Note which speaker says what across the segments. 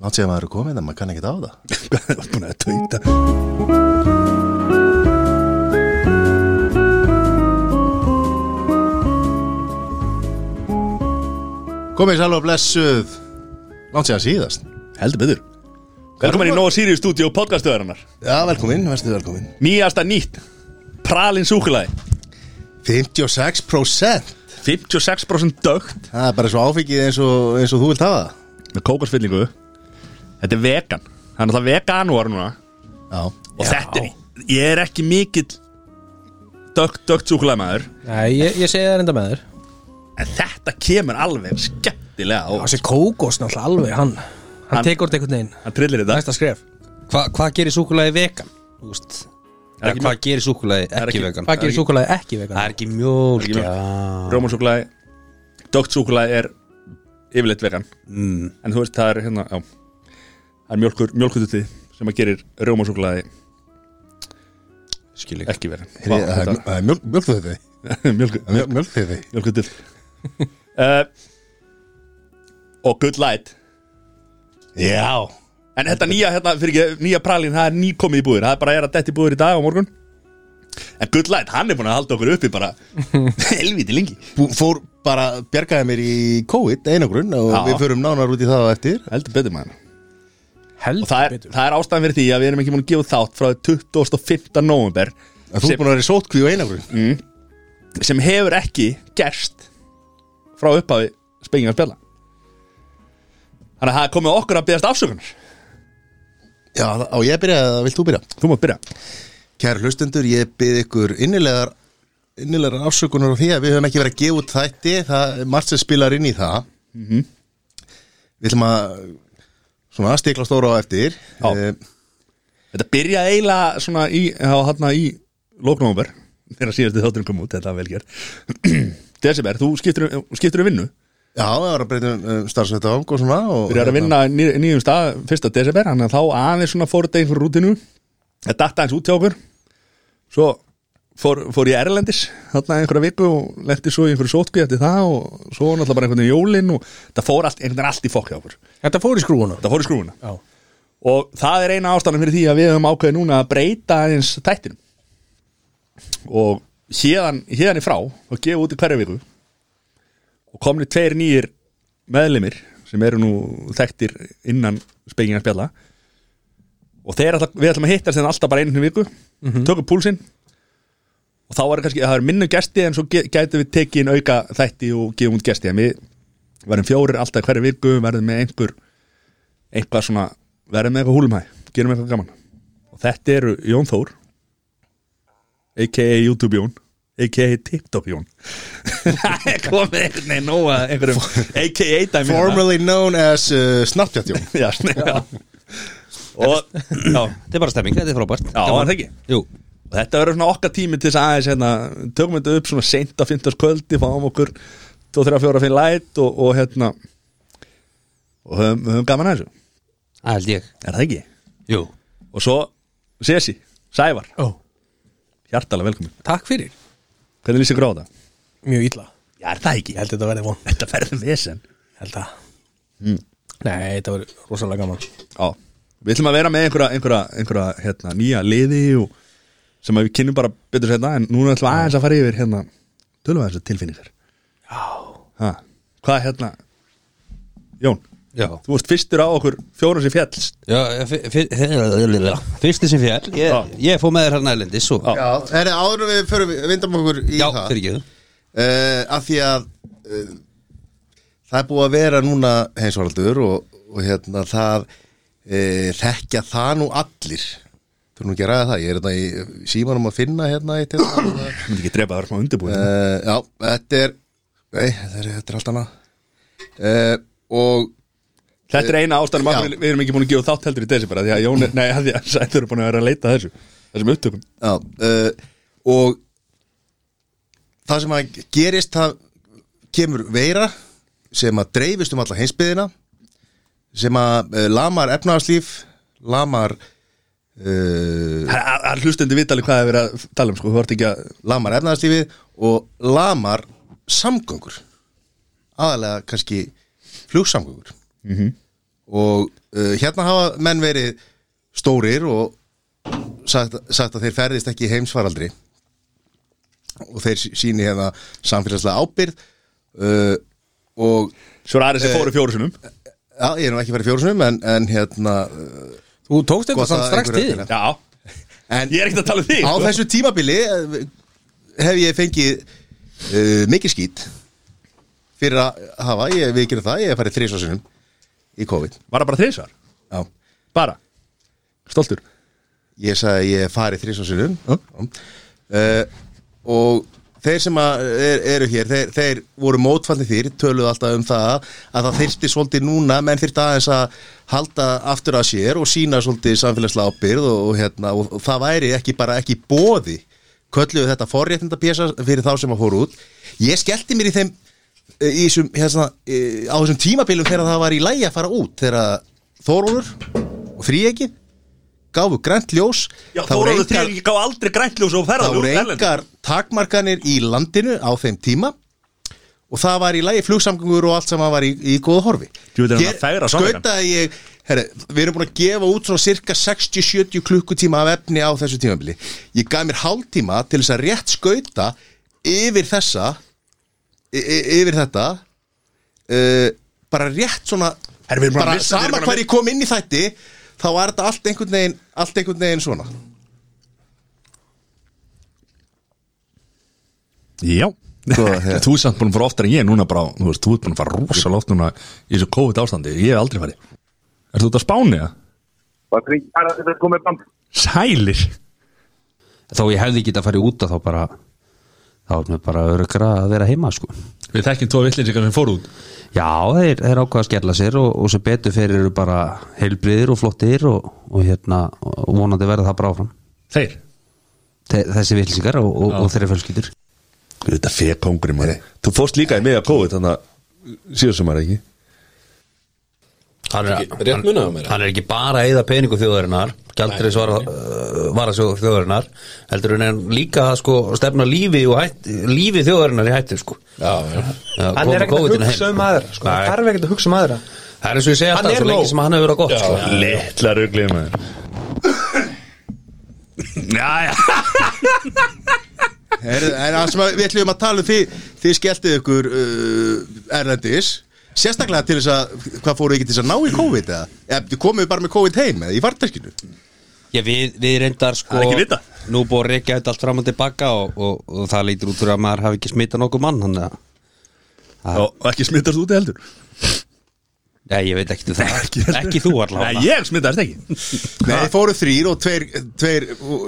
Speaker 1: Látt séð að maður er komið en maður kann ekki á það.
Speaker 2: Hvað er búin að tauta?
Speaker 1: Komið sæl og blessuð. Látt séð að síðast.
Speaker 2: Heldur betur Velkomin í Nova Sirius Studio podcastöðarinnar
Speaker 1: Já, velkomin, verðstu velkomin.
Speaker 2: Nýjasta nýtt Pralin súkulæði
Speaker 1: 56%.
Speaker 2: 56% dögt
Speaker 1: Það er bara svo áfengið eins og, eins og þú vilt hafa það.
Speaker 2: Með kókarsfyllingu Þetta er vegan Það er náttúrulega veganúar núna
Speaker 1: Já.
Speaker 2: Og þetta er Ég er ekki mikill Dögt, dögt súkulæði maður
Speaker 3: Nei, ég, ég segi það reynda með þér
Speaker 2: En þetta kemur alveg skemmtilega og
Speaker 3: Þessi kókos náttúrulega alveg, hann Hann,
Speaker 2: Hann-
Speaker 3: tekur þetta einhvern veginn
Speaker 2: hann trillir þetta
Speaker 3: Næsta skref
Speaker 4: Hva, hvað gerir súkulaði vegan? Þú veist
Speaker 2: er
Speaker 4: ja,
Speaker 2: ekki
Speaker 4: Hvað gerir súkulaði
Speaker 2: er
Speaker 4: ekki,
Speaker 2: ekki-
Speaker 4: vegan?
Speaker 3: Hvað gerir súkulaði ekki
Speaker 4: Það
Speaker 3: vegan?
Speaker 4: er ekki mjólk
Speaker 2: Ekki mjólk.
Speaker 4: Já.
Speaker 2: Rómansúkulæði Dögt súkulæði er Yfirleitt vegan
Speaker 4: mm.
Speaker 2: En þú veist það er hérna Já Það er mjölkur Mjölkututti Sem að gerir rómansúkulæði
Speaker 4: Skil ekki
Speaker 2: ekki vegan
Speaker 1: Heyrðu, Það er- það er mjölk- mjölkþjóði.
Speaker 2: Mjölkututti
Speaker 1: Það er Mjölkþjóði.
Speaker 2: Mjölkutil uh, Og good light
Speaker 1: Já.
Speaker 2: En þetta nýja, hérna, fyrir ekki, nýja pralin Það er nýkomið í búðir, það er bara að er að detti búðir í dag og morgun En good light, hann er búin að halda okkur uppi bara Helviti lengi
Speaker 1: Bú- Fór bara, bjargaði mér í COVID einagrun og
Speaker 2: Já.
Speaker 1: við förum nánar út í það á eftir.
Speaker 2: Heldur betur maður Og
Speaker 3: Heldur
Speaker 2: það er,
Speaker 3: betur
Speaker 2: það er ástæðan fyrir því að við erum ekki múin að gefa út þátt frá 25. november
Speaker 1: Að Þú er
Speaker 2: sem,
Speaker 1: búin að vera í sótkví og einagrun.
Speaker 2: sem hefur ekki gerst frá upphafi spengingar spjalla Þannig að það er komið okkur að beðast afsökunar
Speaker 1: Já, á ég að byrja eða vilt þú byrja?
Speaker 2: Þú mátt byrja
Speaker 1: Kæru hlustendur, ég byrð ykkur innilegar innilegar afsökunar á því að við höfum ekki verið að gefa út þætti það er margt sem spilar inn í það Við ætlum að svona aðstikla stóra á eftir
Speaker 2: Já.
Speaker 1: Eh,
Speaker 2: Þetta byrjaði eiginlega svona í, á hérna í lóknómber þegar síðastu þátturinn kom út, þetta er vel velger Desiber, þú skiptir, skiptir um vinnu
Speaker 1: já það var að breyta um, um starfsveita og svona og hérna,
Speaker 2: byrjar að vinna í ný, nýjum stað fyrsta desiber, hann að þá aðeins svona fór þetta einhver rútinu það datta eins út hjá okkur svo fór, fór ég Erlendis þarna einhverja viku og lendi svo í einhverju sótkví eftir það og svo náttúrulega bara einhvern veginn jólin og það fór allt, einhvern veginn allt í fokk hjá okkur
Speaker 3: Þetta fór í skrúuna
Speaker 2: það fór í skrúfuna
Speaker 3: Já
Speaker 2: og það er eina ástæðan fyrir því að við höfum ákveðið núna að breyta aðeins þættinum og héðan, héðan í frá og gefa út í hverja viku og komni tveir nýjir meðlimir sem eru nú þekktir innan spekingar spjalla og þeir ætla, við ætlum að hittast þeim alltaf bara einu sinni í viku tökum púlsinn og þá er kannski, það er minnu gesti en svo ge- gætum við tekið inn auka þætti og gefum út gesti en við verðum fjórir alltaf í hverju viku, verðum með einhver eitthvað svona, verðum með eitthvað húlumhæ gerum eitthvað gaman og þetta eru Jón Þór a.k.a. YouTube Jón a.k.a. TikTok Jón það er komið einhvern veginn nóg að einhverjum a.k.a. dæmi hérna.
Speaker 1: Formerly known as uh, Snapchat-jón
Speaker 2: já, sn- já. og já,
Speaker 4: Þetta er bara stemming, þetta er frábært
Speaker 2: já, var það ekki
Speaker 4: Jú
Speaker 2: og þetta verður svona okkar tími til þess aðeins hérna, tökum þetta upp svona seint á 15. kvöldi fáum okkur 2, 3, 4, 5 light og, og hérna og höfum, höfum gaman að þessu
Speaker 4: Það held ég
Speaker 2: er það ekki?
Speaker 4: Jú
Speaker 2: og svo Sesi, Sævar,
Speaker 3: Ó,
Speaker 2: hjartalega velkomin
Speaker 3: takk fyrir
Speaker 2: Hvernig lýst ykkur á það?
Speaker 3: Mjög illa
Speaker 2: Já, er það ekki?
Speaker 3: Ég held þetta verði von
Speaker 2: Þetta verður vesen
Speaker 3: Held það Nei, þetta verði rosalega gaman
Speaker 2: Já, við ætlum að vera með einhverja, einhverja, einhverja hérna, nýja liði og, sem að við kynnum bara betur setna en núna ætlum við aðeins að fara yfir hérna, tölum við þessu tilfinningar
Speaker 3: Já
Speaker 2: ha, Hvað hérna Jón,
Speaker 4: Já,
Speaker 2: þú varst fyrstur á okkur fjórum sem fjallst
Speaker 4: já fyr, fyr, fyr, Fyrsti sem fjall
Speaker 2: Já.
Speaker 4: Ég, ég fór með þér hérna erlendis og
Speaker 2: Já.
Speaker 1: Já, það er áður en við förum, vindum okkur í
Speaker 4: já
Speaker 1: það
Speaker 4: fyrir ekki
Speaker 1: uh, af því að uh, það er búið að vera núna heimsvaraldur og, og hérna það uh, þekkja það nú allir þú nú ekki að ræða það, ég er þetta í símanum að finna hérna eitt hérna uh,
Speaker 2: Myndi ekki drepa það var smá undirbúið
Speaker 1: Eh,
Speaker 2: uh,
Speaker 1: já, þetta er nei, þetta er, þetta er allt annað uh, og
Speaker 2: Þetta er eina ástæðan
Speaker 1: eh, já.
Speaker 2: uh, við erum ekki búin að gefa þátt heldur í desi bara því að Jón, er- nei, að því að Sæður er búin að vera að leita að þessu þessum upptökum
Speaker 1: Já, uh, og það sem að gerist það kemur veira sem að dreifist um alla heimsbyðina sem að uh, lamar efnaðarslíf lamar uh,
Speaker 2: Það það- það hlustendur vitali hvað er verið að tala um sko, þú vart ekki að
Speaker 1: lamar efnaðarslífið og lamar
Speaker 5: Mhm.
Speaker 1: samgöngur aðalega kannski flugsamgöngur mm og uh, hérna hafa menn verið stórir og sagt, sagt að þeir ferðist ekki í heimsfaraldri og þeir sí- síni hérna samfélagslega ábyrð uh, og
Speaker 2: Svo er aðeins sem fóru fjóru sinum
Speaker 1: Eh, já, ég er nú ekki farið fjórum sinnum en, en hérna uh,
Speaker 5: Þú tókst
Speaker 1: Gott
Speaker 5: þetta samt
Speaker 1: að
Speaker 5: strax
Speaker 1: einhverju
Speaker 5: til
Speaker 1: öllu.
Speaker 5: þín.
Speaker 2: Já,
Speaker 1: en
Speaker 2: ég er ekkert að tala um þig
Speaker 1: á
Speaker 2: sko.
Speaker 1: þessu tímabili eh, hef ég fengið uh, mikið skýt fyrir að hafa, ég við gerum það, ég hef farið þrísvarsinum í COVID
Speaker 2: Var það bara þrísvar?
Speaker 1: já.
Speaker 2: Bara Stoltur
Speaker 1: ég sagði að ég hef farið þrísvarsinum uh, og þeir sem að er, eru hér þeir, þeir voru mótfallin þýr töluðu alltaf um það að það þyrfti svolítið núna menn þyrfti aðeins að halda aftur að sér og sína svolítið samfélagslega ábyrð og, og, hérna, og, og það væri ekki bara ekki bóði kölluðu þetta forréttinda fyrir þá sem að fóru út ég skellti mér í þeim eh, í þessum, hérna, eh, á þessum tímabilum þegar það var í lægi að fara út þegar Þórólur og Fríegi gáfu grænt ljós
Speaker 2: Já,
Speaker 1: það voru
Speaker 2: Þóraður
Speaker 1: engar-
Speaker 2: Trygg gá aldrei grænljós og
Speaker 1: það
Speaker 2: ferðalú
Speaker 1: voru engar takmarkanir í landinu á þeim tíma og það var í lagi flugsamgöngur og allt sem var í, í góða horfi
Speaker 2: Djú, þetta er hann að fegra sannleikann.
Speaker 1: skautaði ég herri, við erum búin að gefa út svona cirka 60-70 klukkutíma af efni á þessu tímabili ég gaf mér hálftíma til þess að rétt skauta yfir þessa y- y- yfir þetta uh, bara rétt svona
Speaker 2: Herri, við erum búin að
Speaker 1: bara
Speaker 2: missa-
Speaker 1: sama
Speaker 2: við erum búin að
Speaker 1: hvar ég kom inn í þætti þá var þetta allt einhvern veginn, allt einhvern veginn svona
Speaker 2: Já
Speaker 6: Sko,
Speaker 1: hérna.
Speaker 2: Þú er samt búin að fara oftar en ég núna bara Þú veist, þú ert búin að fara rosalega oft núna Í þessu COVID ástandi, ég hef aldrei farið Er þú út að spáni það?
Speaker 7: Var það ekki að þetta komið band?
Speaker 2: Sælir
Speaker 4: Þó ég hefði getað farið út að þá bara þá er mér bara örgra að vera heima sko
Speaker 2: Við þekkjum tvo villinsingar sem fóru út
Speaker 4: Já, þeir, þeir ákvaða að skella sér og, og sem betur fyrir eru bara heilbriðir og flottir og, og hérna og vonandi verða það bara áfram
Speaker 2: Þeir
Speaker 4: Þe- þessi vitlisingar og, og, og þeirra fjölskyldur
Speaker 6: Þetta fer kongurinn maður Þú fórst líka í miða COVID þannig að síðan sem maður ekki
Speaker 4: Hann
Speaker 8: Ekki- rétt munaði á mér.
Speaker 4: hann er ekki bara að eyða peningu þjóðarinnar gældri svara, uh, varasjóð þjóðarinnar heldur en er líka að sko, stefna lífi, og hætt, lífi þjóðarinnar í hættu sko.
Speaker 8: Já, já
Speaker 4: Já,
Speaker 3: Hann er
Speaker 4: koma
Speaker 3: ekkert að
Speaker 4: COVID-inu
Speaker 3: hugsa
Speaker 4: heim.
Speaker 3: um aðra sko.
Speaker 4: Nei.
Speaker 3: Hann þarf ekkert að hugsa um aðra
Speaker 4: Það er eins og ég segja
Speaker 3: Hann
Speaker 4: alltaf
Speaker 3: er
Speaker 4: svo lengi
Speaker 3: nóg.
Speaker 4: sem hann hefur verið gott
Speaker 8: Já,
Speaker 4: sko.
Speaker 6: Littla ruglið maður
Speaker 2: Já, já
Speaker 1: Er, er það sem að við ætlum að tala um því Þið skelltið ykkur uh, Erlendis Sérstaklega til þess að Hvað fóruð ekki til þess að ná í COVID eða? Eða þið komuð bara með COVID heim eða í farteskinu
Speaker 4: Já, við, við reyndar sko
Speaker 2: Það er ekki vitað.
Speaker 4: Nú búið að reykja þetta allt fram og tilbaka og, og, og það lítur út fyrir að maður hafi ekki smitað nokkuð mann hann að
Speaker 2: Og ekki smittast úti heldur
Speaker 4: Nei, ég veit ekkert um það Ekki, þú allavega
Speaker 2: Nei, ég smittast ekki
Speaker 1: Nei, þið fóruð þrýr og tveir, tveir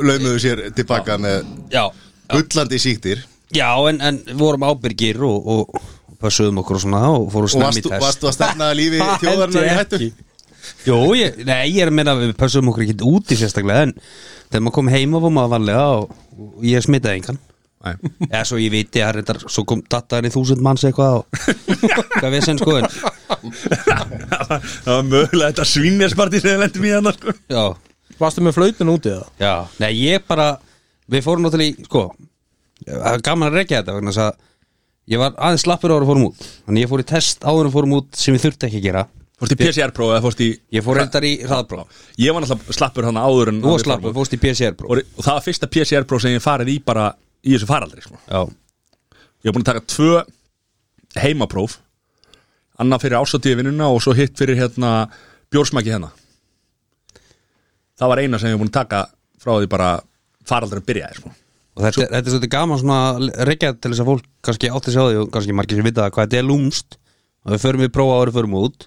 Speaker 1: laumuðu sér tilbaka með
Speaker 4: Já,
Speaker 1: Gullandi síktir
Speaker 4: já en, en við vorum ábyrgir og, og, og pössuðum okkur og svona og fórum
Speaker 1: Og
Speaker 4: snemmi í
Speaker 1: varstu,
Speaker 4: test
Speaker 1: varstu að stefna að lífi
Speaker 4: Það
Speaker 1: þjóðarinnar í
Speaker 4: held
Speaker 1: hættu
Speaker 4: ég ekki. Jó, ég, nei, ég er að meina að við pössuðum okkur ekki úti sérstaklega en þegar maður kom heima var maður vanlega og, og ég smitaði engan eða svo ég viti að reyndar svo kom dattaðan í þúsund manns eitthvað og hvað við sem sko en
Speaker 2: Það var mögulega þetta svinnjarsparti sem við lendum í hann sko.
Speaker 4: já,
Speaker 3: Varstu með flautin úti eða?
Speaker 4: Já, nei ég bara Við fórum náttúrulega í, sko það var Gaman að rekja þetta vegna þess að Ég var aðeins slappur áður að fórum út Þannig ég fór í test áður að fórum út sem ég þurfti ekki að gera
Speaker 2: Fórst í PCR-próf eða fórst í
Speaker 4: Ég fór reyndar í hraðbró
Speaker 2: Ég var náttúrulega slappur hann áður en
Speaker 4: Þú var slappur, fórst í PCR-bró
Speaker 2: og, og það var fyrsta PCR-próf sem ég farið í bara í þessu faraldri sko.
Speaker 4: Já,
Speaker 2: Ég var búin að taka tvö heimapróf Annað fyrir ásatíði vinnuna og svo hitt fyrir hérna bjórsmæki hérna Það var eina sem ég var búin að taka frá því bara faraldri byrjaði sko.
Speaker 4: og þetta, þetta er svolítið gaman svona að rekja til þess að fólk kannski átti sig á því og kannski margir sem vita hvað þetta er lúmst og við förum við prófa áður en förum út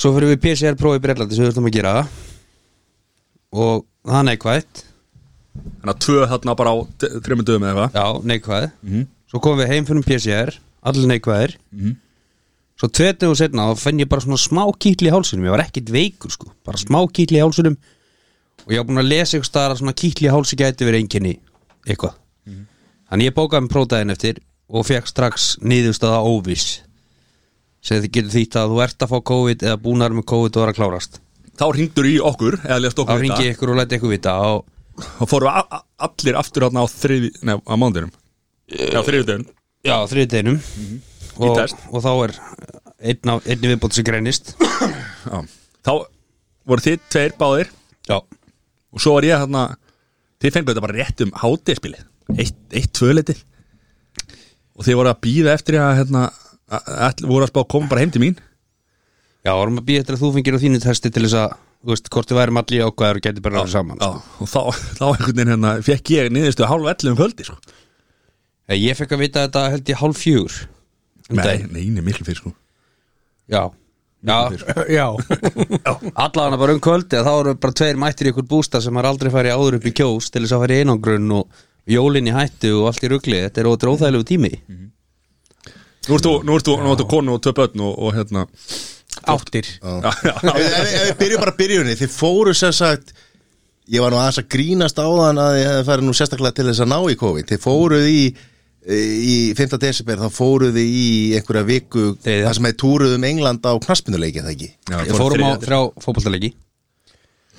Speaker 4: svo förum við PCR prófa í Breitlandi sem við þurfum að gera og það er neikvætt
Speaker 2: Þannig að tvö þarna bara á t- þremur dögum eða eitthvað
Speaker 4: Já, neikvæð Svo komum við heim fyrir um PCR Allir neikvæðir Svo tvetum og setna og fenn ég bara svona smá kýtli í hálsunum Ég var ekkit veikur sko Bara smá kýtli í hálsunum Og ég var búin að lesa ykkur staðar að svona kýtli í hálsi gæti verið einkenni Eitthvað Þannig ég bókaði með prótaðin eftir Og fekk strax niðurstaða óviss sem þið getur þýtt að þú ert að fá COVID eða búnar með COVID og er að klárast
Speaker 2: Þá hringdur í okkur eða lest
Speaker 4: þá
Speaker 2: okkur
Speaker 4: ringi ég ykkur og læti ykkur vita og
Speaker 2: og fórum a- a- allir aftur þarna á þriði, nei, á mándunum Já, þriðutögun
Speaker 4: Já, þriðdeginum
Speaker 2: Mhm. Í
Speaker 4: og,
Speaker 2: test.
Speaker 4: og þá er einn, af, einn viðbótt sem greinist
Speaker 2: já. Þá voru þið tveir báðir Já Og svo var ég þarna Þið fengu þetta bara rétt um hátíðspili Eitt, eitt tvöleitið Og þið voru að býða eftir að hérna að- að- voru að spá koma bara heim til mín
Speaker 4: Já, vorum að býja eftir að þú fengir á þínu testi til þess að, þú veist, hvort þið værum allir ákvæður og gæti bara verið saman
Speaker 2: Já, og þá, þá einhvern veginn hérna fekk ég niðurstu hálf 11 um kvöldi sko.
Speaker 4: Já, Ég fekk að vita þetta held ég hálf fjögur um
Speaker 2: Nei,
Speaker 4: daginn.
Speaker 2: neini, miklu fyrir sko
Speaker 4: Já Já,
Speaker 3: Já,
Speaker 2: sko.
Speaker 4: allan bara um kvöldi að þá eru bara tveir mættir í ykkur bústa sem har aldrei farið áður upp í kjós til þess að fara í einangrun og jólin í hættu og allt í rugli Þetta er ótrú óþægilegu tími
Speaker 2: Nú ert þú, nú ert þú, nú ert þú konu og tvö börn og, og hérna
Speaker 3: áttir
Speaker 2: Já, já,
Speaker 1: Ef ef- ef við byrjum bara byrjunni Þið fóru sem sagt Ég var nú aðeins að grínast á þann að ég hefði farið nú sérstaklega til þess að ná í COVID Þið fóruð í í 5. desember þá fóruð þið í einhverja viku
Speaker 4: Þriðja.
Speaker 1: þar sem þið túruð um England á knaspinuleiki það ekki
Speaker 2: já,
Speaker 4: Ég fórum á þrjá fótboltaleiki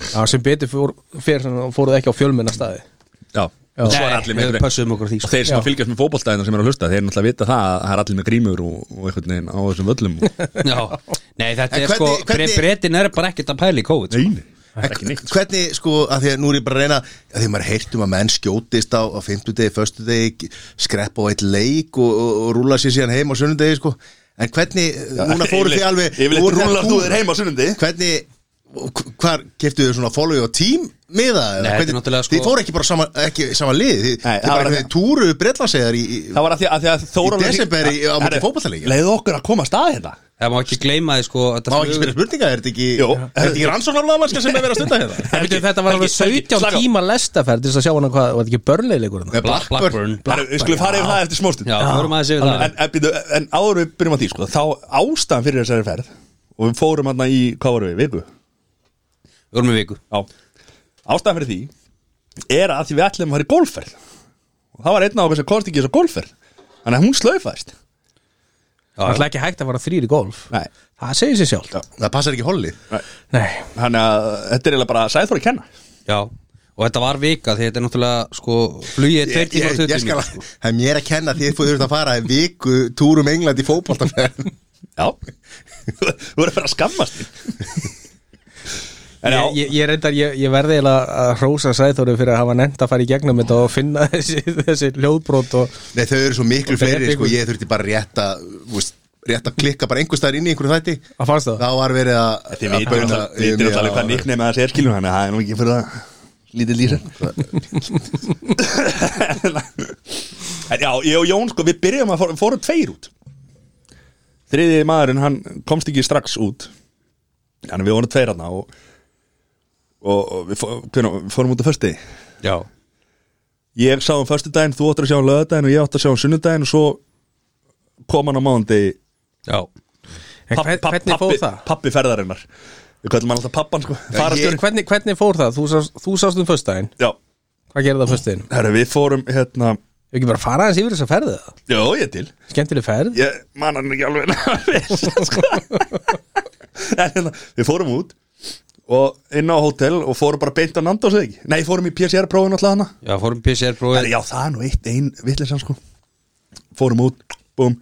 Speaker 3: Já, sem betur fór, fyrir þannig fóruð ekki á fjölmenna staði
Speaker 2: Já,
Speaker 3: Já.
Speaker 2: svo er allir með
Speaker 4: við pössum okkur á því
Speaker 2: Og
Speaker 4: sko.
Speaker 2: þeir sem
Speaker 3: Já.
Speaker 2: fylgjast með fótboltæðina sem eru að hlusta Þeir náttúrulega vita það að það er allir með grímur og, og einhvern veginn á þessum völlum
Speaker 4: Já, nei þetta
Speaker 1: En
Speaker 4: er sko
Speaker 1: hvernig- hvernig-
Speaker 4: hvernig... Bretin er bara ekkert að pæla í COVID sko.
Speaker 2: Neini, ekki
Speaker 1: En
Speaker 2: neitt sko.
Speaker 1: Hvernig, sko, að því að nú er ég bara að reyna að því að maður heyrt um að menn skjótist á, á 50 degi, 1. degi, skrepp á eitt leik og, og, og rúla sér síðan heim á sunnudegi, sko En hvernig, núna fóruð þið alveg
Speaker 9: Yfirleitt
Speaker 1: voruð þið að
Speaker 9: rúllar þú
Speaker 1: túra.
Speaker 9: þér heim á sunnundi.
Speaker 1: Hvernig, hv- hvar, keftu þið svona follow og team miða? eða
Speaker 4: Nei, þetta er
Speaker 1: hvernig-
Speaker 4: náttúrulega, sko-
Speaker 1: Þið fóru ekki bara sama, ekki sama lið Þið,
Speaker 2: Nei,
Speaker 1: þið
Speaker 2: það var
Speaker 1: bara
Speaker 2: ekki-
Speaker 1: þið túru brellasegar í, í
Speaker 2: Það var að því að, því að Þóra
Speaker 1: Í desember í- á móti fótboltaleikja.
Speaker 2: Leðu okkur að koma að stað hérna
Speaker 4: Það má ekki gleyma því sko þetta
Speaker 1: Má ekki
Speaker 4: flug-
Speaker 1: spyrja spurninga, er þetta ekki, er þetta ekki rannsóknarlaðmannska sem er verið að stunda hérna?
Speaker 3: Helgi, Þetta var alveg 17 tíma lestaferð til þess að sjá hana hvað, var þetta ekki börnleileikur
Speaker 1: Nei,
Speaker 4: Black- Blackburn
Speaker 2: Herru, Við skulum fara yfir það eftir smóstund
Speaker 4: Já,
Speaker 2: En,
Speaker 4: fórum aðeins yfir það
Speaker 2: en, býtu, en áður við byrjum að því sko, Þá ástæðan fyrir þessari ferð Og við fórum hann í, hvað vorum við, viku?
Speaker 4: Við vorum í viku
Speaker 2: Já, ástæðan fyrir því Er að því við ætlum að fara í golfferð Og það var einn á okkur sem komst ekki í þessa golfferð Þannig að hún slaufaðist
Speaker 3: Það er ekki hægt að vara þrýr í golf
Speaker 2: Nei.
Speaker 3: Það segir sér sjálf
Speaker 1: Það passar ekki hollið
Speaker 3: Nei,
Speaker 2: Þannig að þetta er eiginlega bara sæðþór að kenna
Speaker 4: Já, og þetta var vika því þetta er náttúrulega sko flugið er tveir
Speaker 1: Ég,
Speaker 4: tíma
Speaker 1: ég,
Speaker 4: og 20
Speaker 1: ég skal
Speaker 4: mínútur,
Speaker 1: að,
Speaker 4: sko.
Speaker 1: það er mér að kenna því að þú þurft að fara í viku túrum England í fótboltaferð
Speaker 2: Já Þú þú er að fara að skammast þín En
Speaker 3: Ég,
Speaker 2: já,
Speaker 3: ég, ég, reyndar, ég, ég verði eiginlega að hrósa Sæþóru fyrir að hafa nefnt að fara í gegnum þetta og finna þessi, þessi hljóðbrot og
Speaker 1: Nei, þau eru svo miklu
Speaker 3: Og það er
Speaker 1: fleiri sko,
Speaker 3: viku.
Speaker 1: ég þurfti bara rétt að þú veist, rétt að klikka bara einhver staðar inn í einhverju þætti
Speaker 3: að fannst það
Speaker 1: þá var verið að
Speaker 2: þið
Speaker 1: að
Speaker 2: vitum
Speaker 1: baula
Speaker 2: alltaf
Speaker 1: yfir
Speaker 2: Vitum
Speaker 1: mig
Speaker 2: alltaf
Speaker 1: á-
Speaker 2: hvað nýtt nefn að þessi er skilur Þannig að það er nú ekki fyrir það Lítið lýsa En já, ég og Jón sko, við byrjum að fórum, fórum tveir út Þriði maðurinn, hann komst ekki strax út Þannig að við vorum tveir hana og, og, og við, fó, hvernig, við fórum út á fösti
Speaker 4: Já,
Speaker 2: ég sá hann föstudaginn, þú áttur að sjá hann lögadaginn og ég átt að sjá hann sunnudaginn og svo kom hann á mándi
Speaker 4: já
Speaker 3: En hvern- Hvernig fór það?
Speaker 2: pappi ferðarinnar við kallum hann alltaf pappan sko
Speaker 3: Ég,
Speaker 2: farastjóri
Speaker 3: hvernig, hvernig fór það? Þú, sást- þú sást um föstudaginn
Speaker 2: já,
Speaker 3: Hvað gerði það á föstudaginn?
Speaker 2: herru við fórum hérna
Speaker 3: Ég ekki bara að fara aðeins yfir þess að ferði það
Speaker 2: já ég til,
Speaker 3: Skemmtileg ferð
Speaker 2: ég man hann ekki alveg nógu vel, sko. en hérna við fórum út og inn á hótel og fórum bara beint á Nandos eða ekki, nei fórum í PCR prófin alltaf hana
Speaker 4: Já, fórum PCR
Speaker 2: Herru,
Speaker 4: prófið
Speaker 2: já, það er nú eitt, ein vitleisann sko Fórum út, búm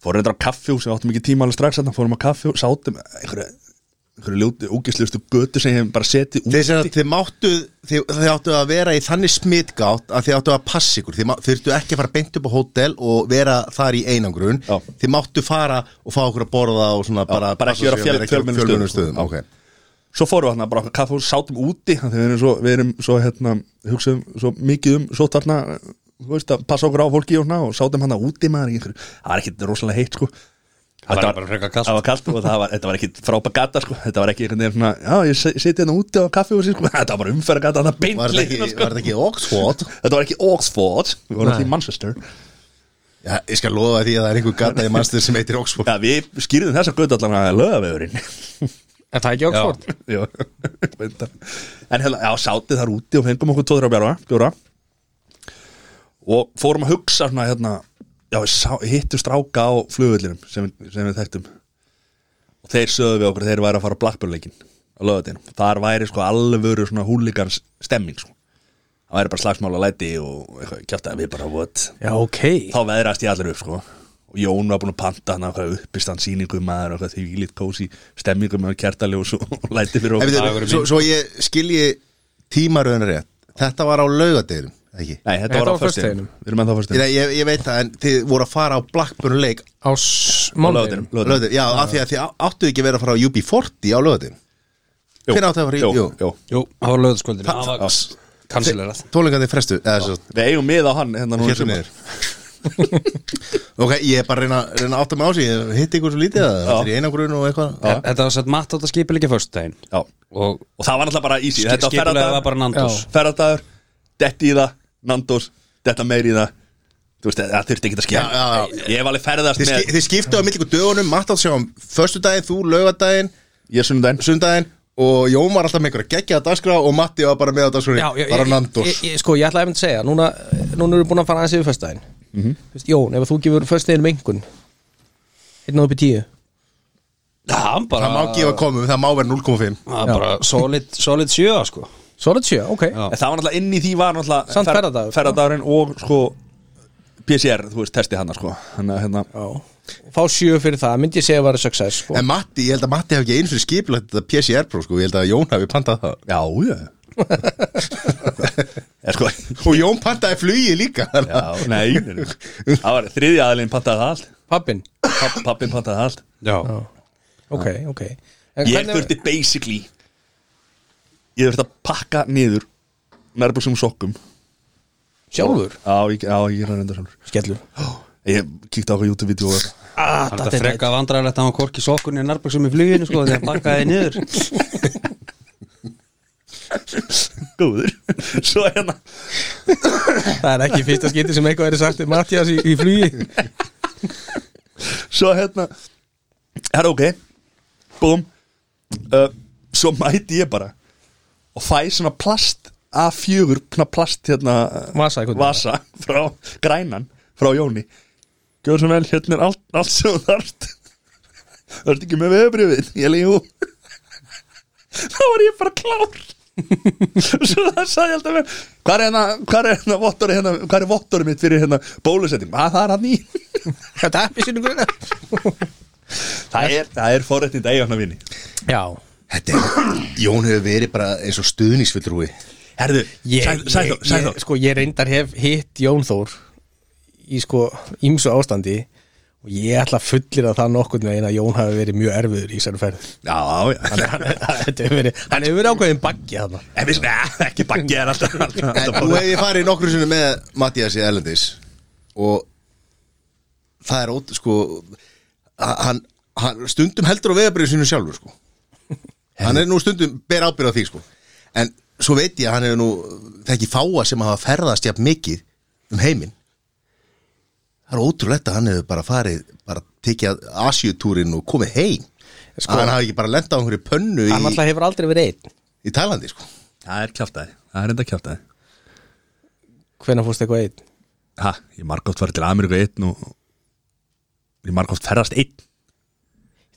Speaker 2: Fórum reyndar á kaffjús, við áttum ekki tíma alveg strax þarna Fórum á kaffjús, sátum einhverju, einhverju ljóti, ógislustu götu sem ég hef bara setið út
Speaker 1: Þeir sem að þið máttu, þið, þið áttu að vera í þannig smitgátt að þið áttu að passa ykkur Þið má- þurftu ekki að fara beint upp á hótel og vera þar í einangrun
Speaker 2: Já.
Speaker 1: Þið máttu fara og fá okkur að borða og svona bara,
Speaker 2: bara ekki
Speaker 1: passa
Speaker 2: vera
Speaker 1: sig
Speaker 2: á
Speaker 1: að
Speaker 2: fjöl- fjölmennum
Speaker 1: fjölmennum
Speaker 2: stöðum.
Speaker 1: stöðum okay.
Speaker 2: Svo fórum við þarna bara á kaffjús, sátum úti Þannig að við erum svo, við erum svo hérna Hugsaðum svo mikið um, svo þarna Þú veist að passa okkur á fólki og svona Og sátum hann úti maður í einhverju Það var ekkit rosalega heitt sko
Speaker 4: Það
Speaker 2: Þetta
Speaker 4: var bara frekar kast
Speaker 2: Það var kalt sko, og það var, þetta var ekki frápa gata sko. Þetta var ekki einhvern veginn svona Já, ég sit- siti hérna úti á kaffi og sér sko. Þetta var bara umferða gata Þetta beint
Speaker 1: Var þetta
Speaker 2: leiðina,
Speaker 1: ekki, var þetta ekki Oxford?
Speaker 2: Þetta var ekki Oxford Við vorum því Manchester
Speaker 1: Já, ég skal lofa því að það er einhver gata í mannstöð sem heitir Oxford
Speaker 2: ja, Við skýrðum þessa gutt allan að lögavegurinn
Speaker 3: Er það ekki Oxford?
Speaker 2: Jó, reyndar. En hérna, já, sátið þar úti og fengum okkur tóður á bjára bjóra og fórum að hugsa svona hérna Já, við sá, hittum stráka á flugullinum sem, við- sem við þekktum og þeir sögðu við okkur, þeir væri að fara á Blackburn-leikin á lögadeinum, þar væri sko alvöru svona húlíkans stemming sko. það væri bara slagsmála læti og eitthvað, kjátt að við bara, what
Speaker 3: Já, ok
Speaker 2: þá veðrast ég allir upp sko og Jón var búin að panta hann eitthvað uppistand sýningu maður og eitthvað því líkt kósi stemmingu með kertaljós og og læti fyrir okkur
Speaker 1: Eftir, svo, svo ég skilji tímaröðin rétt Þetta var á laugadeginum, ekki?
Speaker 2: Nei, þetta var á föstudeginum Við erum ennþá á föstudeginum
Speaker 1: Nei, ég, ég veit það, en þið voru að fara á Blackburn Lake
Speaker 3: á
Speaker 2: laugardeginum.
Speaker 3: málveginum
Speaker 1: laugadeginum Já, af því að þið áttu ekki verið að fara á UB40 á laugadeginum
Speaker 2: Jú,
Speaker 1: Hvenær áttu að fara í-
Speaker 2: Jú,
Speaker 1: jú.
Speaker 2: jú
Speaker 4: Jú, það var löðskvöldin Það var
Speaker 2: Já.
Speaker 4: kansilerað
Speaker 1: Tólingarnir frestu, eða svo
Speaker 2: Við eigum mið á hann hérna núna í
Speaker 1: Hérna
Speaker 2: sumar.
Speaker 1: niður Ok, ég er bara að reyna, reyna að átta mig á sig Ég hitti ykkur svo lítið að það er í einagrun og eitthvað
Speaker 2: Já.
Speaker 4: Þetta var sett matt átt að skipa líka fyrstu daginn
Speaker 2: Já.
Speaker 4: Og
Speaker 2: Og það var alltaf bara easy Þetta var
Speaker 4: skipulega var
Speaker 2: ferðardagur,
Speaker 4: bara Nandos
Speaker 2: ferðardagur Detti í það, Nandos Detta meir í það Þú veist, það þurfti ekki að
Speaker 1: Já,
Speaker 2: skilja
Speaker 1: já, já
Speaker 2: Ég hef alveg ferðast
Speaker 1: Þið,
Speaker 2: með
Speaker 1: ski, þið skiptu á milli ykkur dögunum, Matt átt sjá um Föstudaginn, þú laugadaginn,
Speaker 2: Ég er sunnudaginn
Speaker 1: sundaginn Og Jón var alltaf með ykkur að gegja að dagskrá Og Matti var bara með að dagskrá
Speaker 3: Já, já,
Speaker 1: Bara
Speaker 3: ég-
Speaker 1: Nandos
Speaker 3: ég- ég- Sko, ég ætla að efna að segja Núna, núna erum við búin að fara aðeins yfir föstudaginn Þú veist, Jón, ef þú gefur föstudaginn mengun Einn og upp í tíu
Speaker 4: Það
Speaker 1: Það má
Speaker 4: bara,
Speaker 1: gefa komum, það má vera 0,5
Speaker 4: það bara solid, solid sjö sko
Speaker 3: Solid 7, ok
Speaker 4: Já.
Speaker 2: En það var náttúrulega inn í því var náttúrulega
Speaker 3: Samt ferðadagur.
Speaker 2: Ferðardagurinn og sko PCR, þú veist, testi hana sko Þannig að hérna
Speaker 3: Já. Fá 7 fyrir það, myndi ég segja að vera success sko.
Speaker 1: En Matti, ég held að Matti hef ekki eins fyrir skipulegt þetta PCR-próf, sko, ég held að Jón hafi pantað það
Speaker 2: Já, já Er sko
Speaker 1: Og Jón pantaði flugið líka
Speaker 2: Já, nei Það var þriðja aðlinn pantaði það allt
Speaker 3: Pappin,
Speaker 2: Papp, Pappin pantaði það allt
Speaker 4: Já
Speaker 3: ok, ok En
Speaker 2: Ég
Speaker 3: hvernig-
Speaker 2: þurfti basically Ég þurfti að pakka niður Nærbúsum sokkum
Speaker 3: Sjálfur,
Speaker 2: Já, ég, já, ég er að reynda sjálfur
Speaker 3: skellur
Speaker 2: Ég kíkti á hvað YouTube-vídeó og eitthvað.
Speaker 3: ah,
Speaker 4: Það er frekka vandræðilegt að hann korki sokkunni í nærböksum í fluginu sko þegar hann bakkaði niður
Speaker 2: Góður Svo hérna
Speaker 3: Það er ekki fyrsta skipti sem eitthvað er sagt um Mattias í, í flugi
Speaker 2: Svo hérna Það er ok Búm uh, Svo mæti ég bara Og fæ svona plast A4 Svona plast hérna uh,
Speaker 3: Vasa, einhvern veginn.
Speaker 2: Vasa Frá grænan Frá Jóni Gjörðu svo vel Hérna er allt, allt sem þú þarft Það ert ekki með veðabrifið Ég leiði hún Þá var ég bara klár Svo það sagði ég alltaf mér Hvað er hérna Hvað er hérna vottorið hérna Hvað er vottorið mitt fyrir hérna Bólusetting Að það er hann í
Speaker 3: Þetta er fyrir grunna
Speaker 2: Það er, það er forrættið að eiga hann að vinni
Speaker 3: Já,
Speaker 1: Þetta er, Jón hefur verið bara eins og stuðningsfullrúi
Speaker 2: Herðu,
Speaker 3: ég,
Speaker 2: sæð
Speaker 3: ég, ég, sko, ég reyndar hef hitt Jón Þór í sko ímsu ástandi og ég ætla að fullir að það nokkurn veginn að Jón hafi verið mjög erfiður í þessari ferð
Speaker 2: Já,
Speaker 3: hann,
Speaker 2: já
Speaker 3: hann, þetta hefur verið, hann hefur verið ákveðin baggi þarna
Speaker 2: En við, ne, ekki baggi er alltaf alltaf-
Speaker 1: En
Speaker 2: alltaf
Speaker 1: þú
Speaker 2: bara-
Speaker 1: hefði farið nokkru sinni með Mattias í Erlendis Og það er ótt, sko hann, hann stundum heldur á veðabrið sinu sjálfur, sko Hann er nú stundum, ber ábyrð á því, sko En svo veit ég að hann hefur nú Þekki fáa sem hafa ferðast jafn mikið um heiminn Það er ótrúlegt að hann hefur bara farið bara tekið Asiutúrin og komið heim
Speaker 3: Sko-
Speaker 1: að hann hafi ekki bara lendað á einhverju pönnu
Speaker 3: hann
Speaker 1: í,
Speaker 3: alltaf hefur aldrei verið einn
Speaker 1: í Tælandi sko.
Speaker 2: Það er kjáftæði, það er enda kjáftæði
Speaker 3: hvenær fórst eitthvað einn
Speaker 2: Ha, ég margótt farið til Ameríku einn og Ég margótt ferðast einn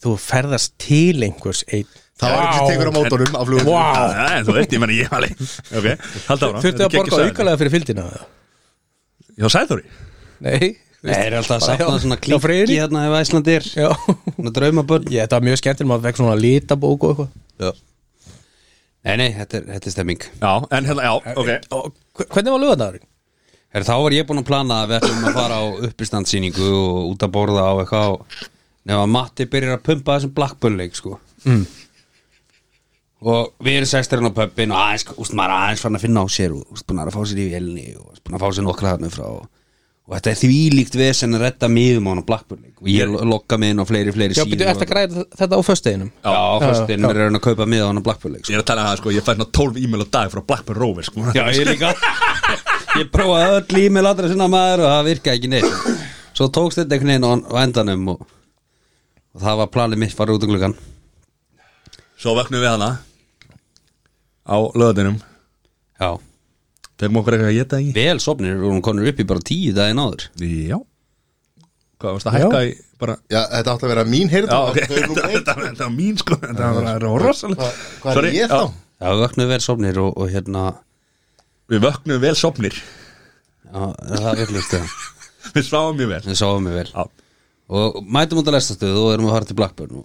Speaker 3: þú ferðast til einhvers einn
Speaker 1: það var ekki sem tekur á mótorum á flugum
Speaker 2: Já, En þú veit, ég menn ég alveg Ok, halda ára
Speaker 3: þurftu að borga aukalega fyrir fylgdina eða?
Speaker 2: Já, sæður því
Speaker 3: nei,
Speaker 4: Það er alltaf að sapna svona
Speaker 3: já,
Speaker 4: klíki
Speaker 3: Freyri.
Speaker 4: hérna ef Æsland er
Speaker 3: Já.
Speaker 4: Svona draumabörn
Speaker 3: Ég, þetta var mjög skemmtileg, maður fekk svona litabók og eitthvað
Speaker 4: Nei, nei, þetta er, þetta er stemming
Speaker 2: Já, en hérna, já, ok
Speaker 3: Og hve- hvernig var lögadagurinn?
Speaker 4: Her, Þá var ég búinn að plana að við ætlum að fara á uppistandsýningu og út að borða á eitthvað og nefn að Matti byrjar að pumpa þessum blackbullleik sko mm. og við erum sesturinn á pöppin og aðeins, úst, maður er aðeins fann að finna á sér og úst, búin að fá sér í vélni og búin að fá sér nokkra þarna frá og, og þetta er þvílíkt vesen að redda miðum á hann á blackbullleik og ég lo- lokka mig inn á fleiri, fleiri
Speaker 3: Já, byrju,
Speaker 4: og-
Speaker 3: eftir að græða þetta á föstudeginum
Speaker 4: Já, á föstudinn er hann að kaupa miða á hann á blackbullleik
Speaker 2: Ég er að tala um það, sko, ég fæði svona 12 e-mail á dag frá Blackburn Rover, sko
Speaker 4: Já, ég líka Ég prófaði öll e-mail adressina maður og það virkaði ekki neitt Svo tókst þetta einhvern veginn á á endanum og, og það var planið mitt fara út um gluggan
Speaker 2: Svo vöknum við hana Á löðinum
Speaker 4: Já
Speaker 2: Tegum okkur eitthvað að geta ekki
Speaker 4: Vel sopnir og hún konur upp í bara tíu daginn áður
Speaker 2: Já Hvað varst að hækka í bara
Speaker 1: Já, þetta átti að vera mín heyrð
Speaker 2: Já, ok, þetta þetta- þetta var mín sko Þetta var- þetta var rosalega
Speaker 1: Hvað er
Speaker 2: Sorry,
Speaker 1: ég
Speaker 2: já,
Speaker 1: þá?
Speaker 4: Já, við vöknuðu vel sopnir og, og hérna
Speaker 2: Við vöknum vel sopnir
Speaker 4: Já, það virðlust það
Speaker 2: Við sváum mjög vel
Speaker 4: Við sáum við vel
Speaker 2: Já.
Speaker 4: og mætum út að lestastöðu og erum að fara til Blackburn og,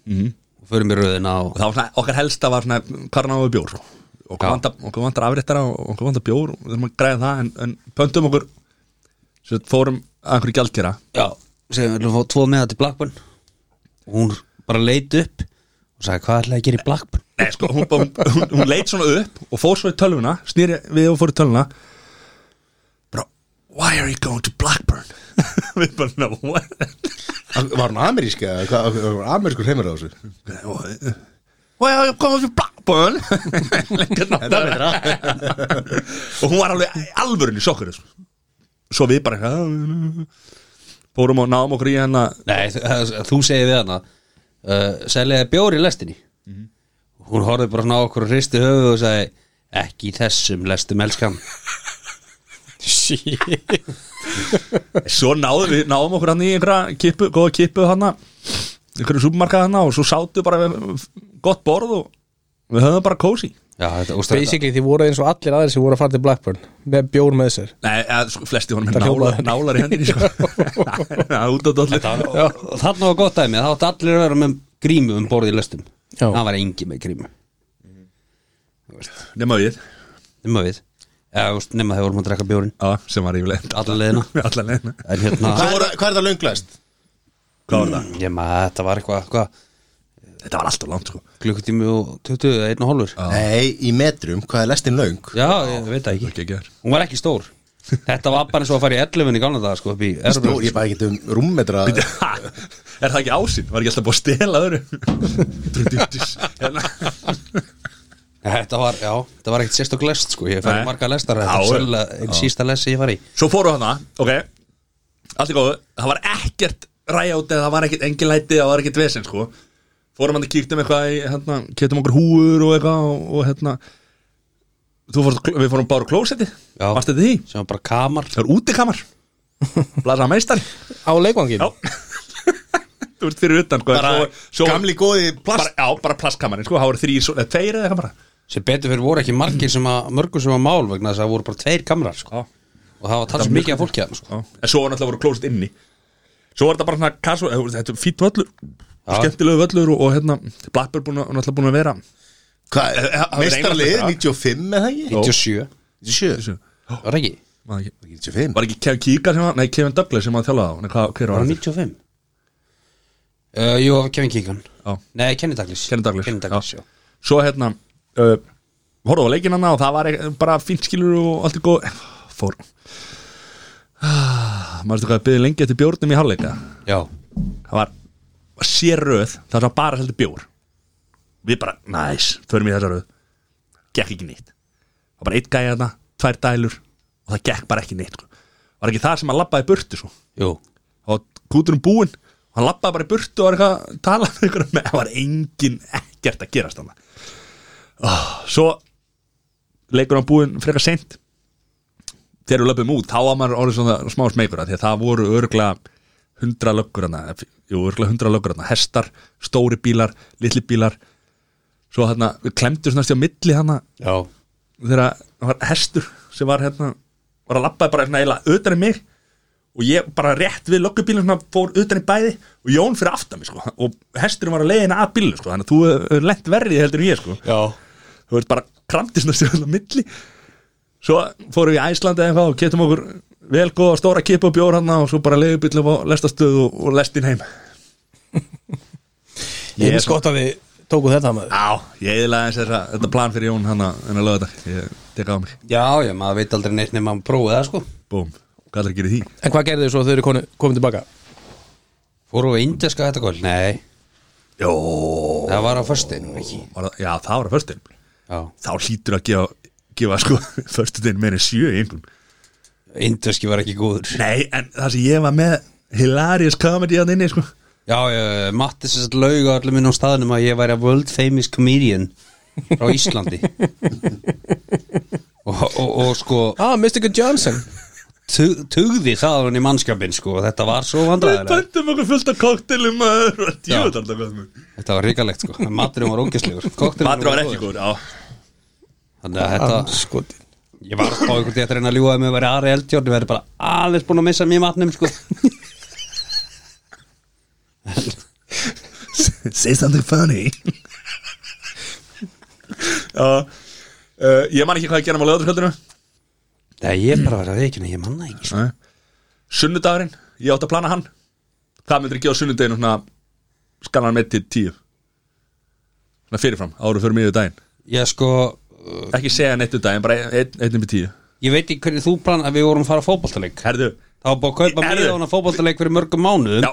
Speaker 4: og förum í röðina og
Speaker 2: og það var svona, okkar helsta var svona hvað náðu bjór og okkur
Speaker 4: Já.
Speaker 2: vantar, okkur vantar afréttara og okkur vantar bjór og við þurfum að græða það en, en pöntum okkur sem sagt, fórum að einhverju gjaldkjara
Speaker 4: já, segjum við ætlum að fá tvo meða til Blackburn og hún bara leit upp og sagði hvað ætlaði að gera í Blackburn
Speaker 2: Nei, sko, hún, hún, hún, hún leit svona upp og fór svo í tölvuna, snýri við og fór í tölvuna bara, why are you going to Blackburn? við bara, no, what?
Speaker 1: Var hann amerísk eða? hvað- Var amerískur heimur á þessu?
Speaker 2: why are you going to Blackburn? Lengur náttúrulega og hún var alveg í alvörinu sjokkur sko. svo við bara "Ah, fórum og náum okkur í hérna hennar
Speaker 4: Nei, þú- það- þú segir við hana uh, seljaði bjór í lestinni
Speaker 2: Mhm.
Speaker 4: hún horfði bara svona á okkur og hristi höfuð og sagði ekki í þessum lestum elskan
Speaker 2: svo náðum við, náðum okkur hann í einhverja kipu, góða kipu hann einhverju supermarkað hann og svo sátu bara við gott borð og við höfum bara kósi
Speaker 4: Já, þetta, og þetta-
Speaker 3: Basically þið voru eins og allir aðeins sem voru að fara til Blackburn með bjór með sér
Speaker 2: Nei, eða, sko, flesti honum er
Speaker 3: Það
Speaker 2: nála,
Speaker 3: hljómaði.
Speaker 2: nálar í hendinni sko. Það er út á dollu
Speaker 4: Já. Þarna var gott dæmi, það átti allir að vera með grímu um borðið í lestum
Speaker 3: Já.
Speaker 4: Það var engi með grímu,
Speaker 2: Mhm. Nefna við,
Speaker 4: nema við Eða, þú veist, nema þegar vorum að drekka bjórin
Speaker 2: já, sem var yfirleitt
Speaker 4: Alla leiðina
Speaker 2: Alla leina
Speaker 4: En hérna,
Speaker 1: Hvað er, það- hvað er það lönglæst?
Speaker 2: Hvað var það?
Speaker 4: ég maður, þetta var eitthvað hva,
Speaker 2: Þetta var alltaf langt sko
Speaker 4: Klukkutími og 20 eða einn og hálfur
Speaker 2: Ah.
Speaker 4: Já,
Speaker 1: Nei, í metrum, hvað er lestin löng?
Speaker 4: ég veit það ekki
Speaker 2: Ekki ekki þar
Speaker 4: Hún var ekki stór Þetta var bara eins og að fara í 11 í gamla dag sko, upp í
Speaker 1: Stór,
Speaker 4: Erbrjóð
Speaker 1: ég bara ekki um rúmmetra
Speaker 2: Ha, Er það ekki ásinn? Var ekki alltaf búið að stela öðru? Drududis Hérna
Speaker 4: Þetta var, já, þetta var ekkit sérstök lest sko Ég færi
Speaker 2: Nei.
Speaker 4: marga lestar, þetta
Speaker 2: Já,
Speaker 4: var
Speaker 2: já.
Speaker 4: svolga einn sísta lest sem ég fari í
Speaker 2: Svo fóru hana, ok Allt í góðu, það var ekkert ræjátt eða það var ekkert engin læti, það var ekkert vesinn sko Fórum hann að kíktum eitthvað í, hérna, keftum okkur húur og eitthvað og, og hérna Þú fórst, á kló- við fórum bara á klósetti
Speaker 4: Já.
Speaker 2: Varst þetta því?
Speaker 4: Sem var bara kamar
Speaker 2: Það er útikamar Blasa meistari
Speaker 3: á leikvangin
Speaker 2: Já. Þú ert fyrir utan sko,
Speaker 1: Bara
Speaker 2: en svo, svo,
Speaker 1: gamli góði
Speaker 2: bara,
Speaker 1: plast
Speaker 2: Já, bara plastkamarin sko, það voru þrý, eða tveir eða kamara
Speaker 4: sem betur fyrir voru ekki margir sem að mörgum sem að mál vegna þess að það voru bara tveir kamrar sko. og það var talsum mikið af fólki að sko.
Speaker 2: Já. En svo var náttúrulega voru klósett inni Svo var þetta bara svona kasu, þetta er fýtt völlur Skemmtilegu völlur og, og hérna Blackburn búin að, náttúrulega búin að vera
Speaker 1: Hvað,
Speaker 2: Eh, það-
Speaker 1: meistarlið,
Speaker 2: það-
Speaker 1: 95 eða ekki?
Speaker 4: 97,
Speaker 1: 97
Speaker 4: var það ekki?
Speaker 2: Var ekki-
Speaker 1: 95
Speaker 2: Var ekki Kevin Kíka sem var, nei Kevin Douglas sem að þjálfa á Nei, hvað, hver
Speaker 4: Var
Speaker 2: var
Speaker 4: það
Speaker 2: hann?
Speaker 4: 95? Uh, jú, það var Kevin Keegan
Speaker 2: Já.
Speaker 4: Nei, Kenny Douglas
Speaker 2: Kenny Douglas,
Speaker 4: Kenny Douglas já.
Speaker 2: Svo hérna uh, Horfðu á leikinn hana og það var ek- bara fínt skilur og allt er góð Fór ah, Maður hvað að byrja lengi eftir bjórnum í hálfleika
Speaker 4: Já.
Speaker 2: það var sér röð það var bara heldur bjór við bara, næs, förum í þessa röð gekk ekki neitt það var bara eitt gæja þarna, tvær dælur og það gekk bara ekki neitt sko. var ekki það sem hann labbaði í burtu sko. svo
Speaker 4: Jú.
Speaker 2: og kúturum búinn og hann labbaði bara í burtu og var eitthvað að tala með ykkur með það var engin ekkert að gerast hann svo leikur hann búinn frekar seint þegar við löpum út þá var maður orðið svona smá smegur af því að það voru örglega hundra löggur hann jú, örglega hundra löggur hann hestar, stóri bílar, litli bílar svo hérna, við klemdum svona stjá milli hann
Speaker 4: Já.
Speaker 2: þegar það var hestur sem var hérna, var að labbaði bara svona eiginlega utan í mig og ég bara rétt við lokkubílum svona fór utan í bæði og Jón fyrir aftan mig sko og hesturinn var að leiðina að bílum sko þannig að þú hefur lent verrið heldur en ég sko
Speaker 4: Já.
Speaker 2: þú veist bara kramti svona stjórnum milli svo fórum við í Æslandi eða eitthvað og getum okkur vel góða stóra kipa og bjór hann og svo bara leiðubíl og lestastöð og, og lestin heim
Speaker 3: ég finnst gott að þið tóku þetta maður
Speaker 2: Já, ég eðlaði eins þessa, þetta plan fyrir Jón hérna, hann að hann að löða þetta, ég teka á mig
Speaker 4: já, já, maður veit aldrei neitt nema að prófa það sko
Speaker 2: búm, hvað er að gera í því?
Speaker 3: en hvað gerðu þið svo þegar þið eru komið tilbaka
Speaker 4: Fóru á indjaska þetta kvöld? Nei,
Speaker 2: Jó,
Speaker 4: það var á föstudinum ekki
Speaker 2: var það, já það var að förstin
Speaker 4: Já.
Speaker 2: þá hlýtur að gefa, gefa sko förstudin meira en sjö í einhvern
Speaker 4: Indjaski var ekki góður
Speaker 2: Nei, en það sem ég var með hilarious comedy hann inni sko
Speaker 4: Já, já, Mattis þess að lauga allir minn á staðnum að ég væri að world famous comedian frá Íslandi og, og, og sko
Speaker 3: ah, Mystica Johnson
Speaker 4: tug- tugði það hann í mannskapin sko og þetta var svo
Speaker 2: Við
Speaker 4: vandræðilega
Speaker 2: pöntum okkur fullt af koktelum og djúið alltaf hvað mjög
Speaker 4: Þetta var ríkalegt sko, maturinn var ógæslegur Kokteilinn
Speaker 2: Matur var ekki góður, já
Speaker 4: Þannig að
Speaker 3: Ah,
Speaker 4: þetta,
Speaker 3: skotin
Speaker 4: ég var á einhvern veginn að reyna að ljúga að mig að vera aðri eldjórn, ég væri bara aðeins búin að missa mér matnum sko
Speaker 1: Say something funny
Speaker 2: Já uh, Ég man ekki hvað ég gerum á löðarskvöldinu
Speaker 4: Nei, ég er bara að vera að veikina, ég manna ekki sko.
Speaker 2: Sunnudagurinn, ég átti að plana hann Hvað myndir ekki á sunnudaginu svona Skalan með til tíu Svona fyrirfram, áru fyrir miður daginn
Speaker 4: Ég sko,
Speaker 2: Ekki segja neitt um daginn, bara einn ein, með tíu
Speaker 4: ég veit ekki hvernig þú plan að við vorum að fara á fótboltaleik
Speaker 2: Herðu,
Speaker 4: Það var búið að kaupa
Speaker 2: Herðu.
Speaker 4: mjög á fótboltaleik fyrir mörgum mánuðum
Speaker 2: já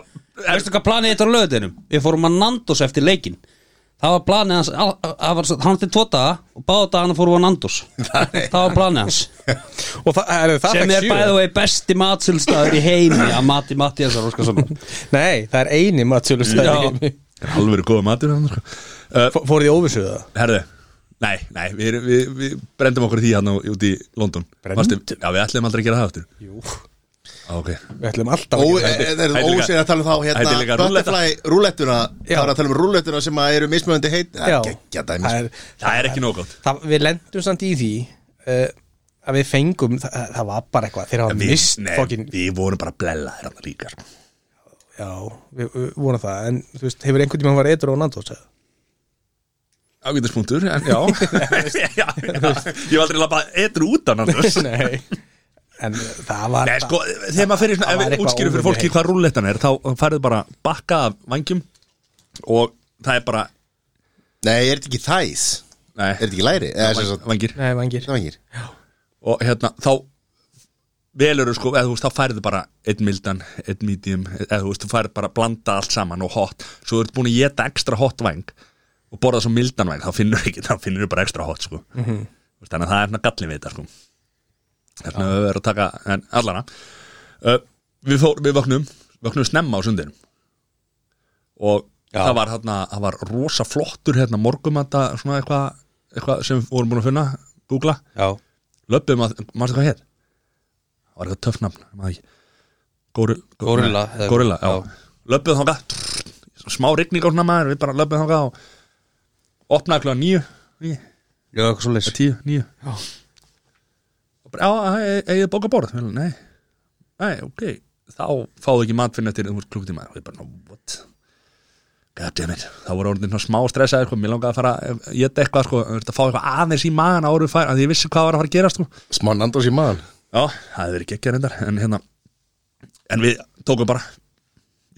Speaker 4: Veistu hvað planið þetta á löðinum? Við fórum að Nandos eftir leikin Það var planið hans al- að var- Hann til tvo daga og báða dagana fórum við að Nandos Það var planið hans
Speaker 3: Og það, er, það
Speaker 4: Sem
Speaker 3: fékk
Speaker 4: er
Speaker 3: sjö.
Speaker 4: bæðu vegi besti matsilstaður í heimi að mati Mattiasar Óskarssonar
Speaker 3: Nei, það er eini matsölu
Speaker 4: Já.
Speaker 3: stæði
Speaker 2: Er alveg verið góða matur hann, sko. uh,
Speaker 3: Fórið í óvissuða
Speaker 2: Herðu Nei, nei, við, við, við brendum okkur í því hann út í London Varstu- Já, við ætlum aldrei að gera það aftur Jú okay.
Speaker 3: Við ætlum alltaf
Speaker 1: Ó, eh,
Speaker 3: að gera
Speaker 1: er er
Speaker 3: það.
Speaker 2: Þetta
Speaker 1: það
Speaker 2: er líka-
Speaker 1: ósegir að tala um þá
Speaker 2: þetta er líka
Speaker 1: hérna
Speaker 2: rúlletta.
Speaker 1: Butterfly rúlettuna Það er að tala um rúlettuna sem að eru mismunandi heit
Speaker 3: Já.
Speaker 1: Gekkja sko. dæmis
Speaker 3: það er,
Speaker 2: Það er ekki nógátt
Speaker 3: sko. það, Við lendum samt í því uh, að við fengum það, það var bara eitthvað þegar hafa
Speaker 2: við,
Speaker 3: mist
Speaker 2: nei,
Speaker 3: fokkin
Speaker 2: við vorum bara að blella þér hann líka sko.
Speaker 3: Já, við, við vorum það en þú veist, hefur einhvern tímann var eitur á Nandos eða?
Speaker 2: Ágætispunktur, en já, já, já Ég var aldrei labba etru út af Nandos Nei,
Speaker 3: Nei En það var
Speaker 2: sko, þegar maður fyrir svona
Speaker 3: það
Speaker 2: Ef við
Speaker 3: var eitthvað
Speaker 2: útskýrum fyrir
Speaker 3: óvenju
Speaker 2: fólki
Speaker 3: heitt.
Speaker 2: hvað rúllettan er Þá færðu bara bakka af vangjum Og það er bara
Speaker 1: Nei, er þetta ekki þæs? Er
Speaker 2: Nei,
Speaker 1: þetta ekki læri? Eða, sem sagt-
Speaker 2: vangir
Speaker 3: Nei, vangir
Speaker 1: Það vengir
Speaker 2: Og hérna, þá velur sko, eða þú veist, þá færðu bara einn mildan, einn medium eða þú veist, þú færðu bara að blanda allt saman og hot svo þú ert búin að geta ekstra hot vang og borða svo mildan vang, þá finnur ekki þá finnur þú bara ekstra hot, sko Þú veist, þannig að það er hérna gallin við þetta, sko þannig að við verðum að taka, en allana uh, við, fór, við vöknum vöknum snemma á sundinum og það var hérna það var rosa flottur hérna morgumata svona eitthvað, eitthvað sem við vorum búin að finna googla
Speaker 4: Já
Speaker 2: löpum að, mannstu hvað hér? Það var eitthvað töfnafn, maður ekki Góru,
Speaker 4: Gorilla,
Speaker 2: nei,
Speaker 4: eða-
Speaker 2: Gorilla, já,
Speaker 4: já.
Speaker 2: Löpum þangað, smá rigning á svona maður, við bara löpum þangað og opnaði klúan nýju, nýju,
Speaker 4: Já, eitthvað svo leys
Speaker 2: tíu, nýju Já Og bara, já, e- eigið bóka borð? Vel, Nei, nei, ok Þá fáðu ekki matfinn eftir einhver klukkutíma Og ég bara, no, what? Goddammit, þá voru orðin svona smá stressaði sko, Mér langaði að fara, að éta eitthvað sko, þú veist, að fá eitthvað aðeins í magan áru fær Því ég vissi hvað var að fara að gera sko.
Speaker 1: Smá Nandos í maðan
Speaker 2: Já, það hefði verið geggja reyndar En hérna En við tókum bara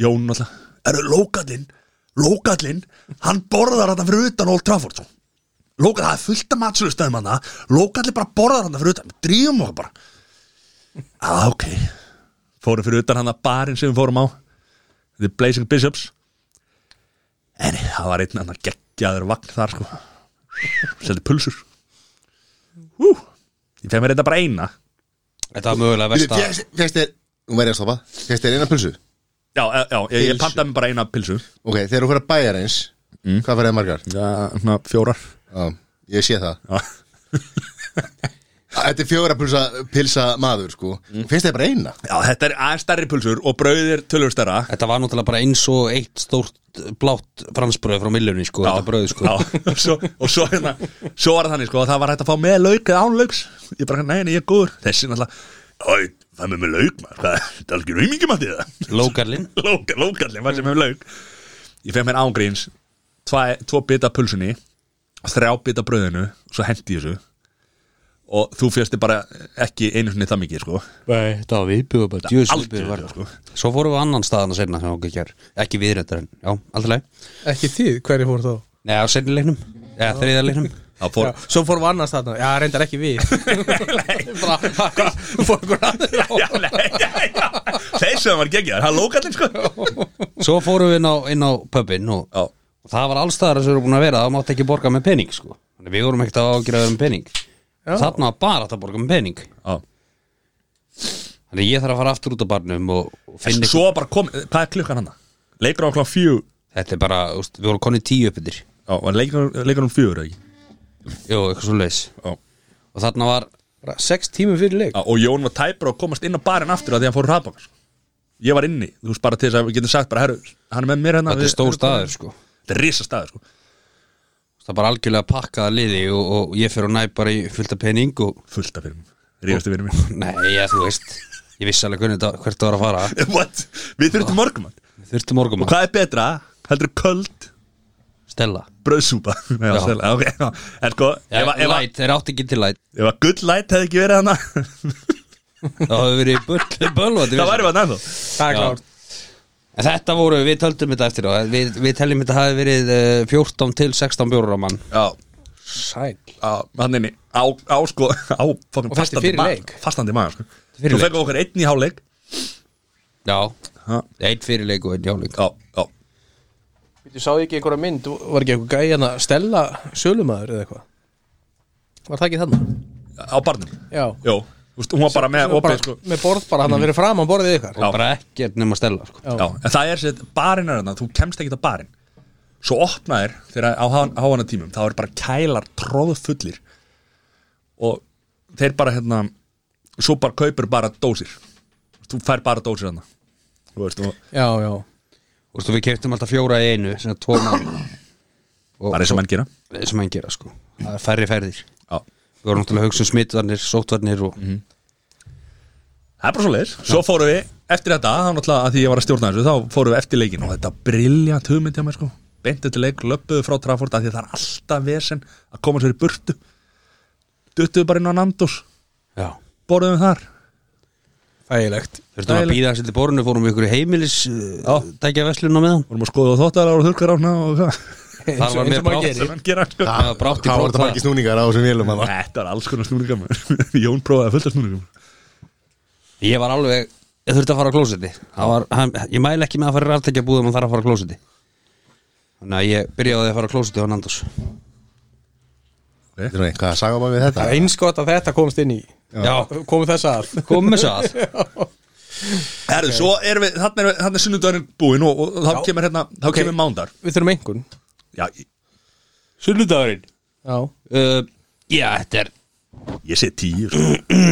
Speaker 2: Jón alltaf Eru Lókallinn Lókallinn Hann borðar þetta fyrir utan Old Trafford svo. Lókall, það er fullt af matsölustæðum hann Lókallinn bara borðar þetta fyrir utan Við drífum okkur bara ah, ok Fórum fyrir utan hann að barinn sem við fórum á The Blazing Bishops En það var einn annar geggjaður vagn þar sko Seldi pulsur Hú Ég fæði mér þetta bara eina
Speaker 4: Þetta var mögulega versta
Speaker 1: Fjæst þér Hún verið að stoppa Fjæst þér eina pulsu
Speaker 2: Já, já, já, ég, ég pantaði mér bara eina pilsu
Speaker 1: Ok, þegar þú fyrir að bæja eins Hvað fyrir það margar?
Speaker 2: Já, svona fjórar
Speaker 1: Já, ég sé það
Speaker 2: Já,
Speaker 1: Þetta er fjóra pulsa, pilsa maður sko Finnst þér bara eina?
Speaker 2: já þetta er aðeins stærri pilsur og brauðir tölur stærra
Speaker 4: Þetta var náttúrulega bara eins og eitt stórt blátt fransbröð frá millunni sko,
Speaker 2: Já,
Speaker 4: þetta bröð sko
Speaker 2: já, og svo, og svo, hérna, svo var það þannig sko að það var hægt að fá með lauk eða án lauks Ég bara, nei, nei, ég er góður Þessi náttúrulega Æ, það með með lauk, maður, hvað, það er algjör aumingjum að því það
Speaker 4: Lókarlinn
Speaker 2: Lókar, lókarlega, maður sem með lauk Ég fekk mér ángríns Tvo bita af pulsunni og Þrjá bita af brauðinu og Svo hendi ég þessu Og þú fjösti bara ekki einu sinni það mikið sko
Speaker 4: Nei, það var viðbjöðu bara djöðs
Speaker 2: Aldrei,
Speaker 4: viðbjöðu var
Speaker 2: sko.
Speaker 4: Svo fórum við á annan staðan að segna sem okkur ger Ekki viðrættar en, já, aldrei leið
Speaker 3: Ekki þið, hverju fór þá?
Speaker 4: Nei, á seinni leiknum, eða þriða leiknum
Speaker 2: Það fór,
Speaker 3: Já, svo fórum við annars þarna, já, reyndar ekki við Bara, hæ, fór einhver annar á.
Speaker 2: já, nei, já, já. Þessu var geggjaður, það er lókallinn sko
Speaker 4: Svo fórum við inn á, inn á pubin og,
Speaker 2: Já.
Speaker 4: og það var allstaðar sem við erum búin að vera Það mátti ekki borga með pening, sko Þannig Við vorum ekkert að ágjöra um pening Þarna var bara að borga með pening
Speaker 2: Já.
Speaker 4: Þannig ég þarf að fara aftur út á barnum og, og
Speaker 2: En
Speaker 4: finna
Speaker 2: Svo bara kom, hvað er klukkan hann? Leikur á klán fjú
Speaker 4: Þetta er bara, þú veist, við vorum konni tíu uppið
Speaker 2: Já, var leikur, leikur um fjögur eða ekki
Speaker 4: Jó, eitthvað svo leis
Speaker 2: Já.
Speaker 4: Og þarna var,
Speaker 3: Bara Sex tímum fyrir leik
Speaker 2: Já, Og Jón var tæpur að komast inn á barinn aftur að því að hann fór hraðbaka sko. Ég var inni, þú veist bara til þess að við getum sagt bara Herru, hann er með mér hérna
Speaker 4: þetta
Speaker 2: við-
Speaker 4: er stór
Speaker 2: við-
Speaker 4: staður, sko
Speaker 2: Þetta er risa staður sko.
Speaker 4: Það er bara algjörlega pakkaða liði og, og ég fyrir að næ bara í fullta pening og
Speaker 2: Fullt af fyrir mig, ríðastu fyrir mig
Speaker 4: Nei, ég, þú veist Ég vissi alveg hvernig þetta, hvert það var að fara
Speaker 2: What? Við þurftum morgumann
Speaker 4: Þurftu morgum
Speaker 2: Og hvað er betra? Heldur köld
Speaker 4: Stella
Speaker 2: bröðsúpa Nei,
Speaker 4: Já.
Speaker 2: sel- ok, já. En sko,
Speaker 4: Já,
Speaker 2: ef að- ef að-
Speaker 4: light, þeir átti ekki til light
Speaker 2: ef að good light hefði ekki verið hana
Speaker 4: Það hefur verið böll, bölvað
Speaker 2: Það væri við hann ennþá
Speaker 3: Það er klárt
Speaker 4: En þetta voru, við töldum þetta eftir á Við, við teljum þetta hafi verið eh, 14 til 16 bjórur á mann
Speaker 2: Já,
Speaker 3: Sæl
Speaker 2: á, hann inni Á, á sko, á fucking
Speaker 3: Og þetta er
Speaker 2: fastandi
Speaker 3: fyrir
Speaker 2: maður
Speaker 3: leik.
Speaker 2: Fastandi maður, sko
Speaker 4: Fyrir
Speaker 2: Þú
Speaker 4: leik.
Speaker 2: fengum okkur einn í háleik
Speaker 4: Já,
Speaker 2: Já,
Speaker 4: einn fyrirleik og einn hjáleik
Speaker 2: já
Speaker 3: Þú sá ekki einhverja mynd, var ekki einhver gæi hérna Stella Sölumæður eða eitthvað Var það ekki þarna?
Speaker 2: Á barnum
Speaker 3: Já
Speaker 2: Jó, þú veist, hún var bara með
Speaker 3: Sem
Speaker 2: opið, sko
Speaker 3: Með borð bara hann að vera fram á borðið ykkar
Speaker 2: Já.
Speaker 4: Og bara ekkert nema Stella sko.
Speaker 2: Já, en það er sér, barinn er þarna, þú kemst ekki til barinn Svo opnaðir þegar á háana tímum Það eru bara kælar tróðfullir Og þeir bara hérna Svo bara kaupir bara dósir Þú fær bara dósir þarna Þú veist, og
Speaker 3: Já, já
Speaker 4: Þú veist, við keftum alltaf fjóra í einu Svona tvo mann og,
Speaker 2: bara eins og menn gera
Speaker 4: eins og menn gera sko Það er færri færðir
Speaker 2: Já.
Speaker 4: Við vorum náttúrulega að hugsa um smitvarnir, sótvarnir og
Speaker 2: Það er bara svo leiðis Svo fórum við eftir þetta, þá náttúrulega að því ég var að stjórna þessu Þá fórum við eftir leikin og þetta briljant hugmynd hjá mér sko Beintið til leik, löppuðu frá Trafford af Því að það er alltaf vesen að koma sér í burtu Duttuðu bara inn á Nandos
Speaker 4: Já
Speaker 2: Borðum þar
Speaker 3: Þægilegt
Speaker 4: Þurftum að
Speaker 2: Dæli.
Speaker 4: býða sér til borinu, fórum við ykkur heimilis uh, Tækja veslun á meðan
Speaker 2: vorum að skoða þóttaðar og þurrkar ána og hvað
Speaker 4: Þar var mér brátt
Speaker 2: sem hann gera sko
Speaker 4: Það var brátt í
Speaker 1: Hvað voru
Speaker 4: brótt
Speaker 1: þetta margir snúningar á þessum vélum hann?
Speaker 2: Þetta var alls konar snúningar maður. Jón prófaði að fullta snúningar
Speaker 4: Ég var alveg, ég þurfti að fara á klósetti Það var, hann, Ég mæli ekki með að fara í raftekja búðum og þarf að fara á klósetti Þannig að ég byrjaði að fara á klósetti á Nandos
Speaker 1: Þetta er svona, Hvað sagði maður við þetta?
Speaker 3: Það er eins gott að þetta komst inn í
Speaker 4: Já,
Speaker 3: Komið þess að
Speaker 4: komum við svo að
Speaker 2: Herðu, svo erum við, þannig er, þarna er sunnudagurinn búinn og, og þá kemur hérna, þá kemur mándar
Speaker 3: Við þurfum einhvern
Speaker 2: Já, ég,
Speaker 4: Sunnudagurinn
Speaker 3: Já
Speaker 4: uh, Já, þetta er,
Speaker 2: ég sé tíu sko.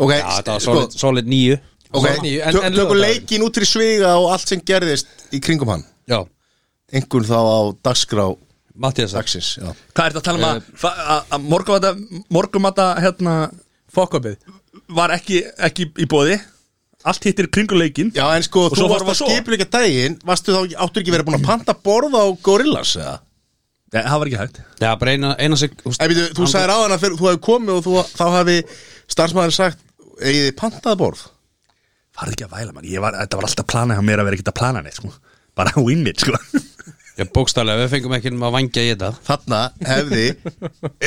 Speaker 1: Ok,
Speaker 4: já, þetta var
Speaker 1: sko,
Speaker 4: solid, solid níu
Speaker 1: ok,
Speaker 3: Solid. En-
Speaker 1: tök-
Speaker 3: en
Speaker 1: tökum
Speaker 3: laugardagurinn?
Speaker 1: leikin út fyrir sviga og allt sem gerðist í kringum hann
Speaker 4: Já,
Speaker 1: Engun þá á dagskrá
Speaker 4: Mattias
Speaker 1: dagsins já.
Speaker 2: Hvað er þetta að tala um að- fa- að- að morgumata, morgumata hérna,
Speaker 3: Fokkabið
Speaker 2: var ekki, ekki í bóði Allt hittir kringuleikin
Speaker 1: já, en sko,
Speaker 2: Og
Speaker 1: þú
Speaker 2: svo
Speaker 1: varst
Speaker 2: fórum
Speaker 1: að
Speaker 2: að sofa.
Speaker 1: skipur ekki daginn Varstu þá, ekki- áttu ekki verið búin að panta borð á Gorillas, eða?
Speaker 2: Nei, það var ekki hægt
Speaker 4: Já, bara eina, eina sig húst,
Speaker 1: Ei, byrju, þú sagðir á hann að fyrir, þú hefði komið og þú, þá hefði starfsmæður sagt Egið þið pantað borð?
Speaker 2: Farði ekki að væla mann, Ég var, þetta var alltaf planað hjá mér að vera ekkert að plana neitt sko. Bara win it sko.
Speaker 4: Já, bókstælega, við fengum ekki um að vangja í þetta
Speaker 1: Þarna hefði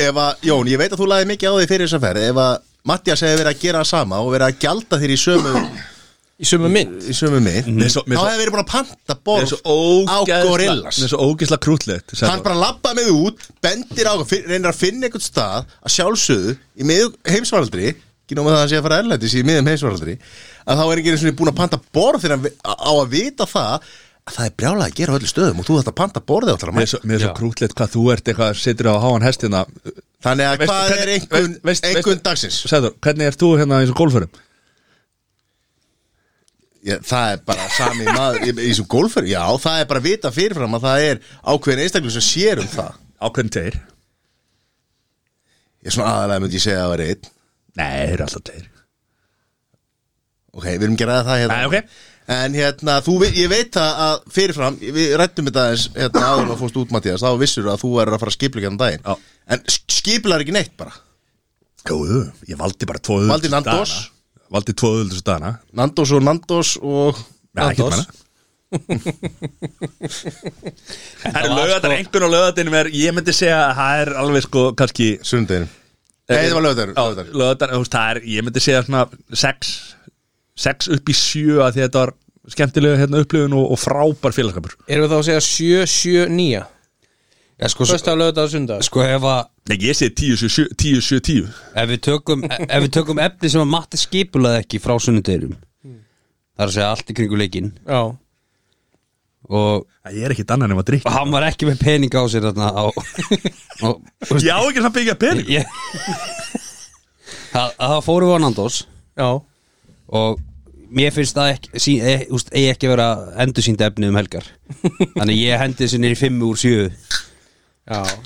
Speaker 1: ef að, Jón, ég veit að þú laði mikið á því fyrir þessa ferð ef að Mattias hefði verið að gera það sama og verið að gjalda þér í sömu
Speaker 3: Í sömu mynd
Speaker 1: í sömu mitt
Speaker 2: Mér er svo-
Speaker 1: þá
Speaker 2: mér er svo-
Speaker 1: hefði verið búin að panta
Speaker 2: Mér er
Speaker 1: borð
Speaker 2: svo
Speaker 1: á
Speaker 2: ógeðsla-
Speaker 1: Gorillas
Speaker 2: mér er svo ógeðsla krútlegt
Speaker 1: hann bara labba með út, bendir á finn- reynir að finna einhvern stað að sjálfsögðu í miðjum heimsvaraldri ekki nóg með það að sé að fara erlætis í miðjum heimsvaraldri að þá er ekki einu sinni búin að panta borð þegar hann vi- á á að vita það að það er brjálega að gera á öllu stöðum og þú þetta panta borðið á
Speaker 2: Mér er svo, mér er svo krútlegt hvað þú ert eitthvað situr á háan hestina
Speaker 1: þannig að
Speaker 2: Veistu,
Speaker 1: hvað
Speaker 2: hvernig-
Speaker 1: er einhvern,
Speaker 2: veist- veist-
Speaker 1: einhvern dagsins
Speaker 2: Sæður, hvernig ert þú hérna eins og golfurum?
Speaker 1: Já, það er bara sami maður í í þessum golfur, já, það er bara vita fyrirfram að það er ákveðin einstaklega sem sér um það
Speaker 2: Ákveðin tegir
Speaker 1: Ég er svona aðalega myndi ég segja að það er einn
Speaker 2: Nei, þeir eru alltaf tegir
Speaker 1: Ok, við erum ekki að ræða það hérna
Speaker 2: Nei, ok.
Speaker 1: En hérna, þú, ve- ég veit það að fyrirfram Við rættum þetta aðeins hérna, áður að fórst út Mattias Þá vissur að þú er að fara að skipla um daginn
Speaker 2: Já.
Speaker 1: En skiplar ekki neitt bara
Speaker 2: Jú, jú, ég valdi bara tvo öðuldur
Speaker 1: Valdi Nandos.
Speaker 2: Valdi tvo öðuldur svo dana
Speaker 1: Nandos og Nandos og
Speaker 2: Nandos Það eru lögatar, einhvern og lögatinn er, ég myndi segja að það er alveg sko, kannski
Speaker 1: Sundin
Speaker 2: Eh,
Speaker 1: Nei, það var lögðar
Speaker 2: Lögatar, það er, ég myndi segja svona sex, sex upp í sjö að því að þetta var skemmtilega hérna upplifun og, og frábær félagskapur
Speaker 3: Erum við þá að segja 779
Speaker 4: Já, sko,
Speaker 3: Fösta lögða að sunda
Speaker 4: sko ef, að,
Speaker 2: Nei, ég segi 10, 10, 7, 10
Speaker 4: ef, við tökum, ef við tökum efni sem að Matti skipulaði ekki frá sunnudeginum Það er að segja allt í kringu leikinn
Speaker 3: Já
Speaker 4: og
Speaker 2: Ég er ekkit annað nema að drikka
Speaker 4: og hann var ekki með pening á sér þarna á, á,
Speaker 2: Já, ekki samt byggja pening
Speaker 4: ég, það, það fórum við á Nandos
Speaker 3: Já
Speaker 4: og mér finnst það ekki, sí, e, úst, eigi ekki að vera endursýnd efni um helgar þannig ég hendi þessu niður í 5 úr 7
Speaker 3: Já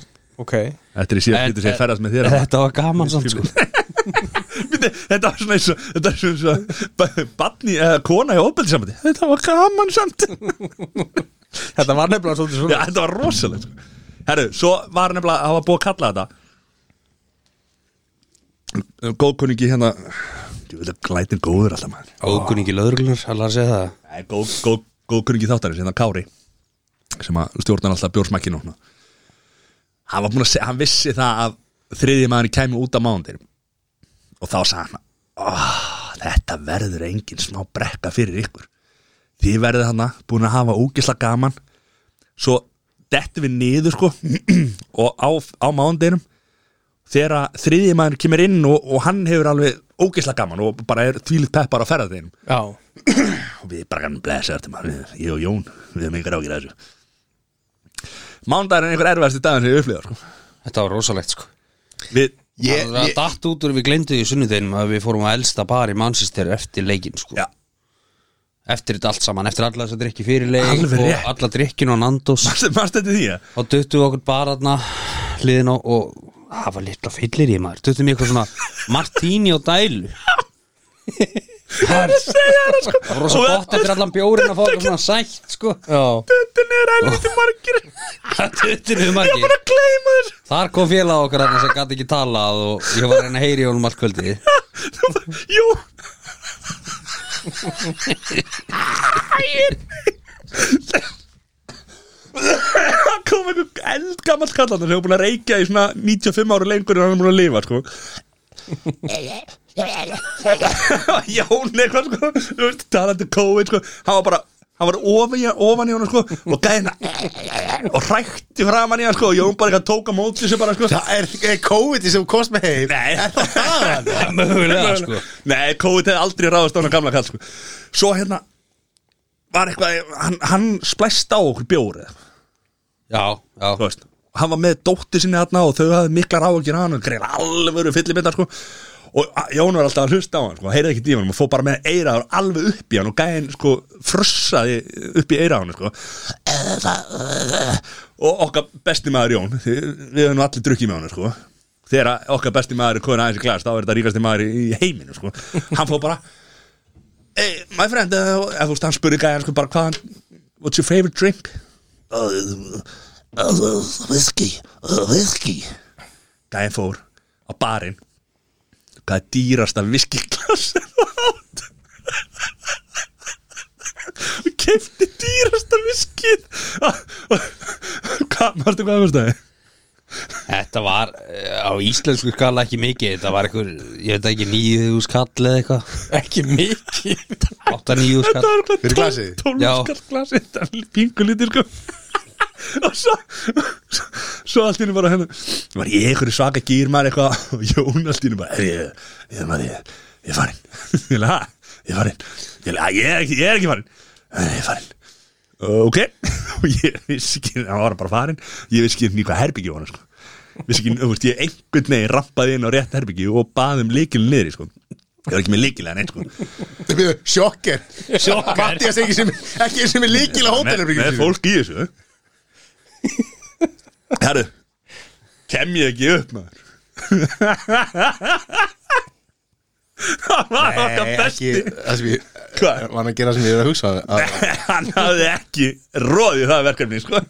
Speaker 3: Ok
Speaker 2: Þetta er í síðan
Speaker 4: En-
Speaker 2: getur sér ferðast með þér
Speaker 4: þetta var gaman samt sko
Speaker 2: Býttu, þetta, þetta var svona eins og þetta var svona eins og badni eða kona í ofbeldi samandi þetta var gaman samt
Speaker 3: Þetta var nefnilega svolítið
Speaker 2: Já,
Speaker 3: svona
Speaker 2: þetta var rosalegt sko. herru, svo var nefnilega það var búið að kalla þetta góðkunningi hérna ég veit að glætin góður alltaf maður
Speaker 4: Ókunningi löðruglunar, allar að segja það
Speaker 2: Nei, Eh, góð, góð, góð kunningi þáttarins, hérna Kári sem að stjórnar alltaf bjórsmakkinu hann var búin að segja, hann vissi það að þriðji maðurinn kæmi út á mándir og þá sagði hann "Ah, þetta verður engin smá brekka fyrir ykkur því verður hann búin að hafa úkisla gaman svo dettum við niður sko og á, á mándirum þegar að þriðji maðurinn kemur inn og, og hann hefur alveg ógisla gaman og bara er þvílitt peppar á ferðarðinum
Speaker 3: Já,
Speaker 2: og við bara kannum blessa þetta maður ég og Jón, við hefum einhver ágjur að þessu Mándagurinn er einhver erfæðasti dagur sem ég upplýða sko.
Speaker 4: Þetta var rosalegt sko
Speaker 2: við,
Speaker 1: Ég,
Speaker 4: Það
Speaker 1: ég,
Speaker 4: datt út úr við glemdu í sunnudeginum að við fórum að elsta bar í Manchester eftir leikin sko
Speaker 2: Já.
Speaker 4: Eftir þetta allt saman, eftir alla þess að drikki fyrir leik
Speaker 2: Alveg rétt.
Speaker 4: og alla drikkin og Nandos
Speaker 2: marstu, marstu þetta því að
Speaker 4: og duttum við okkur bara þarna hliðin á og það var litla fyllir í maður duttum við eitthvað svona Martini og Dælu það var rosa
Speaker 2: Og-
Speaker 4: gott eftir allan bjórin að fá eitthvað svona sætt sko
Speaker 3: já
Speaker 2: Þetta er helviti margir
Speaker 4: duttum við margir
Speaker 2: að gleyma þessu
Speaker 4: þar kom félag okkar þarna sem gæti ekki talað og ég var að reyna að heyri honum allt kvöldi
Speaker 2: Það var- Jón Það kom einhver eldgammal kallandar sem hefur búin að reykja í svona 95 ára lengur en hann er búin að lifa sko Jón eitthvað sko þú veist, talandi COVID sko hann var bara hann var ofan í, ofan í hann sko og gæði hann og hrækti framan í hann sko og Jón bara eitthvað tók á móti sem bara sko
Speaker 1: það er, er COVID sem kost með heim
Speaker 2: Nei.
Speaker 1: Er það það?
Speaker 4: mögulega sko
Speaker 2: Nei, COVID hefði aldrei ráðast á hann gamla kall sko. Svo hérna var eitthvað, hann, hann splæst á okkur bjórið,
Speaker 4: já, já
Speaker 2: þú veist hann var með dóttir sinni hérna og þau hafði miklar áhugir af hann og greið alveg fyllibindar sko og a- Jón var alltaf að hlusta á hann sko, heyrði ekki dímanum og fór bara með eiraður alveg upp í hann og gæðin sko frussaði upp í eiraðun sko og okkar besti maður Jón því við höfum nú allir drukkið með hann sko þegar að okkar besti maður er komin aðeins í glas þá er þetta ríkasti maður í í heiminum sko hann fór bara hey, my friend, uh, eða, þú veist, hann spurði gæðan sko bara hvað hann, what's your favorite drink uh, uh, whisky uh, whisky gæðin fór á barinn hvað er dýrasta viskiglas sem þú átt og kefti dýrasta viskið hvað, marstu hvað það er
Speaker 4: Þetta var eh, á íslensku skala ekki mikið Þetta var einhver, ég veit ekki, nýðu skall eða eitthvað
Speaker 3: Ekki mikið
Speaker 4: Átta nýðu skall
Speaker 2: þetta var eitthvað
Speaker 1: Fyrir glasið?
Speaker 4: Já.
Speaker 2: tólfskall glasi þetta er pingu litir sko og svo svo, svo allt inni bara hérna var ég einhverju svaka gýr maður eitthvað og Jón allt inni bara "Herri, ég, ég, maður, ég, ég er farinn ég er ég er farinn ég, er- "Ha, ég, er ekki- ég er ekki farinn "Nei, ég er farinn "Ö, ok og ég vissi ekki hann var bara farinn ég vissi ekki hvað herbyggju var sko. vissi ekki, þú veist, ég einhvern veginn rampaði inn á rétt herbyggju og baði um líkilin niður sko. ég var ekki með líkilega neitt sko.
Speaker 1: Bíddu, Sjokker Sjokker Mattias ekki sem, ekki sem er líkil á
Speaker 2: með, með
Speaker 1: hótelum
Speaker 2: fólk í þessu Herru Kem ég ekki upp maður Það var okkar besti
Speaker 1: það sem ég
Speaker 2: Hvað?
Speaker 1: Var hann að gera sem ég er að hugsa að- að-
Speaker 2: Hann hafði ekki róðið það verkefni sko.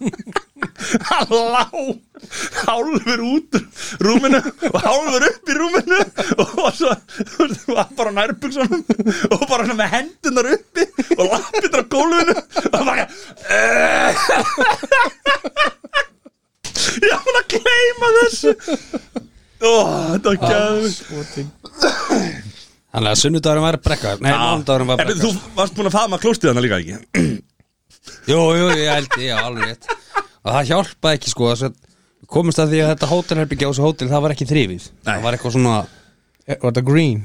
Speaker 2: Hann lá Hálfur út úr rúminu Og hálfur upp í rúminu Og svo var bara nærbuksunum Og bara svona með hendunar uppi Og lappirnar á gólfinu Og bara eh. Ég var að gleyma þessu Ó, þetta var gæður
Speaker 4: Þannig að sunnudagurum var brekka Nei,
Speaker 2: Ah.
Speaker 4: mánudagurum var
Speaker 2: En
Speaker 4: brekka
Speaker 2: þú varst búin að faðma klóstið hana líka ekki
Speaker 4: Jú, jú, ég held, já, alveg rétt Og það hjálpaði ekki, sko þess að við Komumst að því að þetta hótelherbyggja á þessu hótel Það var ekki þrifið Það var eitthvað svona,
Speaker 3: E, Var þetta green?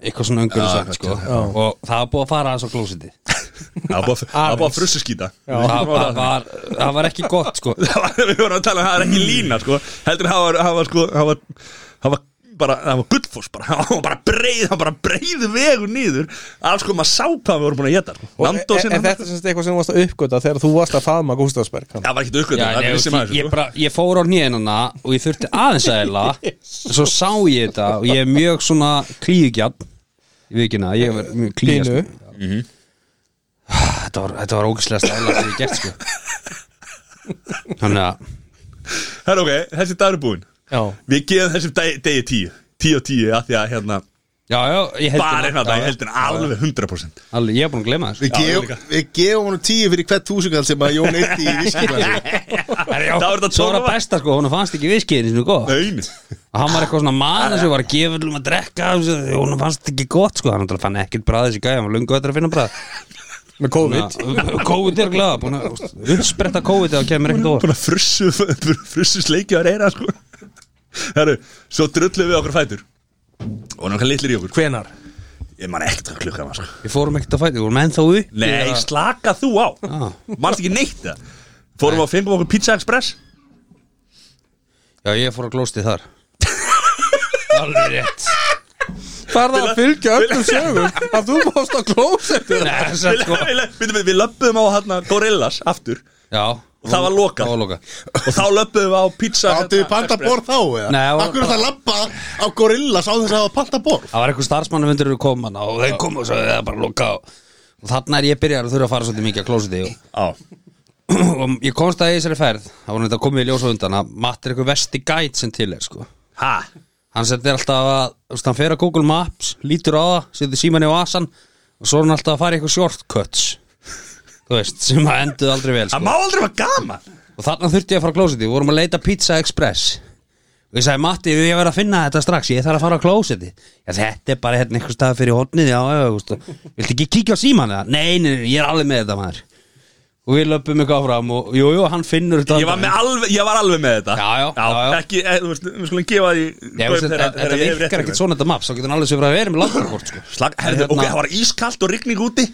Speaker 4: eitthvað svona
Speaker 2: Já,
Speaker 4: umhverfisvænt, sko Og það var búið að fara aðeins á klósiti
Speaker 2: Það var búið að- það var búið að frussu skýta
Speaker 4: það, það, var, það var ekki gott, sko
Speaker 2: Það var- við vorum að tala um það er ekki lína sko. heldur það var, það var, sko, það var, það var bara, það var gullfoss bara hann var bara breið, hann var bara breið vegur nýður alls sko maður sá hvað við vorum búin að geta sko.
Speaker 3: Og er,
Speaker 2: landósinn
Speaker 3: er þetta sem sagt eitthvað sem þú varst að uppgöta þegar þú varst að faðma Gústafsberg
Speaker 2: það var ekkit aukvöld
Speaker 4: Já,
Speaker 2: það
Speaker 4: nei,
Speaker 2: vissi
Speaker 4: ég,
Speaker 2: maður
Speaker 4: ég,
Speaker 2: sko.
Speaker 4: bara, ég fór á nýðinana og ég þurfti aðeins að eila Svo sá ég þetta og ég er mjög svona klíðgjad Ég veit ekki hana, ég er mjög klíðast
Speaker 3: Pínu.
Speaker 2: Mhm.
Speaker 4: Þetta var, þetta var ógæslega stæla sem ég hef gert sko Þannig að
Speaker 2: Herra, ok, þessi dagur er búinn
Speaker 3: Já,
Speaker 2: við gefum þessum deg- degi tíu tíu og tíu af því að hérna
Speaker 4: Já, já, ég held
Speaker 2: bara hérna þetta, ég held
Speaker 4: þetta
Speaker 2: þetta alveg 100%
Speaker 4: Alveg, ég er búin að glema þessu
Speaker 1: Við gefum- við gefum honum tíu fyrir hvert þúsugall sem að Jón eitt í viskiflæði
Speaker 2: það var þetta
Speaker 4: Svo var það
Speaker 2: tóra
Speaker 4: besta sko, hún fannst ekki viskiðin sinu gott
Speaker 2: Nein.
Speaker 4: og hann var eitthvað svona mann sem var að gefa um að drekka hún fannst þetta ekki gott sko hann náttúrulega fann ekkert bræð þessi gæja, hann var lungu öllur að finna bræð
Speaker 3: með COVID
Speaker 4: Na, COVID er glæða, búin að uppspretta COVID eða kemur ekkert
Speaker 2: Búin
Speaker 4: ofar
Speaker 2: að frussu, frussu sleiki á reyra sko. Herru, svo drullum við okkur fætur Og hann hvað litlir í okkur
Speaker 3: Hvenar?
Speaker 2: Ég man ekkert hvað klukkan var sko.
Speaker 4: við fórum ekkert að fæta, við vorum ennþá upp
Speaker 2: Nei, slaka þú á
Speaker 4: Ah.
Speaker 2: Manst ekki neitt það Fórum að fengum okkur Pizza Express
Speaker 4: já ég fór að glósti þar alveg rétt
Speaker 3: Farða að fylgja öllum sögum að þú varst að klósetu
Speaker 4: Nei, það er
Speaker 2: Við,
Speaker 4: satt, sko.
Speaker 2: við, við, við löpum á hana, Gorillas aftur
Speaker 4: já,
Speaker 2: Og það var lokað.
Speaker 4: það var lokað.
Speaker 2: Og þá löpum við á Pizza
Speaker 1: Áttu við panta borð þá eða?
Speaker 4: Nei, það var-
Speaker 1: Akkur er það að labba á gorilla sá þess að hafa panta borð
Speaker 4: það var eitthvað starfsmannafundur eru koman og þeir komu og sagði það er bara lokað og þarna er ég byrjar að þurfa að fara svolítið mikið að glósti og
Speaker 2: á,
Speaker 4: og ég komst að í þessari ferð þá voru þetta komið í ljós á undan að Matt er eitthvað vesti gæt sem til er sko
Speaker 2: ha,
Speaker 4: hann setur alltaf að, þú veist, hann fer að Google Maps lítur á það, setur símanni á asan og svo er hann alltaf að fara í eitthvað shortcuts þú veist, sem að enduð aldrei vel
Speaker 2: Það
Speaker 4: sko.
Speaker 2: má aldrei vera gaman
Speaker 4: og þarna þurfti ég að fara að klósiti, við vorum að leita Pizza Express og ég sagði Matti, ég verð að finna þetta strax ég þarf að fara að klósiti já, þetta er bara hérna einhver stað fyrir hodnið já, já, þú veist, viltu ekki kíkja á símanni það? nei, nei, nei, ég er alveg með þetta maður og við löpum eitthvað áfram og jú, jú, hann finnur þetta
Speaker 2: Ég var,
Speaker 4: aldrei.
Speaker 2: með alveg, ég var alveg með þetta
Speaker 4: Já, já, já, já.
Speaker 2: Ekki, eh, þú veist, við skulum gefa því
Speaker 4: Nei, þú veist, þetta þetta virkar ekkert svona þetta maps þá getur hann alveg sér að vera með landakort sko.
Speaker 2: Slag, herðu,
Speaker 4: Hérna-
Speaker 2: ok, það var ískalt og rigning úti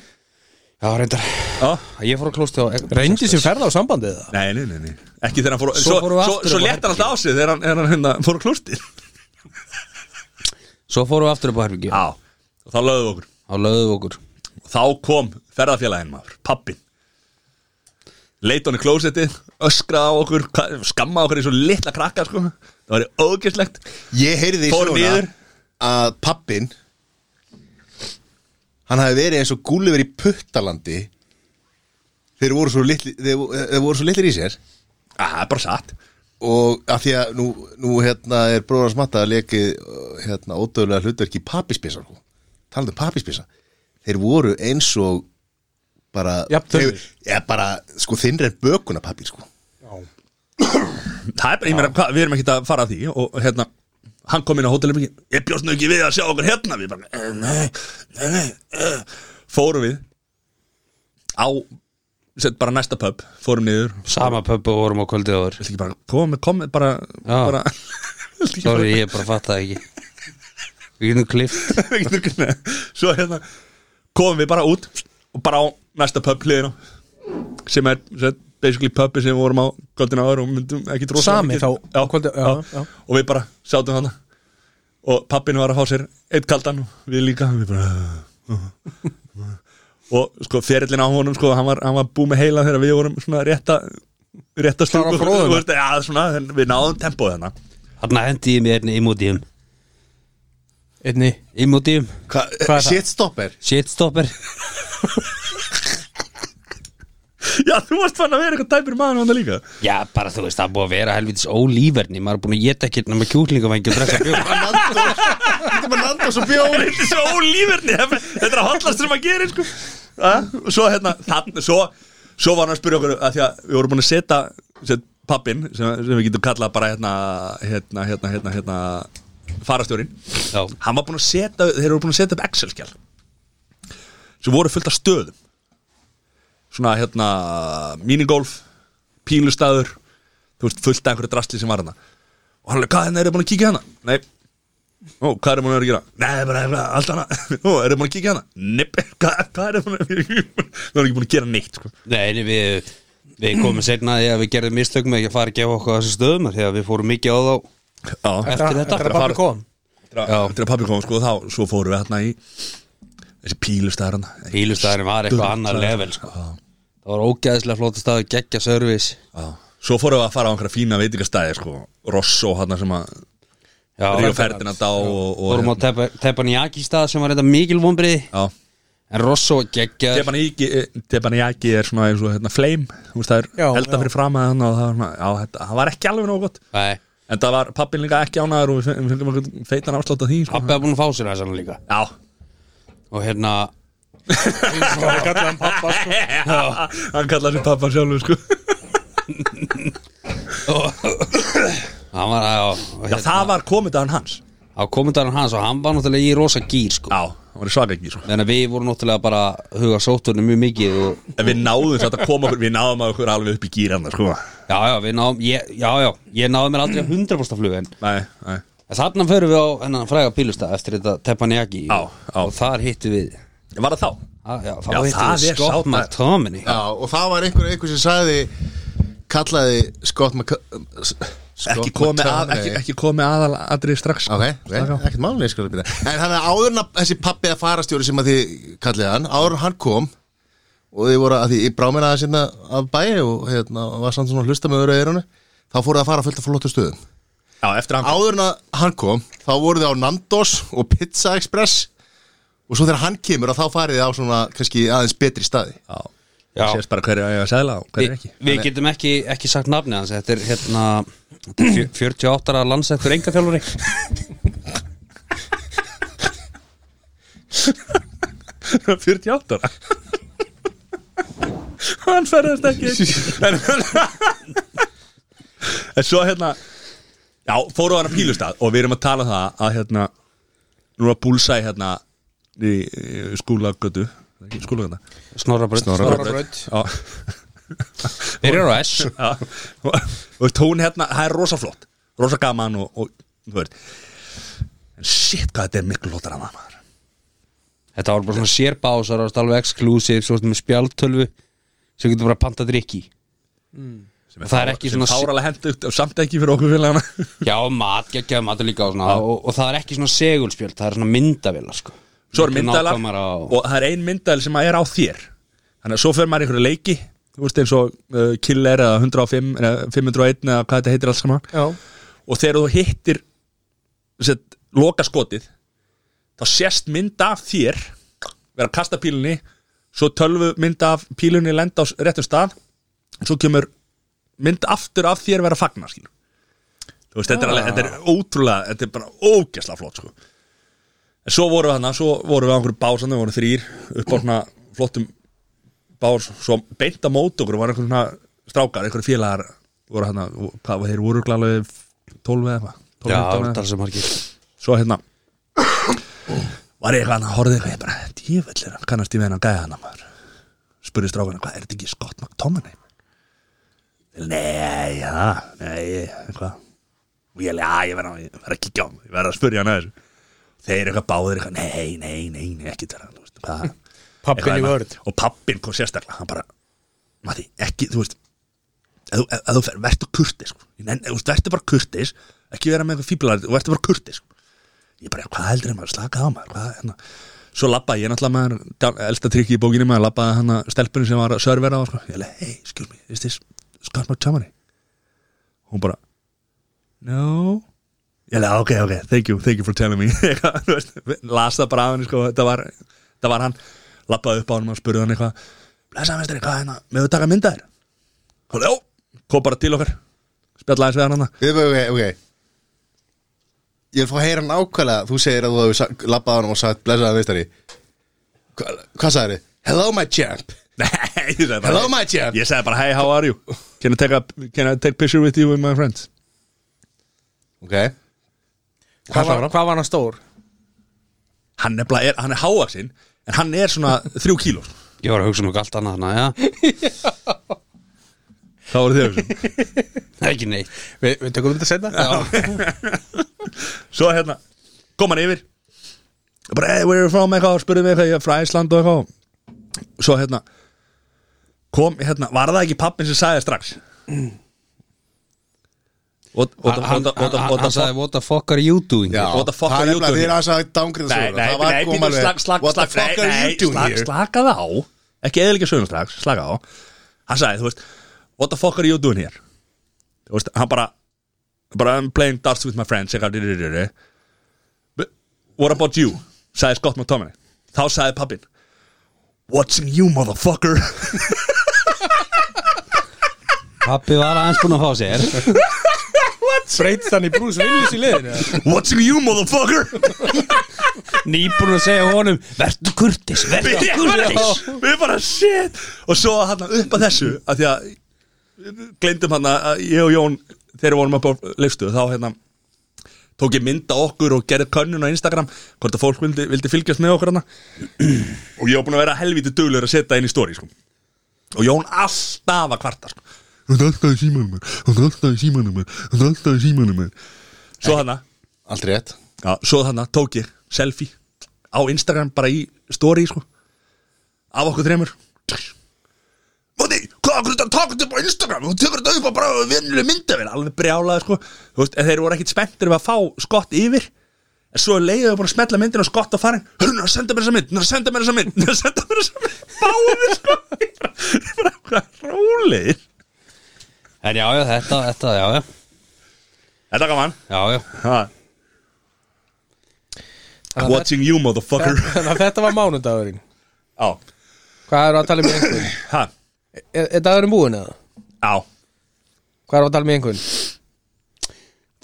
Speaker 4: Já, reyndar
Speaker 2: Já.
Speaker 4: Ég fór að klósti á
Speaker 3: Reyndi sér ferða á sambandið það
Speaker 2: Nei, nei, nei, nei, ekki þegar hann fór
Speaker 4: Svo
Speaker 2: Svo,
Speaker 4: fórum
Speaker 2: svo,
Speaker 4: við
Speaker 2: svo,
Speaker 4: aftur
Speaker 2: svo
Speaker 4: upp á
Speaker 2: létt hann alltaf á sig þegar hann, þegar hann hérna, fór á klústi
Speaker 4: Svo fórum við aftur upp á herfingi
Speaker 2: Já, og þá lögðum við okkur
Speaker 4: Á löðu okkur
Speaker 2: Og þá kom ferðarfélaginn maður, pappin Leit hann í klósettið, öskraði á okkur hva- Skammaði okkur í svo litla krakka, sko Það var ógæslegt
Speaker 1: Ég heyrði í
Speaker 2: Fór
Speaker 1: söguna
Speaker 2: niður.
Speaker 1: að pappin hann hafi verið eins og Gulliver í puttalandi þeir voru svo litli, þeir, vo- þeir voru svo litlir í sér
Speaker 2: Það er bara satt
Speaker 1: og að því að nú, nú hérna er bróðars matta að leki hérna ódöðlega hlutverki pappispisa sko. talaðu pappispisa þeir voru eins og bara,
Speaker 3: Jafn þunnir.
Speaker 1: þeir, ja, bara sko þinnri en bökuna pappir sko
Speaker 2: Það er bara, ég meira, hva, við erum ekki að fara að því Og hérna, hann kom inn á hótelum Ég bjóst nú ekki við að sjá okkur hérna Við bara, eh, nei, nei, nei eh. Fórum við Á, sett bara næsta pub Fórum niður,
Speaker 4: Sama pöppu og vorum á kvöldið áður
Speaker 2: viltu ekki bara koma, koma bara,
Speaker 4: Já.
Speaker 2: bara
Speaker 4: Sorry, ég bara fatt það ekki Við getum klift
Speaker 2: Við getum ekki- nei. Svo hérna komum við bara út og bara á næsta pub hliðina sem er sem, basically pubi sem við vorum á kvöldin áður og myndum ekki drósa
Speaker 3: Sami þá,
Speaker 2: já,
Speaker 3: kvöldi-
Speaker 2: já,
Speaker 3: já, já.
Speaker 2: og við bara sátum þarna og pappin var að fá sér eitt kaldan og við líka við bara uh, og sko ferillin á honum sko, hann var, hann var búið með heila þegar við vorum svona rétta rétta
Speaker 3: Klára
Speaker 2: stúku
Speaker 3: prófuna.
Speaker 2: Þú veist, ja, svona, við náðum tempóð hérna
Speaker 4: Þarna hendi ég mér einni emotíum
Speaker 3: Einni
Speaker 4: Emotíum
Speaker 1: Hva,
Speaker 3: Hvað er það?
Speaker 1: shitstopper
Speaker 4: Shitstopper
Speaker 2: já þú varst fann að vera eitthvað tæpur maður hann líka
Speaker 4: Já, bara þú veist, það er búið að vera helvitis ólíferni Maður er búin að geta ekkert nema kjúklingavængi og drekka bjór
Speaker 1: Nandos Þetta var Nandos og bjór
Speaker 2: þetta er svo ólíferni þetta er að hotlast sem að gera sko. að, og svo hérna þann, svo, svo var hann að spyrja okkur að því að við vorum búin að setja set, pappin sem, sem við getum kallað bara hérna hérna, hérna, hérna, hérna farastjórin,
Speaker 4: Já,
Speaker 2: hann var búin að setja þeir eru búin að setja upp Excel-skjál sem voru fullt af stöðum svona hérna minigolf, pílustæður þú veist, fullt af einhverju drastli sem var hérna og hann er, hvað hérna, eru búin að kíkja hérna? Nei Ó, hvað eru búin að vera að gera? Nei, bara eitthvað, allt annað Ó, eru búin að kíkja hérna? Nipp, hvað, hvað eru búin að vera að gera? Það er ekki búin að gera neitt, sko
Speaker 4: Nei, nei, við, við komum seinna að því að við gerðum mistök með ekki að fara að gefa okkur á þessu stöðum af því að við fórum mikið á þá
Speaker 2: Já,
Speaker 4: eftir þetta
Speaker 3: Þetta er bara kom
Speaker 2: Þegar pabbi kom sko þá Svo fórum við hérna í Þessi hérna. pílustæðar hann
Speaker 4: Pílustæðurinn var eitthvað annar level sko. Það var ógæðislega flóta staður geggja service
Speaker 2: Svo fórum við að fara á einhverja fína veitingastæði sko Rosso hann sem að
Speaker 4: Já,
Speaker 2: Ríó Ferdinand á og, og hérna,
Speaker 4: Fórum á Teppanyaki stað sem var þetta mikil vombrið
Speaker 2: Já
Speaker 4: En Rosso geggja
Speaker 2: Teppanyaki Teppanyaki er svona eins og hérna flame Þú veist það er
Speaker 3: Já,
Speaker 2: elda
Speaker 3: já.
Speaker 2: fyrir fram að hann og það var svona Já, þetta það var ekki alveg nóg gott
Speaker 4: Nei,
Speaker 2: En það var pappin líka ekki ánæður og við fengum- við fengum einhvern feitan afslátt af því sko.
Speaker 4: pappi var búin að fá sér þessan líka
Speaker 2: Já,
Speaker 4: Og hérna,
Speaker 3: sko.
Speaker 2: hann kallaði sér pappa sjálfur sko
Speaker 4: hann var á,
Speaker 2: Já,
Speaker 4: hérna,
Speaker 2: það var komundaðan hans
Speaker 4: á komendarinn hans Og hann var náttúrulega í rosa gýr sko
Speaker 2: Já, það var svaka ekki sko
Speaker 4: Þannig að við vorum náttúrulega bara að huga sóttunum mjög mikið og
Speaker 2: En við náðum satt að koma okkur Við náðum að okkur alveg upp í gýrana sko
Speaker 4: já, já, við náðum, ég, já, já, ég náði mér aldrei að 100% flug en
Speaker 2: Nei, nei
Speaker 4: þarna förum við á hennan fræga pílustað eftir þetta Teppanyaki
Speaker 2: Já, já.
Speaker 4: og þar hittum við
Speaker 2: Var það þá?
Speaker 4: Já, já, þá
Speaker 2: Já,
Speaker 4: hittum
Speaker 2: það
Speaker 4: við
Speaker 2: er
Speaker 4: Scott
Speaker 2: sáta-
Speaker 4: McTominay
Speaker 1: Já, og það var einhver, einhver sem sagði kallaði Scott Mc... Scott
Speaker 2: Ekki komið að,
Speaker 1: McTominay.
Speaker 2: ekki, ekki komið aðal aðrið strax
Speaker 1: Ok, okay. ekkert málni sko, En þannig að áður en að þessi pappi að farastjóri sem að þið kallið hann, áður en hann kom og þið voru að því í brámina hérna að sinna af bæi og hérna var samt svona að hlusta með öru eirunu þá fóruð að fara fullt af flottu stöðum
Speaker 2: Já, eftir hann
Speaker 1: áður en að hann kom þá voruð þið á Nandos og Pizza Express og svo þegar hann kemur að þá farið þið á svona kannski aðeins betri staði
Speaker 2: Já,
Speaker 4: Já.
Speaker 2: sést bara hverju að ég að segla og hverju
Speaker 4: Vi,
Speaker 2: ekki
Speaker 4: Við getum ekki, ekki sagt nafni hans Þetta er hérna þetta er fjö- 48 ára landsettur engaþjálfari
Speaker 2: Hann er 48 ára Hann ferðast ekki en, en svo hérna Já, fóru á hana pílustad og við erum að tala um það að hérna nú er að búlsa í hérna í í skúlagötu skúlagöta
Speaker 4: Snorrabraut
Speaker 2: Snorrabraut. Já,
Speaker 4: Þeir eru á S
Speaker 2: já. og þú veist, hún hérna, það er rosa flott rosa gaman og, og þú veist en shit hvað þetta er miklu lótar að maður
Speaker 4: Þetta var bara svona sérbásar og alveg exclusive Svo sem spjaldtölvu Svo getur bara pantað drikki
Speaker 2: sem
Speaker 4: Það er ekki
Speaker 2: sem
Speaker 4: svona-
Speaker 2: fáralega hendugt og samt ekki fyrir okkur félagana
Speaker 4: Já, mat, geggjaði matur líka og svona og, og það er ekki svona segulspjöld, það er svona myndavila sko.
Speaker 2: svo er myndalar
Speaker 4: og...
Speaker 2: og það er ein myndal sem er á þér þannig að svo fer maður í einhverju leiki þú veist eins og uh, Killer eða 105 eða 501 eða hvað þetta heitir alls saman
Speaker 3: Já,
Speaker 2: og þegar þú hittir sett, loka skotið þá sést mynd af þér vera að kasta pílunni svo tölvu mynd af pílunni lenda á s- réttum stað svo kemur mynd aftur af þér vera að fagna skilur þú veist, þetta er, alveg, þetta er ótrúlega þetta er bara ógesla flott sko en svo vorum við hann svo vorum við á einhverju bás þannig vorum þrýr upp á svona flottum bás svo beint á móti okkur var einhverjum svona strákar einhverju félagar voru hann hvað var þeir voru örugglega alveg 12 eða eitthvað 12,
Speaker 4: Já,
Speaker 2: 15 eða
Speaker 4: það er sem margir
Speaker 2: svo hérna var ég eitthvað hann að horfði eitthvað ég bara, djöfellir hann kannast ég við hennan gæða hann maður spurði strákana, hvað er þetta ekki Scott McTominay nei, já, nei eitthvað og ég, já, ég verð að, ég verð að kíkja á hann ég verð að spurja hann að þessu þeir eitthvað báðir eitthvað, nei, nei, nei, nei ekki þetta, þú veist, hvað
Speaker 3: pappin í
Speaker 2: Eitthvað
Speaker 3: vörð
Speaker 2: hérna. og pappin kom sérstaklega, hann bara Mati, ekki, þú veist ef þú- ef- ef þú fer, verður kurtis sko. Ég nenni- þú veist, verður bara kurtis ekki vera með eitthvað fíblar, þú verður bara kurtis sko. ég bara, hvað heldur þeim að slaka á maður hvað, hérna, svo labbaði ég náttúrulega með hann, gam- elsta trikki í bókinni maður labbaði hann að stelpunni sem var að servera á sko. ég leiði, hey, excuse me, is this Scott McTominay hún bara no ég leiði, ok, ok, thank you, thank you for telling me Eitthvað, þú veist, las það bara af henni sko, það var, það var hann labbaði upp á hann og spurði hann eitthvað blessaði mestari, hvað er hérna, meðu taka mynda þér hún, já, kom bara til okkar spjallaði eins við hann hann
Speaker 1: Við ok, ok Ég vil fá að heyra hann ákvæðlega Þú segir að þú hefur labbað hann og sagt blessaðan veistari Hva, Hvað sagði þið? Hello my champ
Speaker 2: Nei, ég sagði bara
Speaker 1: Hello my champ
Speaker 2: Ég sagði bara, hey, how are you? Can I take a can I take picture with you and my friends?
Speaker 1: Ok
Speaker 3: Hvað var, hvað var hann stór?
Speaker 2: Hann er, bara- er, hann er háaksinn En hann er svona þrjú kíló
Speaker 4: Ég var að hugsa um eitthvað allt annað hana, já
Speaker 2: Þá voru þið þessum
Speaker 4: Það er ekki neitt
Speaker 3: Við, við tökum þetta setna Já,
Speaker 2: Svo hérna, kom hann yfir Bara, hey, where are you from? Eitthvað, og spurði mig eitthvað, ég er frá Ísland og eitthvað Svo hérna Kom, hérna, var það ekki pappin sem sagði strax What what the-
Speaker 4: Mm.
Speaker 2: what
Speaker 4: Hann-
Speaker 2: the- what the-
Speaker 4: hann-
Speaker 2: what the
Speaker 4: Hann sagði what the fuck are you doing
Speaker 1: Já,
Speaker 2: What the fuck
Speaker 1: það
Speaker 2: are
Speaker 1: er
Speaker 2: you
Speaker 1: nefnilega
Speaker 2: doing
Speaker 1: þeir aðeins að dángrið
Speaker 2: Nei, nei, nei, býtum slag, slag,
Speaker 1: What the
Speaker 2: slag
Speaker 1: fuck
Speaker 2: nei,
Speaker 1: are
Speaker 2: nei,
Speaker 1: you doing
Speaker 2: slag,
Speaker 1: here?
Speaker 2: Slakað á Ekki eðilega sögum strax, slakað á Hann sagði, þú veist What the fuck are you doing here? Þú veist, hann bara bara I'm playing darts with my friends eitthvað, rir, rir, rir. But What about you? sagði Scott McTominay Þá sagði pappin Watching you, motherfucker
Speaker 4: Pappi var aðeins búin að fá sér
Speaker 3: Breytist hann í Bruce Willis í liðinu
Speaker 2: Watching you, motherfucker
Speaker 4: Nýbúin að segja honum Vertu kurtis, vertu
Speaker 2: Við bara,
Speaker 4: kurtis
Speaker 2: við bara shit Og svo hann upp að þessu að Því að gleymdum hann að ég og Jón Þegar við vorum upp á leifstu Þá hérna tók ég mynda okkur og gerði könnun á Instagram hvort að fólk vildi, vildi fylgjast með okkur hana og ég var búin að vera helvítið duglur að setja inn í stóri sko. og Jón alltaf að kvarta sko.
Speaker 10: Það er alltaf í símanum mér, það er alltaf í símanum mér, það er alltaf í símanum mér.
Speaker 2: svo hana
Speaker 1: Allt rétt
Speaker 2: Já, svo þannig tók ég selfie á Instagram bara í story sko af okkur þreymur Móti, hvað okkur þetta takur þetta upp á Instagram og tekur þetta upp á bara vinnuleg myndavél alveg brjálaði sko Þú veist, en þeir voru ekkit spenntir við að fá skott yfir en svo leiðið við búin að smetla myndin og skott á farin hörru, það senda mér þessa mynd, það senda mér þessa mynd það senda mér þessa mynd, báðið sko Ég bara, ég bara, hvað rólegir
Speaker 4: En já, já, þetta, þetta, já, já
Speaker 2: Þetta gaman
Speaker 4: Já, já,
Speaker 2: ha. Watching you motherfucker
Speaker 3: Þannig að þetta var mánudagurinn
Speaker 2: Já,
Speaker 3: Hvað eru að tala um í einhvern?
Speaker 2: hæ
Speaker 3: Er, er dagurinn búin eða?
Speaker 2: Já,
Speaker 3: Hvað eru að tala um í einhvern?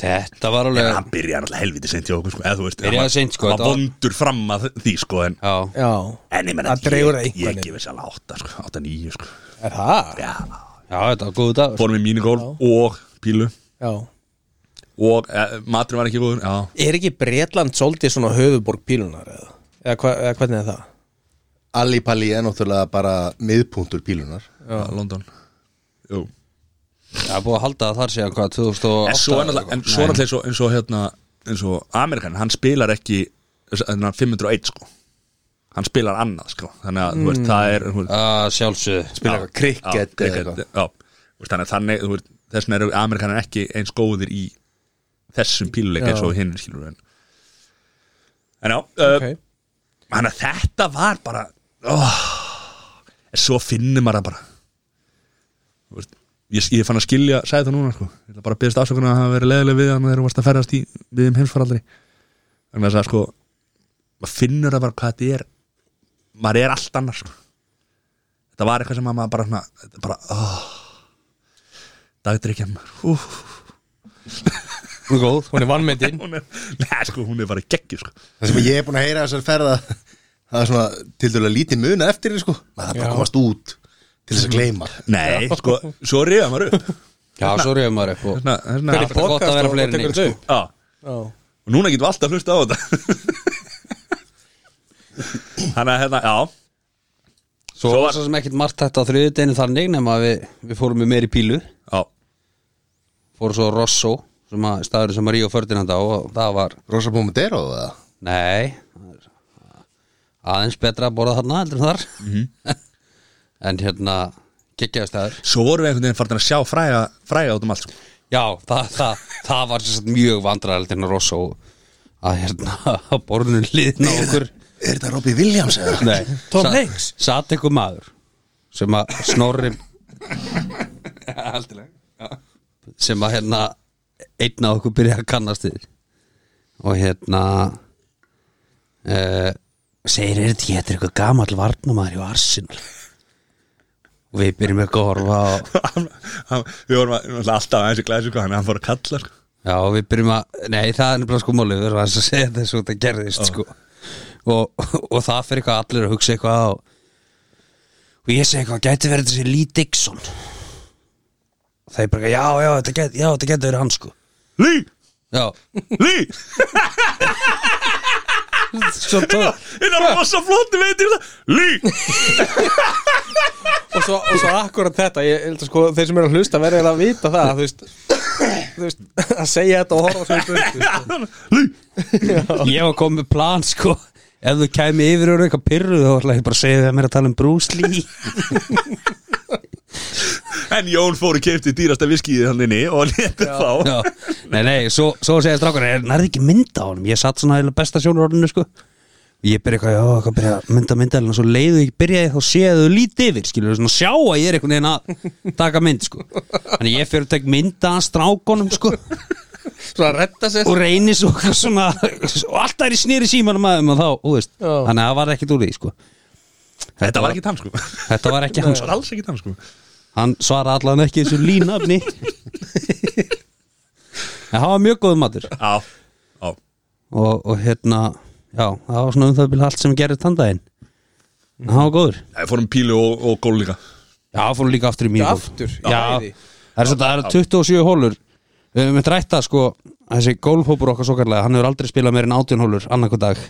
Speaker 4: þetta var alveg
Speaker 2: hann byrjaði náttúrulega helviti seint hjá okkur sko, eða þú veist,
Speaker 4: Byrjaði
Speaker 2: hann var-
Speaker 4: seint, sko,
Speaker 2: hann
Speaker 4: þetta
Speaker 2: var
Speaker 4: var-
Speaker 2: vondur fram að því sko en,
Speaker 4: Já,
Speaker 3: Já,
Speaker 2: en ég menna,
Speaker 3: Það dregur það
Speaker 2: ég,
Speaker 3: einhvern
Speaker 2: ég
Speaker 3: veginn.
Speaker 2: gefi sér alveg 8 sko, 8, 9 sko
Speaker 3: er það?
Speaker 2: já,
Speaker 4: já, þetta var góðu dagur
Speaker 2: fórum við mínigólf og pílu
Speaker 3: Já
Speaker 2: og e, maturinn var ekki góður, já
Speaker 3: Er ekki Bretland svolítið svona höfuborg pílunar eða? Eða, hva, eða hvernig er það?
Speaker 1: Allipalli er náttúrulega bara miðpunktur pílunar
Speaker 2: já, London Jú.
Speaker 4: Það er búið að halda það þar síðan hvað, 2008
Speaker 2: en svo er náttúrulega en svo er náttúrulega eins og, eins og hérna, eins og Amerikan, hann spilar ekki hérna, 501 sko hann spilar annað sko, þannig að þú veist, það er hún,
Speaker 4: uh, Sjálfsögðu
Speaker 1: Spila eitthvað
Speaker 2: já,
Speaker 1: krikket eða
Speaker 2: cricket,
Speaker 1: eitthvað
Speaker 2: já. Þú veist, Þannig að þannig, þú veist, þess vegna eru Amerikanar ekki eins góðir í þessum píluleik eins og hinn skilur en, en já uh,
Speaker 3: Ok.
Speaker 2: Þannig að þetta var bara oh, en svo finnir maður það bara Þú veist, ég, ég fann að skilja sagði það núna sko, ég ætla bara að byrðast afsökunar að hafa verið leðileg við hann þegar þú varst að ferðast í við um heimsfaraldri þannig að það sko maður finnur það bara hvað þetta er maður er allt annar sko þetta var eitthvað sem að maður bara, svona, þetta bara oh, dagdrykjan maður uh,
Speaker 4: Hún er góð
Speaker 3: Hún er vannmyndin
Speaker 2: hún er, neða sko, hún er bara geggju sko
Speaker 1: Það sem ég er búin að heyra þessar ferða Það er svona til dælulega lítið muna eftir henni, sko Maður þarf bara að komast út til þess að gleyma
Speaker 2: nei, sko, svo reyða maður upp
Speaker 4: Já, svo reyðum maður upp og
Speaker 2: hérna, hérna,
Speaker 4: Alltaf gott að vera fleiri en einn,
Speaker 3: sko.
Speaker 2: á, og núna getum við alltaf hlusta á þetta þannig að hérna, já
Speaker 4: Svo
Speaker 2: Svo
Speaker 4: var
Speaker 2: var-
Speaker 4: svo sem ekkert margt þetta á þriðudeginu þannig nema að við, við fórum með meiri pílu
Speaker 2: já,
Speaker 4: Fórum svo á Rosso sem að staður sem að Ríó Ferdinand á og það var,
Speaker 1: Rosa Pomodero eða?
Speaker 4: nei það er aðeins betra að borða þarna heldur en þar en hérna geggjaði staður
Speaker 2: svo vorum við einhvern veginn farin að sjá fræga, fræga út um allt sko.
Speaker 4: Já, það, það, það var sem sagt mjög vandræðilegt en að rosa og að hérna að borðinu liðna okkur
Speaker 1: Er þetta Robbie Williams eða?
Speaker 4: Nei,
Speaker 3: Tom
Speaker 4: sat-
Speaker 3: Hanks?
Speaker 4: Sat einhver maður sem að snorri sem að hérna einn af okkur byrja að kannast þig og hérna uh, segir er þetta ekki, þetta er eitthvað gamall varnumæður í Arsenal og við byrjum ekki að horfa á
Speaker 2: hann, hann, við vorum að, náttúrulega alltaf aðeins í glæsi sko, hann, hann fór að kalla sko.
Speaker 4: Já, við byrjum að, nei það er nefnilega sko málið, við erum aðeins að segja þessu þetta gerðist sko og, og það fyrir eitthvað allir að hugsa eitthvað og, og ég segi eitthvað, gæti verið þessi Lee Dixon Það er bara, eitthvað, já, já, þetta gæti, já, þetta gæti verið hann sko
Speaker 2: Lí,
Speaker 4: Já,
Speaker 2: Lí
Speaker 4: svo tók,
Speaker 2: hinn er rosa flott ég veit ég það. Lí,
Speaker 3: og svo, og svo akkurat þetta ég held að sko þeir sem eru að hlusta verður eiginlega að vita það þú veist, þú veist að segja þetta og horfa svo í burtu
Speaker 2: Lí
Speaker 4: ég var komið með plan sko Ef þú kæmi yfir og eru eitthvað pyrruð þá ætla ég bara að segja það að mér að tala um Bruce Lee
Speaker 2: En Jón fór og kefti dýrasta viskíði hann inni og létti þá
Speaker 4: Já. Nei, nei, svo, svo segja strákar "Er- Nærði ekki mynda á honum, ég satt svona eiginlega besta sjónurorðinu sko Ég byrja eitthvað, já, hvað byrja að mynda mynda og svo leiðu ég byrjaði þá séðu lítið yfir skilur, svona sjá að ég er einhvern veginn að taka mynd sko Þannig ég fyrir að tek mynda að strákonum sko
Speaker 11: Svo að redda sér
Speaker 4: og reynir svo eitthvað svona og alltaf er í snýri símanum aðeim og þá, þú veist
Speaker 11: Já.
Speaker 4: Þannig að það var ekkert úr því sko
Speaker 2: Þetta var ekki hann sko
Speaker 4: Þetta var ekki
Speaker 2: Hann
Speaker 4: hann
Speaker 2: var alls ekki hann sko
Speaker 4: Hann svaraði allan ekki þessu línafni En það var mjög góð matur
Speaker 2: Já, já
Speaker 4: og, og hérna já, það var svona um það byrja allt sem gerði tandaginn en það var góður
Speaker 2: Það fórum pílu og, og gól líka
Speaker 4: já, fórum líka aftur í mínu gólf
Speaker 11: Aftur?
Speaker 4: já,
Speaker 11: Æði.
Speaker 4: það er svo það eru 27 hólur við höfum eitt rætta sko þessi gólfhópur okkar svo kallega, hann hefur aldrei spilað meir en 18 hólur annarkoð dag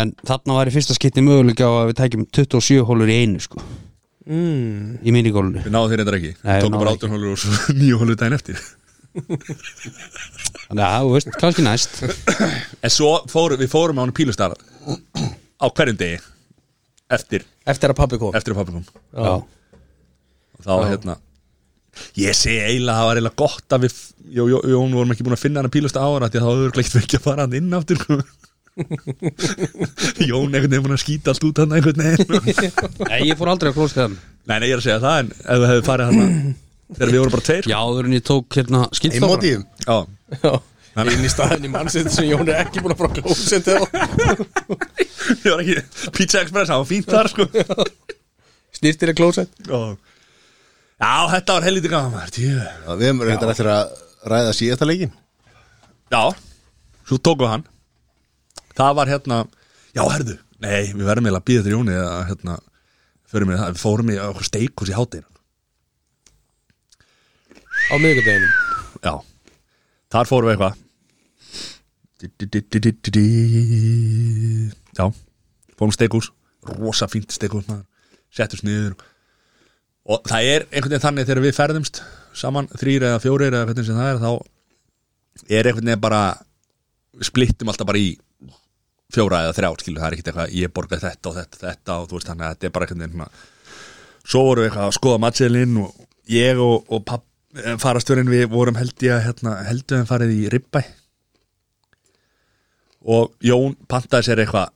Speaker 4: en þarna var í fyrsta skipti möguleika á að við tækjum 27 hólur í einu sko mm. í minigólfinu
Speaker 2: Við náðum þeir reyndar ekki
Speaker 4: Nei, við
Speaker 2: Tókum bara
Speaker 4: náðum ekki.
Speaker 2: átjón hólur og svo nýju hólur daginn eftir
Speaker 4: þannig að, þú veist, kannski næst
Speaker 2: En svo fórum, við fórum á hann pílustara Á hverjum degi Eftir,
Speaker 3: Eftir að pappi kom
Speaker 2: eftir að pappi kom
Speaker 4: já,
Speaker 2: Og þá hérna Ég segi eiginlega að það var eiginlega gott að við Jó, jó, jó, nú vorum ekki búin að finna hann að pílusta ára Því að það var gleitt ekki að fara hann inn aftur sko. Jón einhvern veginn búin að skýta allt út hann einhvern veginn sko.
Speaker 4: Nei, ég fór aldrei að klósta þeim
Speaker 2: Nei, nei, ég er að segja það En ef þú hefði farið hann Þegar við vorum bara tveir sko.
Speaker 4: Já, áður en ég tók hérna skildstofan
Speaker 1: Emotíum
Speaker 2: Já.
Speaker 3: Já, inn í staðin í mannsitt sem Jón er ekki búin að fara klósetti á
Speaker 2: Ég var ekki Pizza Express, það var fínt þar sko
Speaker 3: Snýrtir er klósett
Speaker 2: Já, Já þetta var helviti gaman Tíu.
Speaker 1: Já, Við hefum reyndar eftir að ræða síðasta leikin
Speaker 2: Já, svo tókum við hann Það var hérna Já, herðu, nei, við verðum eiginlega að býða þér Jóni að hérna, förum við það Við fórum í okkur steikus í hátinn
Speaker 3: Á miðvikudeginum
Speaker 2: Já, þar fórum við eitthvað Di-di-di-di-di-di. Já, fórum steikus Rosa fínt steikus maður Settust niður Og það er einhvern veginn þannig þegar við ferðumst Saman þrýr eða fjórir eða hvernig sem það er Þá er einhvern veginn bara Við splittum alltaf bara í Fjóra eða þrjá skilu Það er ekkert eitthvað ég borga þetta og þetta og þetta Og þú veist þannig að þetta er bara einhvern veginn svona- svo vorum við eitthvað að skoða matseðlinn og ég og, og papp, farastörinn við vorum held ég að hérna, heldur en farið í ribbæ og Jón pantaði sér eitthvað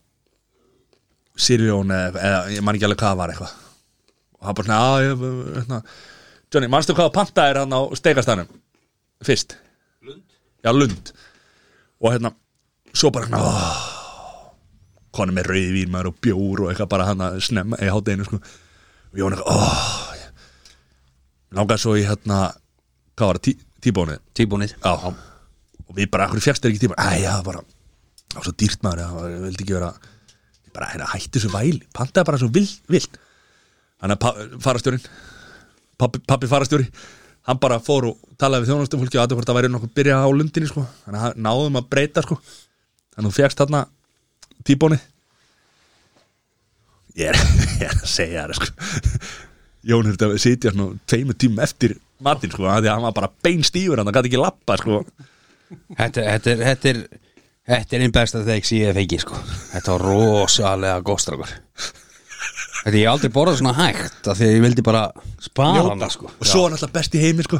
Speaker 2: Sirjón eða, eða ég man ekki alveg hvað það var eitthvað og hann bara svona "Já, ég, hérna, Johnny, manstu hvað að pantaði er hann á steikastanum fyrst Lund? Já, Lund og hérna, svo bara hérna "Ó, konum með rauðvín maður og bjór og eitthvað bara hann að snemma í hátdeinu sko og Jón eitthvað oh, langaði svo í hérna hvað var það, tí, tíbónið
Speaker 4: Tíbúnið
Speaker 2: já. og við bara, akkur fjast er ekki tíma æ, já, bara, það var svo dýrt maður það var, vildi ekki vera ég bara, hérna, hætti svo væli, pantaði bara svo vill, vill. þannig að pa- farastjórinn pappi, pappi farastjóri hann bara fór og talaði við þjónastum fólki og aðeins hvort það væri nokkuð byrja á lundinni sko. þannig að hann- náðum að breyta sko. þannig að þú fjast þarna tíbónið ég er, ég er að segja það sko. Jón þurfti að sitja svona tveimur tímum eftir matinn sko, af því að hann var bara beinstífur hann gæti ekki lappa sko.
Speaker 4: Þetta, þetta er Þetta er Þetta er einn besta þegar ég hef fengið sko Þetta var rosalega góðstrákur Þetta ég hef aldrei borðað svona hægt af Því að ég vildi bara spara hana sko
Speaker 2: og svo var hann alltaf best í heimi sko.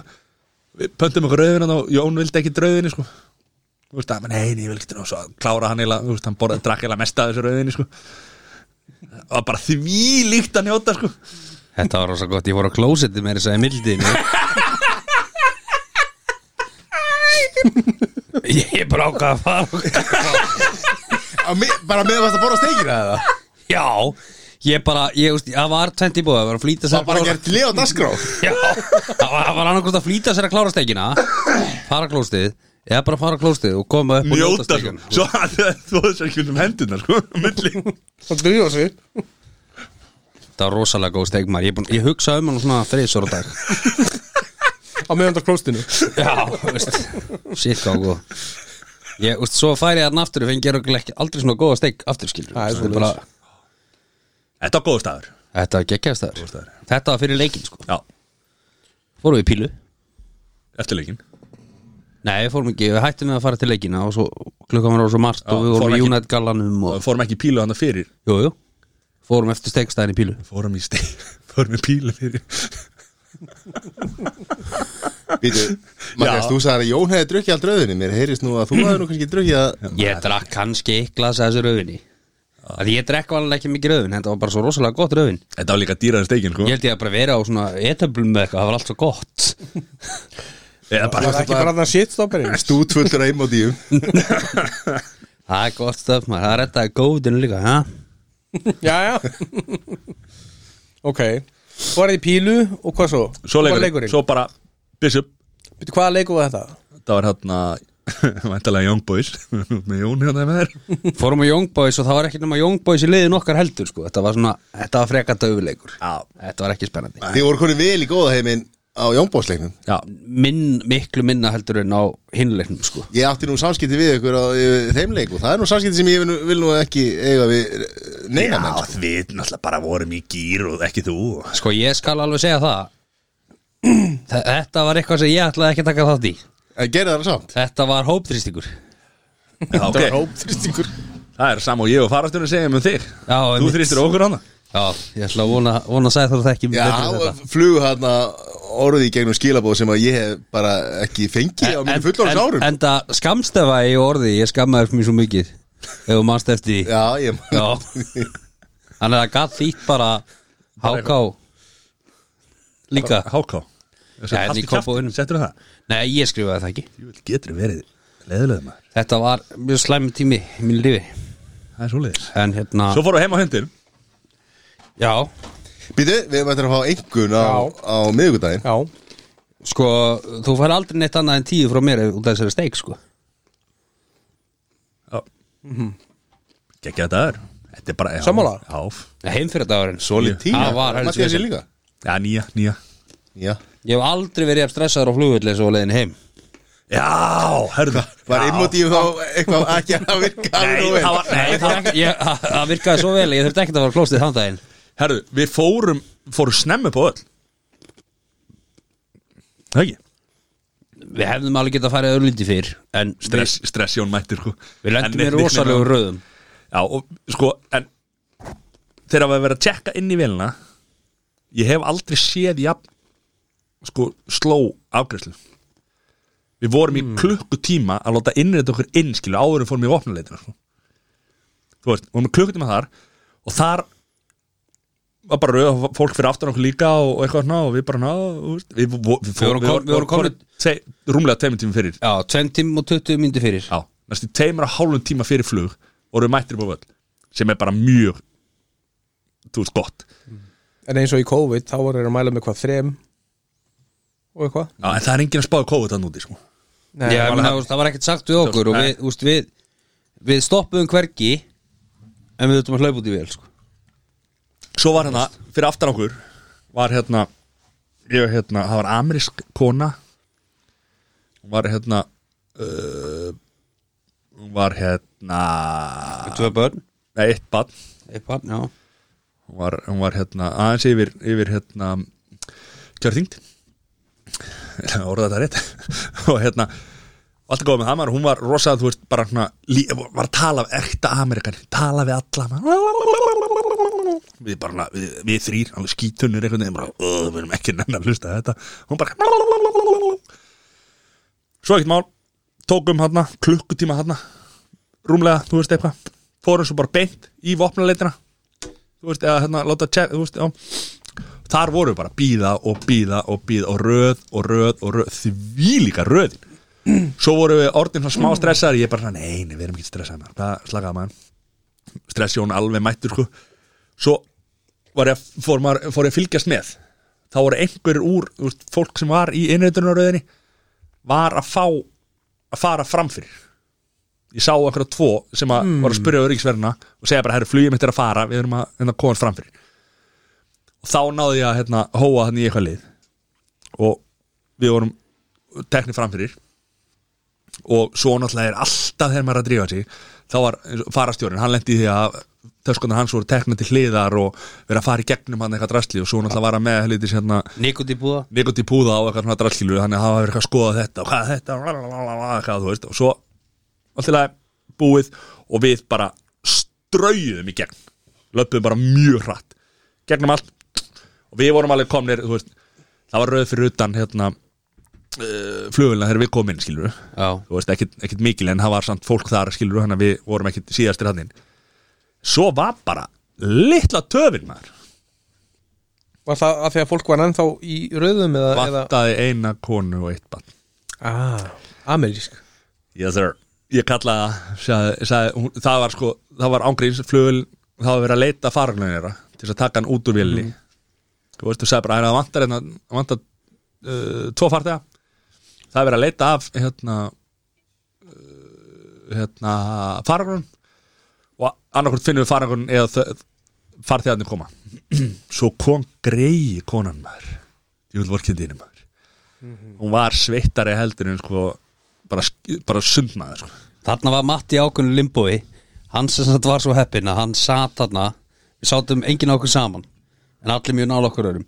Speaker 2: við pöntum okkur rauðin og Jón vildi ekki rauðinni sko. þú veist að, nei, nei, ég vil ekki og svo klára hann eiginlega, þú veist, hann borðið drakk eiginlega mest af þessu rauðinni sko. það var bara því líkt að njóta sko.
Speaker 4: Þetta var rosa gott Ég voru á klósetti með þess að í mildiðinu Ég er bara ákvað að fara
Speaker 1: Bara meðan varst að borða steikir eða?
Speaker 4: Já Ég bara, ég veist, það var tvent í búið Það var að flýta sér
Speaker 1: Það var bara
Speaker 4: að
Speaker 1: gert lið á dasgrá
Speaker 4: Já, það var- það var annarkvist að flýta sér að klára steikina fara klóstið eða bara fara klóstið og koma upp og njóta
Speaker 2: njóta sko.
Speaker 4: steikina
Speaker 2: svo hann þóði sér ekki um hendunar sko. á milli.
Speaker 3: Það drífa sig
Speaker 4: það var rosalega góð steik maður ég, er búinn- ég hugsa um hann svona þriðsóra dag
Speaker 3: Á meðan það klóstinu
Speaker 4: já, þú veist shit hvað góð ég, úst, svo færi ég hann aftur og fengi ég örugglega ekki aldrei svona góða steik aftur skilur
Speaker 3: Það er
Speaker 4: Svo
Speaker 3: svoleiðis.
Speaker 4: bara,
Speaker 2: þetta var góðu staður
Speaker 4: þetta var geggjastæður
Speaker 2: staður.
Speaker 4: þetta var fyrir leikin sko
Speaker 2: já,
Speaker 4: fórum við í pílu
Speaker 2: eftir leikin
Speaker 4: nei, við fórum ekki við hættum við að fara til leikina og svo klukkan var á svo margt
Speaker 2: Já,
Speaker 4: og við
Speaker 2: fórum
Speaker 4: vorum í
Speaker 2: ekki-
Speaker 4: United gallanum og
Speaker 2: fórum ekki í pílu hann fyrir
Speaker 4: jú, jú fórum eftir steikstæðin í pílu
Speaker 2: fórum í steik, fórum í pílu fyrir
Speaker 1: Býtu, Mattias, þú sagði að Jón hefði drukkið allt rauðinni Mér heyrist nú að þú hefði nú kannski drukkið að
Speaker 4: Ég drakk kannski eitt glas að þessu rauðinni Því ég drekk alveg ekki mikið rauðin Þetta var bara svo rosalega gott rauðin
Speaker 2: Þetta var líka dýraðin steikin, sko
Speaker 4: Ég held ég að bara vera á svona etablum með eitthvað Það var allt svo gott
Speaker 2: Eða bara,
Speaker 3: Það er ekki bara að það shitstopperinn
Speaker 1: stútfullur að eimótíum
Speaker 4: Það er gott stöf maður, það er þetta góðinu líka ha?
Speaker 3: Já, já Ok Svo er þið í pílu og hvað svo?
Speaker 2: svo
Speaker 3: Hvað var
Speaker 2: leikurinn, svo bara Bishop,
Speaker 3: Bíddu, Hvaða leikur var þetta?
Speaker 2: það var hérna Væntalega Young Boys Með Jón hérna með þér
Speaker 4: Fórum á Young Boys og það var ekki nema Young Boys í liðin okkar heldur sko. Þetta var svona, þetta var freka döfuleikur
Speaker 2: Já.
Speaker 4: Þetta var ekki spennandi
Speaker 1: Þið voru konið vel í góða heiminn á Jónbóðsleiknum
Speaker 4: Já. Minn, miklu minna heldur en á hinleiknum sko.
Speaker 1: Ég átti nú samskipti við ykkur á eh, þeim leik og það er nú samskipti sem ég vil nú, vil nú ekki eiga við eh, neina menn sko.
Speaker 2: við náttúrulega bara vorum í gýr og ekki þú
Speaker 4: sko ég skal alveg segja það Þe- Þetta var eitthvað sem ég ætlaði ekki að taka þátt í
Speaker 1: En gerði það samt
Speaker 4: Þetta var hópþrýstingur
Speaker 2: Já, ok,
Speaker 3: Hópþrýstingur
Speaker 2: það er sam og ég og farastunum segjum um þig
Speaker 4: Já,
Speaker 2: Þú
Speaker 4: einmitt.
Speaker 2: þrýstir okkur hana
Speaker 4: Já, ég ætla að vona, vona að segja það ekki
Speaker 1: Já,
Speaker 4: betur en þetta.
Speaker 1: flug hérna orðið í gegnum skilabóð sem að ég hef bara ekki fengið á mínu fullorðs
Speaker 4: en,
Speaker 1: árum
Speaker 4: en það skamstefa í orði Ég skammaði mér svo mikið Ef þú manst eftir því
Speaker 1: Já, ég
Speaker 4: Já Þannig að það gaf þýtt bara Háká Líka
Speaker 2: Háká
Speaker 4: Já,
Speaker 2: hérna
Speaker 4: en í Kópavoginum.
Speaker 2: Settur það
Speaker 4: Nei, ég skrifaði það ekki
Speaker 2: Jú, getur verið leðilega maður
Speaker 4: Þetta var mjög slæmi tími í mínu lífi
Speaker 2: Það er svoleiðis
Speaker 4: En hérna
Speaker 2: Svo fóru heim á hundir
Speaker 4: Já
Speaker 1: Býtu, við erum eftir að fá engun á, á miðvikudaginn
Speaker 3: Já
Speaker 4: Sko, þú fær aldrei neitt annað en tíu frá mér út af þessari steik, sko
Speaker 2: Mhm. Gekkja þetta er Þetta er bara já,
Speaker 3: Sammála?
Speaker 2: Já,
Speaker 4: Nei, Heimfyrir dagurinn
Speaker 1: Solid tíu
Speaker 4: Það var heldur
Speaker 1: Mattias
Speaker 4: þessi.
Speaker 1: ég líka
Speaker 2: já nýja, nýja
Speaker 1: Já
Speaker 4: Ég hef aldrei verið jafn stressaður á flugvöld eins og á leiðin heim
Speaker 2: Já, hörðu
Speaker 1: Var eimótíum þá eitthvað ekki að virka alveg
Speaker 2: Nei,
Speaker 1: vel?
Speaker 2: það var Nei, það
Speaker 4: Ég- ég- Það það virkaði svo vel, ég þurfti ekkert að fara á klóstið þann daginn
Speaker 2: Herðu, við fórum Fórum snemmi på öll Það ekki
Speaker 4: Við hefðum alveg getað að fara öðlindi fyrr En við,
Speaker 2: Stress, stress Jón mættir sko
Speaker 4: við
Speaker 2: En
Speaker 4: lendum í
Speaker 2: nickname-
Speaker 4: rosalegu röðum
Speaker 2: Já, og sko, en Þegar við verið að tjekka inn í velina Ég hef aldrei séð jafn Sko, sló afgræslu Við vorum
Speaker 4: Hmm.
Speaker 2: í klukkutíma Að láta innrið okkur innskilu Áður en fórum í vopnuleitina sko. Þú veist, vorum í klukkutíma þar Og þar var bara rauð fólk fyrir aftan okkur líka og, og eitthvað svona og við bara ná við, við, vo- við,
Speaker 4: vorum kom- við vorum komin-
Speaker 2: tve, rúmlega tveimur tíma fyrir
Speaker 4: Já, 2 tím og 20 myndi fyrir
Speaker 2: Já, næstu teimur að hálfum tíma fyrir flug og eru mættir upp á völl sem er bara mjög þú veist gott
Speaker 3: En eins og í COVID þá voru þeir að mæla með hvað þrem og eitthvað
Speaker 2: Já, en það er enginn að spáði COVID þann úti sko.
Speaker 3: Nei,
Speaker 4: Já, menna, það, það var ekkert sagt við okkur og við, úst, við, við stoppuðum hvergi en við þurftum að hlaupa út í vel sko.
Speaker 2: Svo var hérna, fyrir aftan okkur var hérna, ég, hérna það var amerísk kona hún var hérna uh, hún var hérna
Speaker 4: Tvö börn,
Speaker 2: nei, eitt bann
Speaker 4: eitt barn, já
Speaker 2: hún var, hún var hérna, aðeins yfir, yfir hérna, kjörþyngd orða þetta rétt og hérna allt er góð með það maður, hún var rosað þú veist, bara hérna, lí, var að tala af ekta Amerikan, tala við alla maður. við bara, hérna, við, við þrýr, alveg skítunir einhvern veginn, bara, "Ugh, við erum ekki nenn að hlusta á þetta hún bara svo ekkert mál, tókum hérna klukkutíma hérna rúmlega, þú veist eitthvað, fórum svo bara beint í vopnuleitina þú veist, eða hérna, láta tjekk, þú veist, já þar voru við bara að bíða og bíða og bíða og röð og röð og röð því líka röðin svo voru við orðin svona smá stressaðar ég er bara svona, nei, nei, við erum ekki stressaðar maður hvað slakaði maður stressjón alveg mættur sko svo var ég, að- fór, maður, fór ég að fylgjast með þá voru einhverjur úr, þú veist, fólk sem var í innreitunaröðinni var að fá að fara framfyrir ég sá einhverja tvo sem að var að spyrja öryggisverðina og segja bara, herru, flugið mitt er að fara við erum að hérna, komast framfyrir og þá náði ég að hérna, hóa þannig í eitthvað lið og við vorum teknir framfyrir og svo náttúrulega er alltaf þegar maður er að drífa sig þá var eins og farastjórinn, hann lendi því að töskundar hans voru tekna til hliðar og verið að fara í gegnum hann eitthvað drastli og svo náttúrulega var hann með helítið hérna,
Speaker 4: Nikoti búða
Speaker 2: Nikoti púða á eitthvað svona drallkilu þannig að það var verið eitthvað að skoða þetta og hvað er þetta lalalala, eitthvað, þú veist, og svo alltaf búið og við bara strauðum í gegn löpum bara mjög hratt gegnum allt og við vorum alveg komnir þú veist, það var röð fyrir utan hérna uh, flugulina þegar við komum inn skilur
Speaker 4: Já,
Speaker 2: þú veist ekkit, ekkit mikil en það var samt fólk þar skilur þannig að við vorum ekkit síðastir hann inn svo var bara litla töfin maður
Speaker 3: Var það að því að fólk var ennþá í rauðum eða, eða
Speaker 2: vantaði eina konu og eitt bann
Speaker 3: ah, amerísk
Speaker 2: yes sir ég kallaði það sagði, sagði, hún, það var sko það var ángríns flugul það var verið að leita faraglunin þeirra til þess að taka hann út úr villi þú veist þú sagði bara "Æ, það vantar hérna það vantar uh, tvo fartega það er verið að leita af hérna uh, hérna faraglun og annarkvort finnum við faraglun eða þau- farþegarnir koma svo kom greiði konan maður ég vil vorkindi henni maður hún var sveittari heldur en sko bara, bara sundmaður sko.
Speaker 4: Þarna var Matti ákveðinu limbói Hann sem sagt var svo heppinn að hann sat þarna Við sátum enginn okkur saman En allir mjög nála okkur örum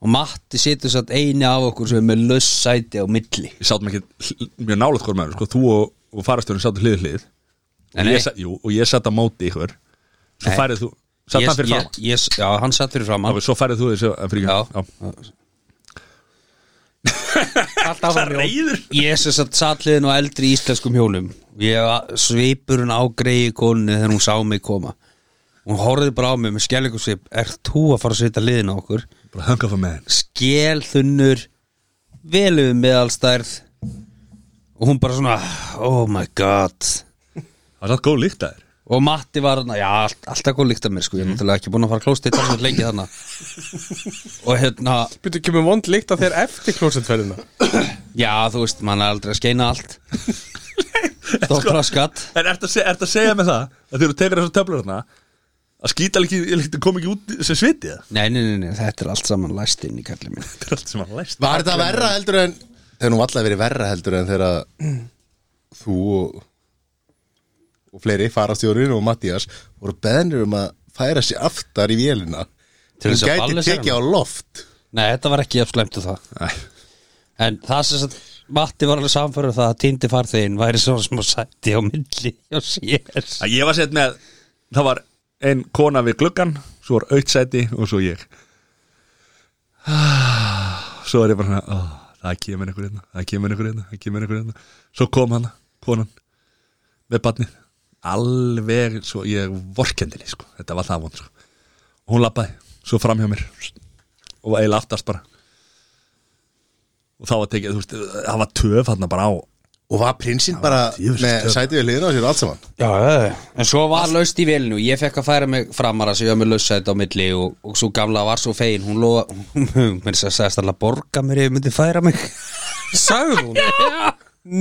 Speaker 4: Og Matti situr satt eini af okkur sem er með laus sæti á milli
Speaker 2: við sátum ekki hl- mjög nálægt hvort maður sko. þú og, og farastjórinn sátum hlið við hlið
Speaker 4: Nei,
Speaker 2: og
Speaker 4: nei.
Speaker 2: ég, sa, jú, og ég satt á móti ykkur svo
Speaker 4: Nei.
Speaker 2: færið þú satt hann fyrir
Speaker 4: ég,
Speaker 2: framan
Speaker 4: ég, Já, hann satt fyrir framan
Speaker 2: Ok, svo færið þú þessu að fyrir
Speaker 4: Já.
Speaker 3: Allt af hann Jón
Speaker 2: reyður
Speaker 4: Ég sem satt satliðin á eldri íslenskum hjólum Ég svipur hún á greiði konunni þegar hún sá mig koma Hún horfði bara á mig með skellingum svip Er þú að fara að setja liðin á okkur?
Speaker 2: bara hanga fyrir með henn
Speaker 4: Skel þunnur Veluð meðalstærð Og hún bara svona Oh my god
Speaker 2: það var satt góð líkt að þér
Speaker 4: Og Matti var hann, já, allt, alltaf góð líkt að mér sko
Speaker 2: Mhm.
Speaker 4: Ég er náttúrulega ekki búin að fara að klósta þetta sem lengi þarna Og hérna
Speaker 3: Býttu kemur vond líkt að þér eftir klósetferðina
Speaker 4: Já, þú veist, mann er aldrei að skeina allt
Speaker 2: Sko-
Speaker 4: Stóttra skatt
Speaker 2: En ertu að, seg, ertu að segja með það að þegar þú tekur þessu töflur hérna að skýta ekki, kom ekki út sem svitið
Speaker 4: Nei, nei, nei, nei, þetta er allt saman læst inn í kallið minn
Speaker 2: þetta er allt sem hann læst
Speaker 1: Var þetta verra heldur en Þegar nú alltaf verið verra heldur en þegar að Þú og Og fleiri, farastjórinn og Mattías Voru beðnir um að færa sig aftar í vélina
Speaker 4: Til þess
Speaker 1: Hún
Speaker 4: að
Speaker 1: gæti
Speaker 4: ballesa
Speaker 1: tekið á loft
Speaker 4: Nei, þetta var ekki jafn slæmt og það
Speaker 2: Nei.
Speaker 4: En það sem sagt, Matti var alveg samfæruð það að týndi farþeginn væri svona smá sæti á milli og sér
Speaker 2: að ég var sett með það var ein kona við gluggan svo var auðsæti og svo ég Ah, svo er ég bara svona, oh, það kemur einhver einna það kemur einhver einna, það kemur einhver einna svo kom hana, konan með barnið, alveg svo ég vorkendinni, sko, þetta var það von sko. hún lappaði, svo fram hjá mér og var eiginlega aftast bara og þá var tekið, þú veist, það var töf hann bara á
Speaker 1: Og var prinsinn bara
Speaker 2: djöfulsins
Speaker 1: með
Speaker 2: töfra.
Speaker 1: sætið við liðina á sér og allt saman
Speaker 4: Já, en svo var laust í velinu Ég fekk að færa mig framara sem ég var með laust sæti á milli og, og svo gamla var svo fegin Hún lofa, hún mér sagðist alltaf borga mér ef ég myndi færa mig
Speaker 3: Sagði hún?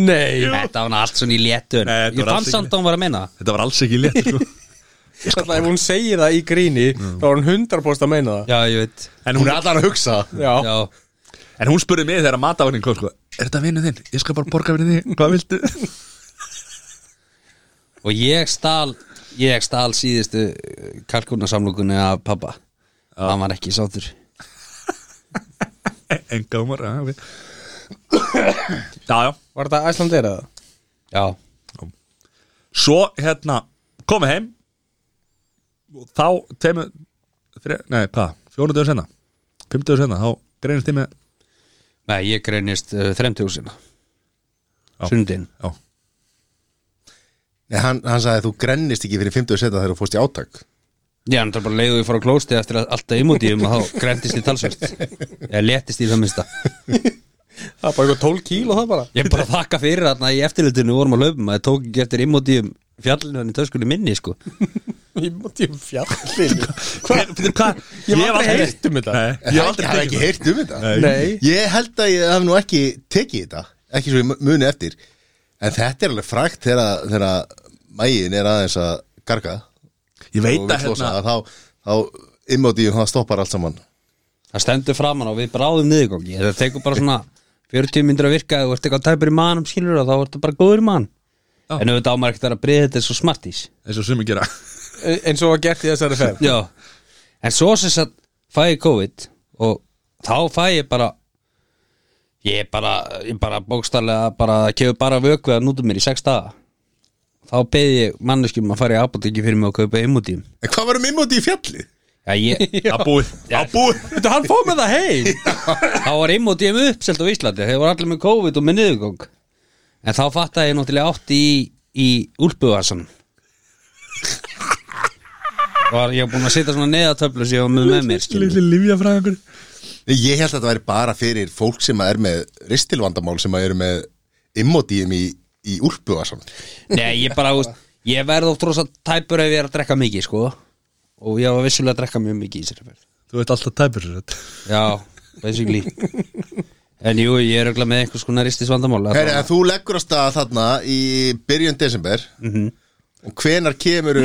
Speaker 3: Nei
Speaker 4: Þetta var hann allt svona í léttun
Speaker 2: Nei, þetta
Speaker 4: Ég
Speaker 2: var
Speaker 4: fann
Speaker 2: alls
Speaker 4: samt að hún var að minna
Speaker 2: þetta var alls ekki létt sko.
Speaker 3: Þannig að ef hún segir það í gríni þá er hún 100% að meina það
Speaker 4: Já, ég veit
Speaker 2: en hún er allan að hugsa
Speaker 3: Já,
Speaker 4: Já,
Speaker 2: En hún spurði mig þegar matavagnin kom sko, Er þetta vinnu þinn? Ég skal bara borga fyrir þig Hvað viltu?
Speaker 4: Og ég stál Ég stál síðustu kalkunarsamlókunni af pappa Hann var ekki sáttur
Speaker 2: En gámar já, ok. Já, já
Speaker 3: var þetta æslandeir eða?
Speaker 4: Já,
Speaker 2: Svo hérna komið heim og þá teimu þre, Nei, hvað? Fjónu dögur senna Fimm dögur senna Þá greinist þið með
Speaker 4: nei, ég greinist uh, þremtjóðsina
Speaker 2: Já.
Speaker 4: Sundin
Speaker 2: Já
Speaker 1: Nei, hann, hann sagði að þú grennist ekki fyrir 50 setna þegar þú fórst í átak
Speaker 4: Já, en það bara leiðu ég fór á klósti eftir að alltaf imúti um og þá greintist ég talsvert Ég léttist í það minnsta
Speaker 3: Það er bara eitthvað 12 kíl og það bara
Speaker 4: Ég bara þakka fyrir þarna í eftirlutinu vorum að laupum að ég tók ekki eftir imúti um fjallinu en í töskunni minni sko
Speaker 3: Ég mátti um fjallin
Speaker 2: Hver- fyrir Hvað?
Speaker 3: Ég hef aldrei heyrt um þetta.
Speaker 1: Ég hafði
Speaker 2: Nei, Ég hef aldrei
Speaker 1: ekki,
Speaker 2: tekið
Speaker 1: ekki heyrt um þetta
Speaker 3: Nei
Speaker 1: Ég held að ég haf nú ekki tekið þetta ekki svo ég mu- muni eftir en þetta er alveg frækt þegar, að- þegar að mægin er aðeins að garga
Speaker 2: það. Ég
Speaker 1: og
Speaker 2: veit
Speaker 1: vil
Speaker 2: að
Speaker 1: losa
Speaker 2: hérna
Speaker 1: að þá, þá immótið það stoppar allt saman
Speaker 4: Það stendur framan og við bráðum niðurgangi Það tekur bara svona 40 myndir að virka ef þú ert eitthvað tæpur í manum skilur og þá ertu bara góður í mann
Speaker 2: Já.
Speaker 4: En auðvitað ámar ekkert að vera að breyða þetta svo smartís
Speaker 2: eins og sumi gera
Speaker 3: En- Eins og var gert í þessari ferð
Speaker 4: Já En svo sem sagt fæ ég COVID og þá fæ ég bara ég er bara, ég bara bókstarlega bara, það kefur bara vökvið að nútum mér í sex daga þá beði ég manneskjum að fara í apotekki fyrir mig og kaupa immúdím
Speaker 1: En hvað var um immótið í fjalli?
Speaker 4: Já, ég,
Speaker 2: Að búið, að búið
Speaker 4: Þetta hann fór með það heim Þá var immóti um uppselt á Íslandi Þeir voru allir með COVID og með niðurgang En þá fattaði ég náttúrulega átti í, í úlpuvasan var, Ég var búin að setja svona neðatöflu sem ég var með með mér skilur.
Speaker 2: livja frá einhver
Speaker 1: Ég held að þetta væri bara fyrir fólk sem er með ristilvandamál sem eru með immodíum í, í úlpu og svona.
Speaker 4: Nei, ég bara, þú veist, ég verð oft rosa tæpur ef ég er að drekka mikið, sko Og ég var vissulega að drekka mjög mikið í sér ferð
Speaker 2: Þú veit alltaf tæpur sér þetta
Speaker 4: Já, basically En jú, ég er örugglega með einhvers konar ristis vandamál
Speaker 1: Heri, en þú leggur að staða þarna í byrjun desember
Speaker 3: Mhm.
Speaker 1: og hvenar kemur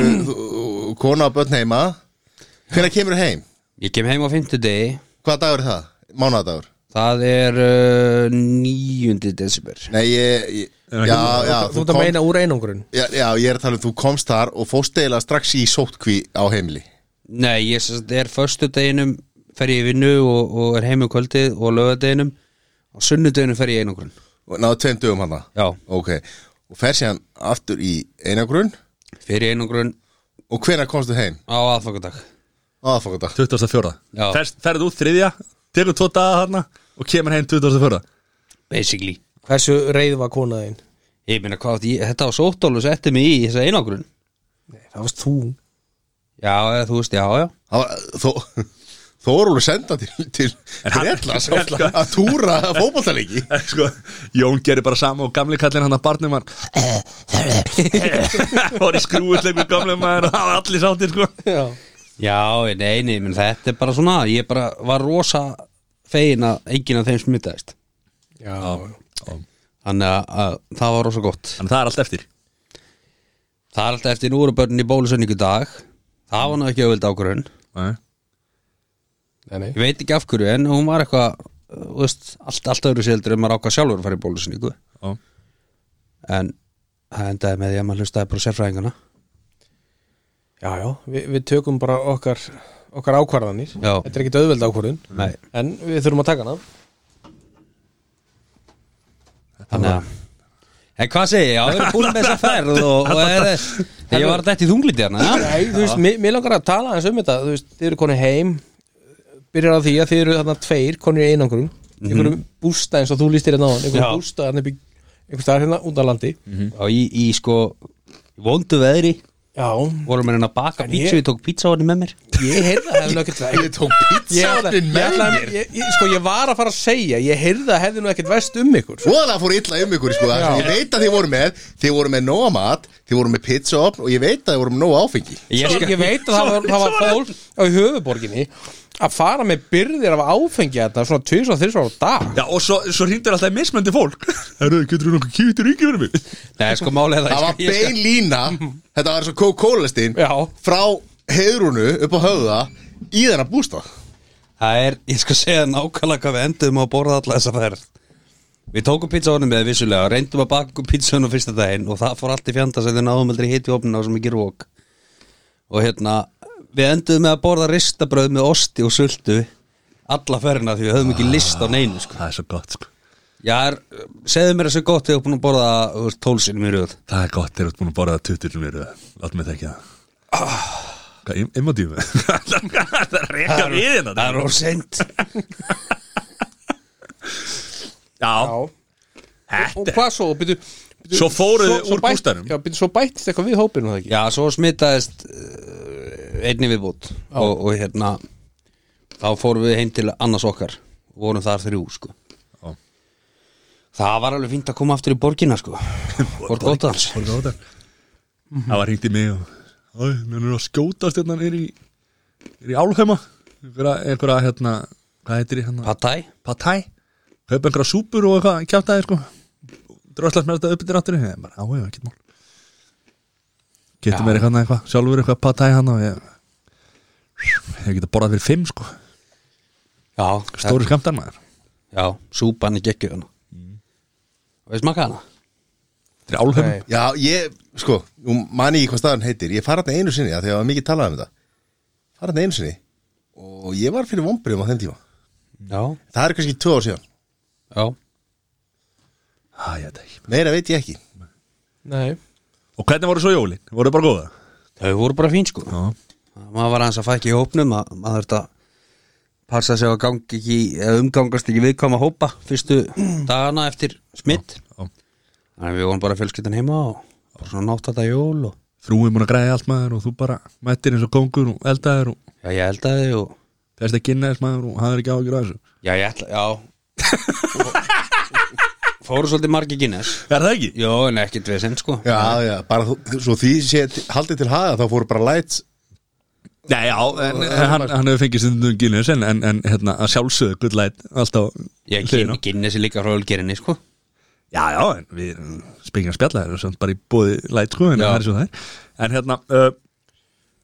Speaker 1: kona og börn heima hvenar kemur heim?
Speaker 4: Ég kem heim á fimmtudegi
Speaker 1: Hvaða dagur er það? Mánadagur?
Speaker 4: Það er uh, 9. desiber
Speaker 1: Nei, ég, ég já, já,
Speaker 3: Þú ert að meina úr einangrun
Speaker 1: já, já, ég er að tala um þú komst þar og fóst eiginlega strax í sótkví á heimili
Speaker 4: Nei, ég sem sagt er förstu deginum fer ég í vinnu og, og er heim um kvöldið og lögadeginum og sunnudeginum fer ég í einangrun
Speaker 1: og náðu tveim dögum hana
Speaker 4: Já,
Speaker 1: ok, og fer síðan aftur í einagrun
Speaker 4: fer ég í einangrun
Speaker 1: og hvenar komst þú heim?
Speaker 4: á aðfangadag
Speaker 1: Aðfokkata
Speaker 2: 24.
Speaker 4: Já.
Speaker 2: Ferð- Ferð út þriðja, tekur tvo daga þarna og kemur heim 24.
Speaker 4: Basically
Speaker 3: Hversu reið var konaðin?
Speaker 4: Ég meina hvað, átti ég, þetta á sóttólu setti mig í þessa einangrun
Speaker 3: Það varst þú
Speaker 4: Já, eða þú veist, já, já
Speaker 1: þó Þórólu senda til, til Bretlands að túra fótboltalegi
Speaker 2: En sko, Jón gerir bara sama og gamli kallinn hann að barnum hann var í skrúutleik með gamle maður og það var allir sáttir sko
Speaker 3: Já
Speaker 4: Já, nei, nei, menn þetta er bara svona Ég bara var rosa fegin að enginn af þeim smitaðist
Speaker 3: Já,
Speaker 4: Þannig að, að það var rosa gott
Speaker 2: en það er allt eftir
Speaker 4: Það er alltaf eftir núra börn í bólusönningu í dag Það var náttúrulega ekki auðvöld ákvörðun
Speaker 3: nei, nei
Speaker 4: Ég veit ekki af hverju en hún var eitthvað þú veist, allt, allt öðru séldur en maður ákvað sjálfur að fara í bólusönningu
Speaker 2: Já.
Speaker 4: En það endaði með því að maður hlustaði bara á sérfræðingana
Speaker 3: Já, já, Vi, við tökum bara okkar, okkar ákvarðanir
Speaker 4: Já.
Speaker 3: Þetta er ekkit auðveld ákvarðun
Speaker 4: Nei.
Speaker 3: En við þurfum að taka hana
Speaker 4: Þannig að En hvað segi ég? Já, við erum búin með þessa ferð og, og er, ég var dætt í hérna, þungliti hana ja?
Speaker 3: Nei, þú veist, mér, mér langar að tala eins um þetta Þú veist, þið eru konið heim Byrjar á því að þið eru þarna tveir konir í einangrun Einhverjum bústa eins og þú lístir hérna á hann
Speaker 4: Já.
Speaker 3: Einhverjum bústa þarna upp í Einhverjum staðar hérna út af landi
Speaker 4: og í, í sko vondu veðri
Speaker 3: Já,
Speaker 4: vorum við að baka
Speaker 3: En ég-
Speaker 4: pítsu, ég tók pítsa á henni með mér
Speaker 3: Ég heyrði það hefði nú ekkert verið Ég tók pizzaðin með mér ég, ég, Sko ég var að fara að segja Ég heyrði það hefði nú ekkert verst um ykkur sko.
Speaker 1: Svo það fór illa um ykkur sko það sem Ég veit að þið voru með, þið voru með nóa mat Þið voru með pizzaopn og ég veit að þið voru með nóa áfengi
Speaker 4: ég,
Speaker 3: Sko, ég, ég veit að það var, það var fólk á höfuborginni Að fara með byrðir af áfengi Þetta svona 2003 á dag
Speaker 2: Já og svo, svo hringdur alltaf í mismöndi fólk Herru, getur þú nokkuð kýttur yngi verið mig?
Speaker 4: Nei, sko málið er
Speaker 1: Það
Speaker 4: það
Speaker 1: var
Speaker 4: ég skal-
Speaker 1: bein lína Þetta var svo kókólestinn
Speaker 3: Já.
Speaker 1: Frá heiðrúnu upp á höfða Í þennan bústa
Speaker 4: Það er, ég skal segja nákvæmlega hvað við endum að borða alla þessa ferð Við tókum pizza honum með vissulega reyndum að baka pizza honum fyrsta daginn og það fór allt í fjanda sem þau náðum aldrei hitt í opnina og sem ekki rók og hérna, við endum með að borða ristabröð með osti og sultu alla ferðina því við höfum ekki list á neinu sko.
Speaker 2: Það er svo gott sko
Speaker 4: Já, er, segðu mér þessu gott þegar búin að borða tólsinum í röð
Speaker 2: Það er gott, þeir eru búin að borða tuttur sem eru Látum við þekki það Hvað, im- immodíum? Ah. Það er að reyka við hérna
Speaker 4: Það er orðseint
Speaker 2: Já,
Speaker 3: Já Og hvað svo, byrju
Speaker 2: Svo fóruðu úr bústanum?
Speaker 3: Já, byrju, svo bættist eitthvað við hópinu það ekki
Speaker 4: Já, svo smitaðist uh, einni viðbútt og, og hérna þá fórum við heim til annars okkar og vorum þar þrjú, sko
Speaker 2: Já.
Speaker 4: Það var alveg fínt að koma aftur í borgina, sko Borg Ótans
Speaker 2: Borg Óttar Það var hringt í mig og Æ, mér er að skjótast hérna er í, er í álheima einhverja, einhverja hérna, hvað heitir í hérna
Speaker 4: Pattæ
Speaker 2: Patæ, kaupa einhverja súpur og eitthvað kjátaði sko dröslast mér þetta upp til ráttur ég bara, já, já, ekkert mál getur mér eitthvað eitthvað, sjálfur eitthvað patæ hann og ég ég geta borðað fyrir fimm sko
Speaker 4: Já,
Speaker 2: stóri skamtar maður,
Speaker 4: Já, súpan í gekkið hana mm. Veist makka hana?
Speaker 2: þetta er álheima
Speaker 1: Já, ég, sko, nú man ég ekki hvað staðan heitir Ég fara þarna einu sinni, af því að það var mikið talað um þetta Fara þarna einu sinni Og ég var fyrir vombriðum á þeim tíma
Speaker 4: Já,
Speaker 1: Það er kannski tvö ár síðan
Speaker 4: já
Speaker 2: Æ, ég veit ekki.
Speaker 1: Meira veit ég ekki
Speaker 3: Nei
Speaker 2: og hvernig voru svo jólin, voru bara góða
Speaker 4: Þau voru bara fín, sko
Speaker 2: Já.
Speaker 4: maður var aðeins að fækja í hópnum að maður þurft að passa sig á að gangi ekki eða umgangast ekki viðkvæma hópa fyrstu dagana eftir smitt
Speaker 2: já.
Speaker 4: þannig að við vorum bara fjölskyldan heima og bara svona nátt þetta jól og
Speaker 2: Þrúið múin að græja allt maður og þú bara mættir eins og kongur og eldaðir og
Speaker 4: já ég held að þið og
Speaker 2: fyrst að kynna þess maður og hafðir ekki ágjur að þessu
Speaker 4: já ég ætla, já fóru svolítið margi Guinness
Speaker 2: Er það ekki?
Speaker 4: jó en ekkert við sinn sko
Speaker 1: Já, já, bara þú, svo því sé haldið til haga þá fóru bara lights
Speaker 2: Nei, já, en, en hann, hann hefur fengið stundum Guinness en, en, en hérna, að sjálfsögðu good light alltaf
Speaker 4: ég
Speaker 2: hliðina.
Speaker 4: kynni Guinness er líka frá ölgerinni sko
Speaker 2: Já, já, en við spengið að spjalla þér samt bara í bóði light sko en
Speaker 4: Já.
Speaker 2: það er svo það er En hérna, uh,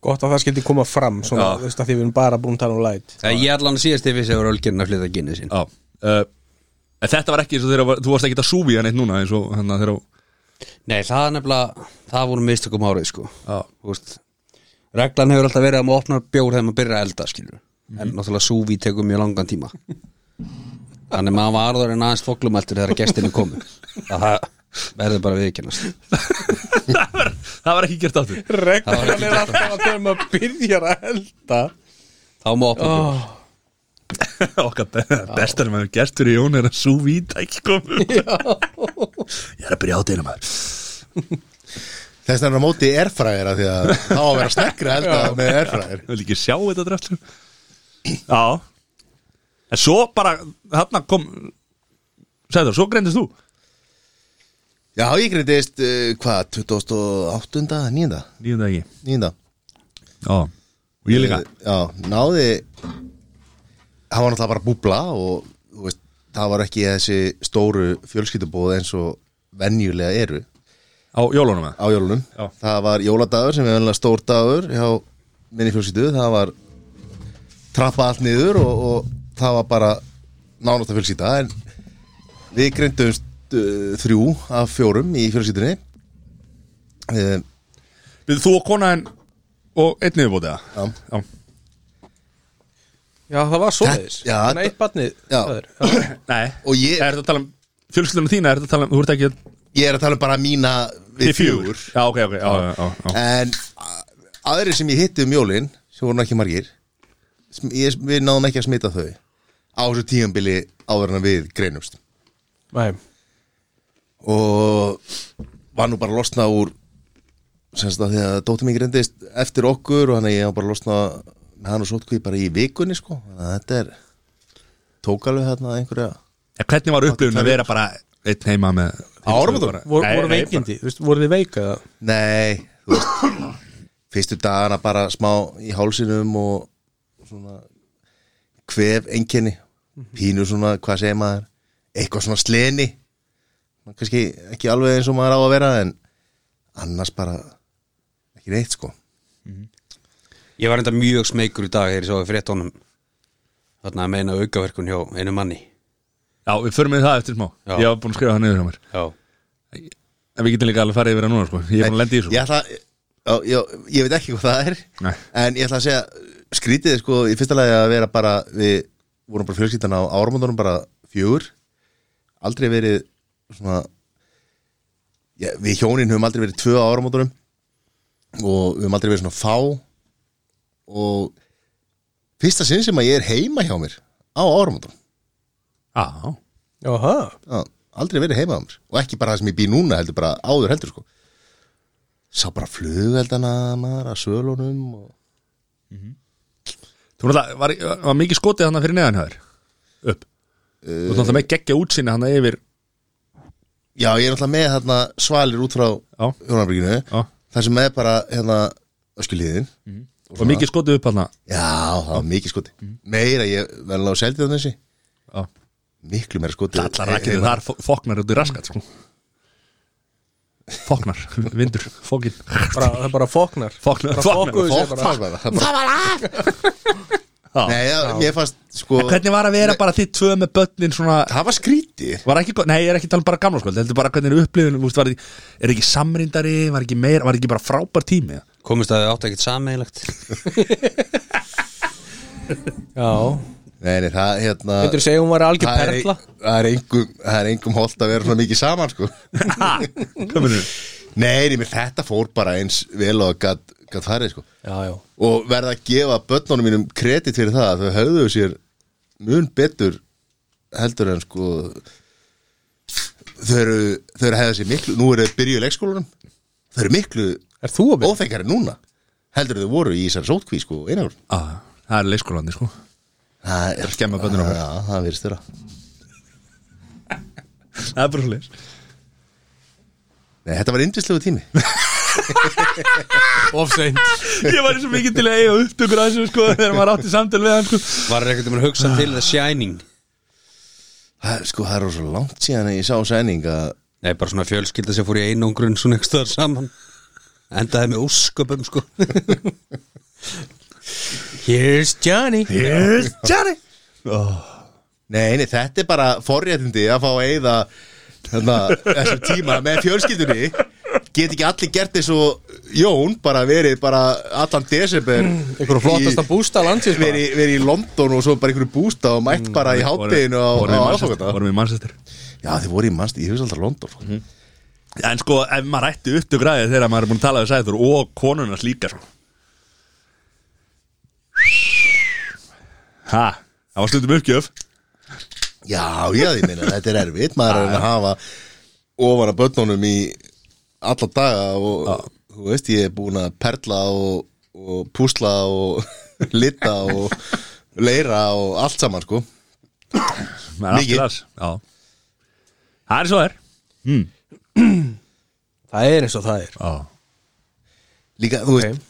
Speaker 3: Gott að það skildi koma fram svona,
Speaker 2: Já.
Speaker 3: þú veist að því við erum bara búin að tala um light
Speaker 4: Eða ég allan síðast ef við segur ölgerinni að flytta Guinnessin
Speaker 2: já uh, en Þetta var ekki eins og þegar var- þú varst ekki að súfi hann eitt núna eins og hann þegar
Speaker 4: Nei, það er nefnilega, það voru mistökum árið sko
Speaker 2: Já.
Speaker 4: Þú veist, Reglan hefur alltaf verið að maður opnar bjór þegar maður byrjar að elda skilur En náttúrulega súvi tekur mjög langan tíma Þannig maður var áður en aðeins foglumæltur þegar gestinni komu Það það verður bara viðkennast
Speaker 2: Það var ekki gert aftur
Speaker 4: Það var
Speaker 3: Reglan
Speaker 4: ekki
Speaker 3: er alltaf að þegar maður byrjar að elda
Speaker 4: Þá má opna
Speaker 3: Ah.
Speaker 4: bjór
Speaker 2: Okkar be bestar maður gert fyrir Jón er að súfi í tæk komu Ég er að byrja á dýna maður
Speaker 1: Þess vegna er á móti erfræðir að því að þá á að vera snekkri held að með erfræðir
Speaker 2: Vil ekki sjá þetta draftur Já En svo bara, þarna kom Sæður, svo greindist þú
Speaker 1: Já, ég greitist, uh, hvað, 2008. 9.
Speaker 2: Nýjum dagi
Speaker 1: 9.
Speaker 2: Já, og ég líka
Speaker 1: Eh, Já, náði það var náttúrulega bara búbla og þú veist, það var ekki þessi stóru fjölskyldubóð eins og venjulega eru
Speaker 2: Á jólunum eða
Speaker 1: á jólunum
Speaker 2: Já.
Speaker 1: það var jóladagur sem er venjulega stór dagur hjá minni fjölskyldu það var trappa allt niður og, og það var bara nánóta fjölskylda en við greindumst uh, þrjú af fjórum í fjölskyldunni uh,
Speaker 2: Við þú og konaðin og einn niðurbótið
Speaker 1: Já.
Speaker 2: Já.
Speaker 3: Já, það var svoleiðis
Speaker 1: Já,
Speaker 3: Þannig að eitt barnið
Speaker 1: Já.
Speaker 3: það er- já.
Speaker 2: Nei,
Speaker 1: og ég,
Speaker 2: er þetta að tala um Fjölskyldunum þína, er þetta að tala um, þú ert ekki
Speaker 1: ég er að tala um bara mína við fjögur
Speaker 2: Já, ok, ok, já, já, já, já.
Speaker 1: En aðri sem ég hitti um jólin sem voru nú ekki margir sm- ég, við náðum ekki að smita þau á þessu tíðanbili áður en að við greinumst
Speaker 3: Nei,
Speaker 1: og var nú bara að losna úr semst að því að dóttir mín greindist eftir okkur og hann að ég var bara að losna með hann og sótkví bara í vikunni sko þannig að þetta er tók alveg hérna einhverja
Speaker 2: En hvernig var upplifun að vera bara einn heima með
Speaker 1: Á áramótum?
Speaker 3: vor, voru veikindi, þú veist, voru þið veika eða?
Speaker 1: Nei, þú veist Fyrstu dagana bara smá í hálsinum og svona kvef einkenni pínu svona, hvað segir maður eitthvað svona sleni Maður kannski ekki alveg eins og maður á að vera en annars bara ekki neitt sko
Speaker 4: Ég var enda mjög smeykur í dag þegar ég svo að fréttónum Þarna að meina aukaverkun hjá einu manni
Speaker 2: Já, við förum við það eftir smá
Speaker 4: Já.
Speaker 2: Ég var búin að skrifa það niður hjá mér
Speaker 4: Já
Speaker 2: En við getum líka alveg farið yfir það núna, sko Ég er búin að lenda í þessu
Speaker 1: Ég ætla Já, já, ég veit ekki hvað það er
Speaker 2: Nei.
Speaker 1: En ég ætla að segja Skrítið sko í fyrsta lagi að vera bara Við vorum bara fjölskyldan á áramóndunum bara fjögur Aldrei verið svona já, Við hjónin höfum aldrei verið tvö á áramóndunum Og við höfum aldrei verið svona fá Og Fyrsta sinn sem að ég er heima hjá mér Á áramóndunum
Speaker 2: Já,
Speaker 3: Jóha,
Speaker 1: Já, aldrei verið heima á mér og ekki bara það sem ég bý núna heldur bara áður heldur sko sá bara flugeldana maður að sölunum og...
Speaker 2: Þú náttúrulega, var, var mikið skotið hann fyrir neðan hér upp Þú ert náttúrulega með geggja útsinni hann yfir
Speaker 1: já ég er náttúrulega með hérna, svalir út frá
Speaker 2: Já.
Speaker 1: hjónarbyrginu
Speaker 2: Já.
Speaker 1: þar sem er bara hérna, öskilíðin
Speaker 2: og mikið skotið upp hann
Speaker 1: já það var mikið skoti meira ég verðilega á seldið þessi
Speaker 2: Allar
Speaker 1: miklu meira Eh, hérna, skoti
Speaker 2: rækir þar fo- foknar út í raskat sko. Foknar, vindur, fokin
Speaker 3: bara, það bara fóknar
Speaker 2: Foknar, foknar
Speaker 3: fokkuðu sér bara
Speaker 1: það var af Nei, já, mér fannst sko
Speaker 2: Hvernig var að vera bara þitt tvö með börnin svona
Speaker 1: það var skrítið
Speaker 2: Var ekki, gott- nei, ég er ekki talað bara gamla skvöld Heldur bara hvernig er upplifun, þú veist, var ekki, er ekki samrindari Var ekki meira, var ekki bara frábær tími eða?
Speaker 4: Komist að þau átt ekkert sameigilegt
Speaker 3: Já,
Speaker 1: Nei, nei, það hérna
Speaker 3: myndur þú segja hún var algjör
Speaker 1: það er,
Speaker 3: perla
Speaker 1: það er engum það er engum holdt að vera svona mikið saman sko
Speaker 2: Ha, hvað meinarðu?
Speaker 1: nei, nei, mér þetta fór bara eins vel og að gat, gat farið sko
Speaker 11: já, já
Speaker 1: og verða að gefa börnunum mínum kredit fyrir það að þau höfðu sér mun betur heldur en sko þau eru, þau eru að hefða sér miklu nú eru þau byrjuð í leikskólanum þau eru miklu
Speaker 3: Er þú að byrja?
Speaker 1: óþekkari núna heldur en þau voru í þessar sótkví sko einhver
Speaker 2: ah, það er leikskólandi sko
Speaker 1: það er
Speaker 2: skemma börnin okkar.
Speaker 1: já, það virðist þeirra
Speaker 2: það er bara svo leis
Speaker 1: Nei, þetta var indislegu tími
Speaker 11: Ofseint
Speaker 2: ég var svo mikið til að eiga upptökur að þessu sko þegar maður átti samtel við hann sko
Speaker 4: Var ekkert um að hugsa til The Shining
Speaker 1: það, er- sko það er svo langt síðan að ég sá sæning að
Speaker 4: Nei, bara svona fjölskylda sem fór í einangrun svona ekki stöðar saman Endaði með ósköpum sko
Speaker 3: Here's Johnny
Speaker 1: Yes, Johnny Nei, nei, þetta er bara forréttindi að fá að eyða þarna, þessum tíma með fjölskyldunni get ekki allir gert eins og Jón bara verið bara allan desember
Speaker 3: Einhverjum flottasta bústa landsins bara.
Speaker 1: verið, verið í London og svo bara einhverju bústa og mætt bara í hátteginu á, á
Speaker 2: vorum við Manchester,
Speaker 1: aðfangata
Speaker 2: vorum við Manchester
Speaker 1: Já, þið voru í mannst, ég hefði alltaf London mm -hmm.
Speaker 2: En sko, ef maður ætti upptökraðið þegar maður er búin að tala við sæður og konunars líka sko. Ha, það var stundum uppgjöf
Speaker 1: Já, já, ég meina, þetta er erfitt maður er að hafa ofan að börnunum í alla daga og þú veist, ég er búin að perla og, og púsla og lita og leira og allt saman, sko
Speaker 2: Maður er allt í
Speaker 1: Mikið.
Speaker 2: las. Já. Það er svo er
Speaker 3: Það er eins og það er
Speaker 2: Já,
Speaker 1: Líka, þú veist,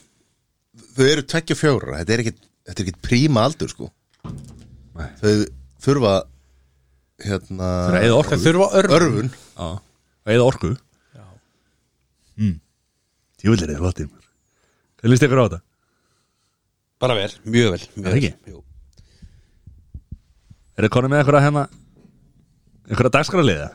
Speaker 1: þau eru tveggja og fjóra þetta er ekkit, þetta er ekkit príma aldur, sko
Speaker 2: Nei.
Speaker 1: Þau þurfa hérna,
Speaker 2: það er eða orku
Speaker 3: Það þurfa örf
Speaker 1: örfun
Speaker 2: Já, eða orku Já mm. Tjúlir eða flottir maður. Hvað líst ykkur á þetta?
Speaker 4: Bara vel, mjög vel mjög
Speaker 2: Er það
Speaker 4: vel.
Speaker 2: ekki? Er það konum með einhverja hérna einhverja dagskraliða?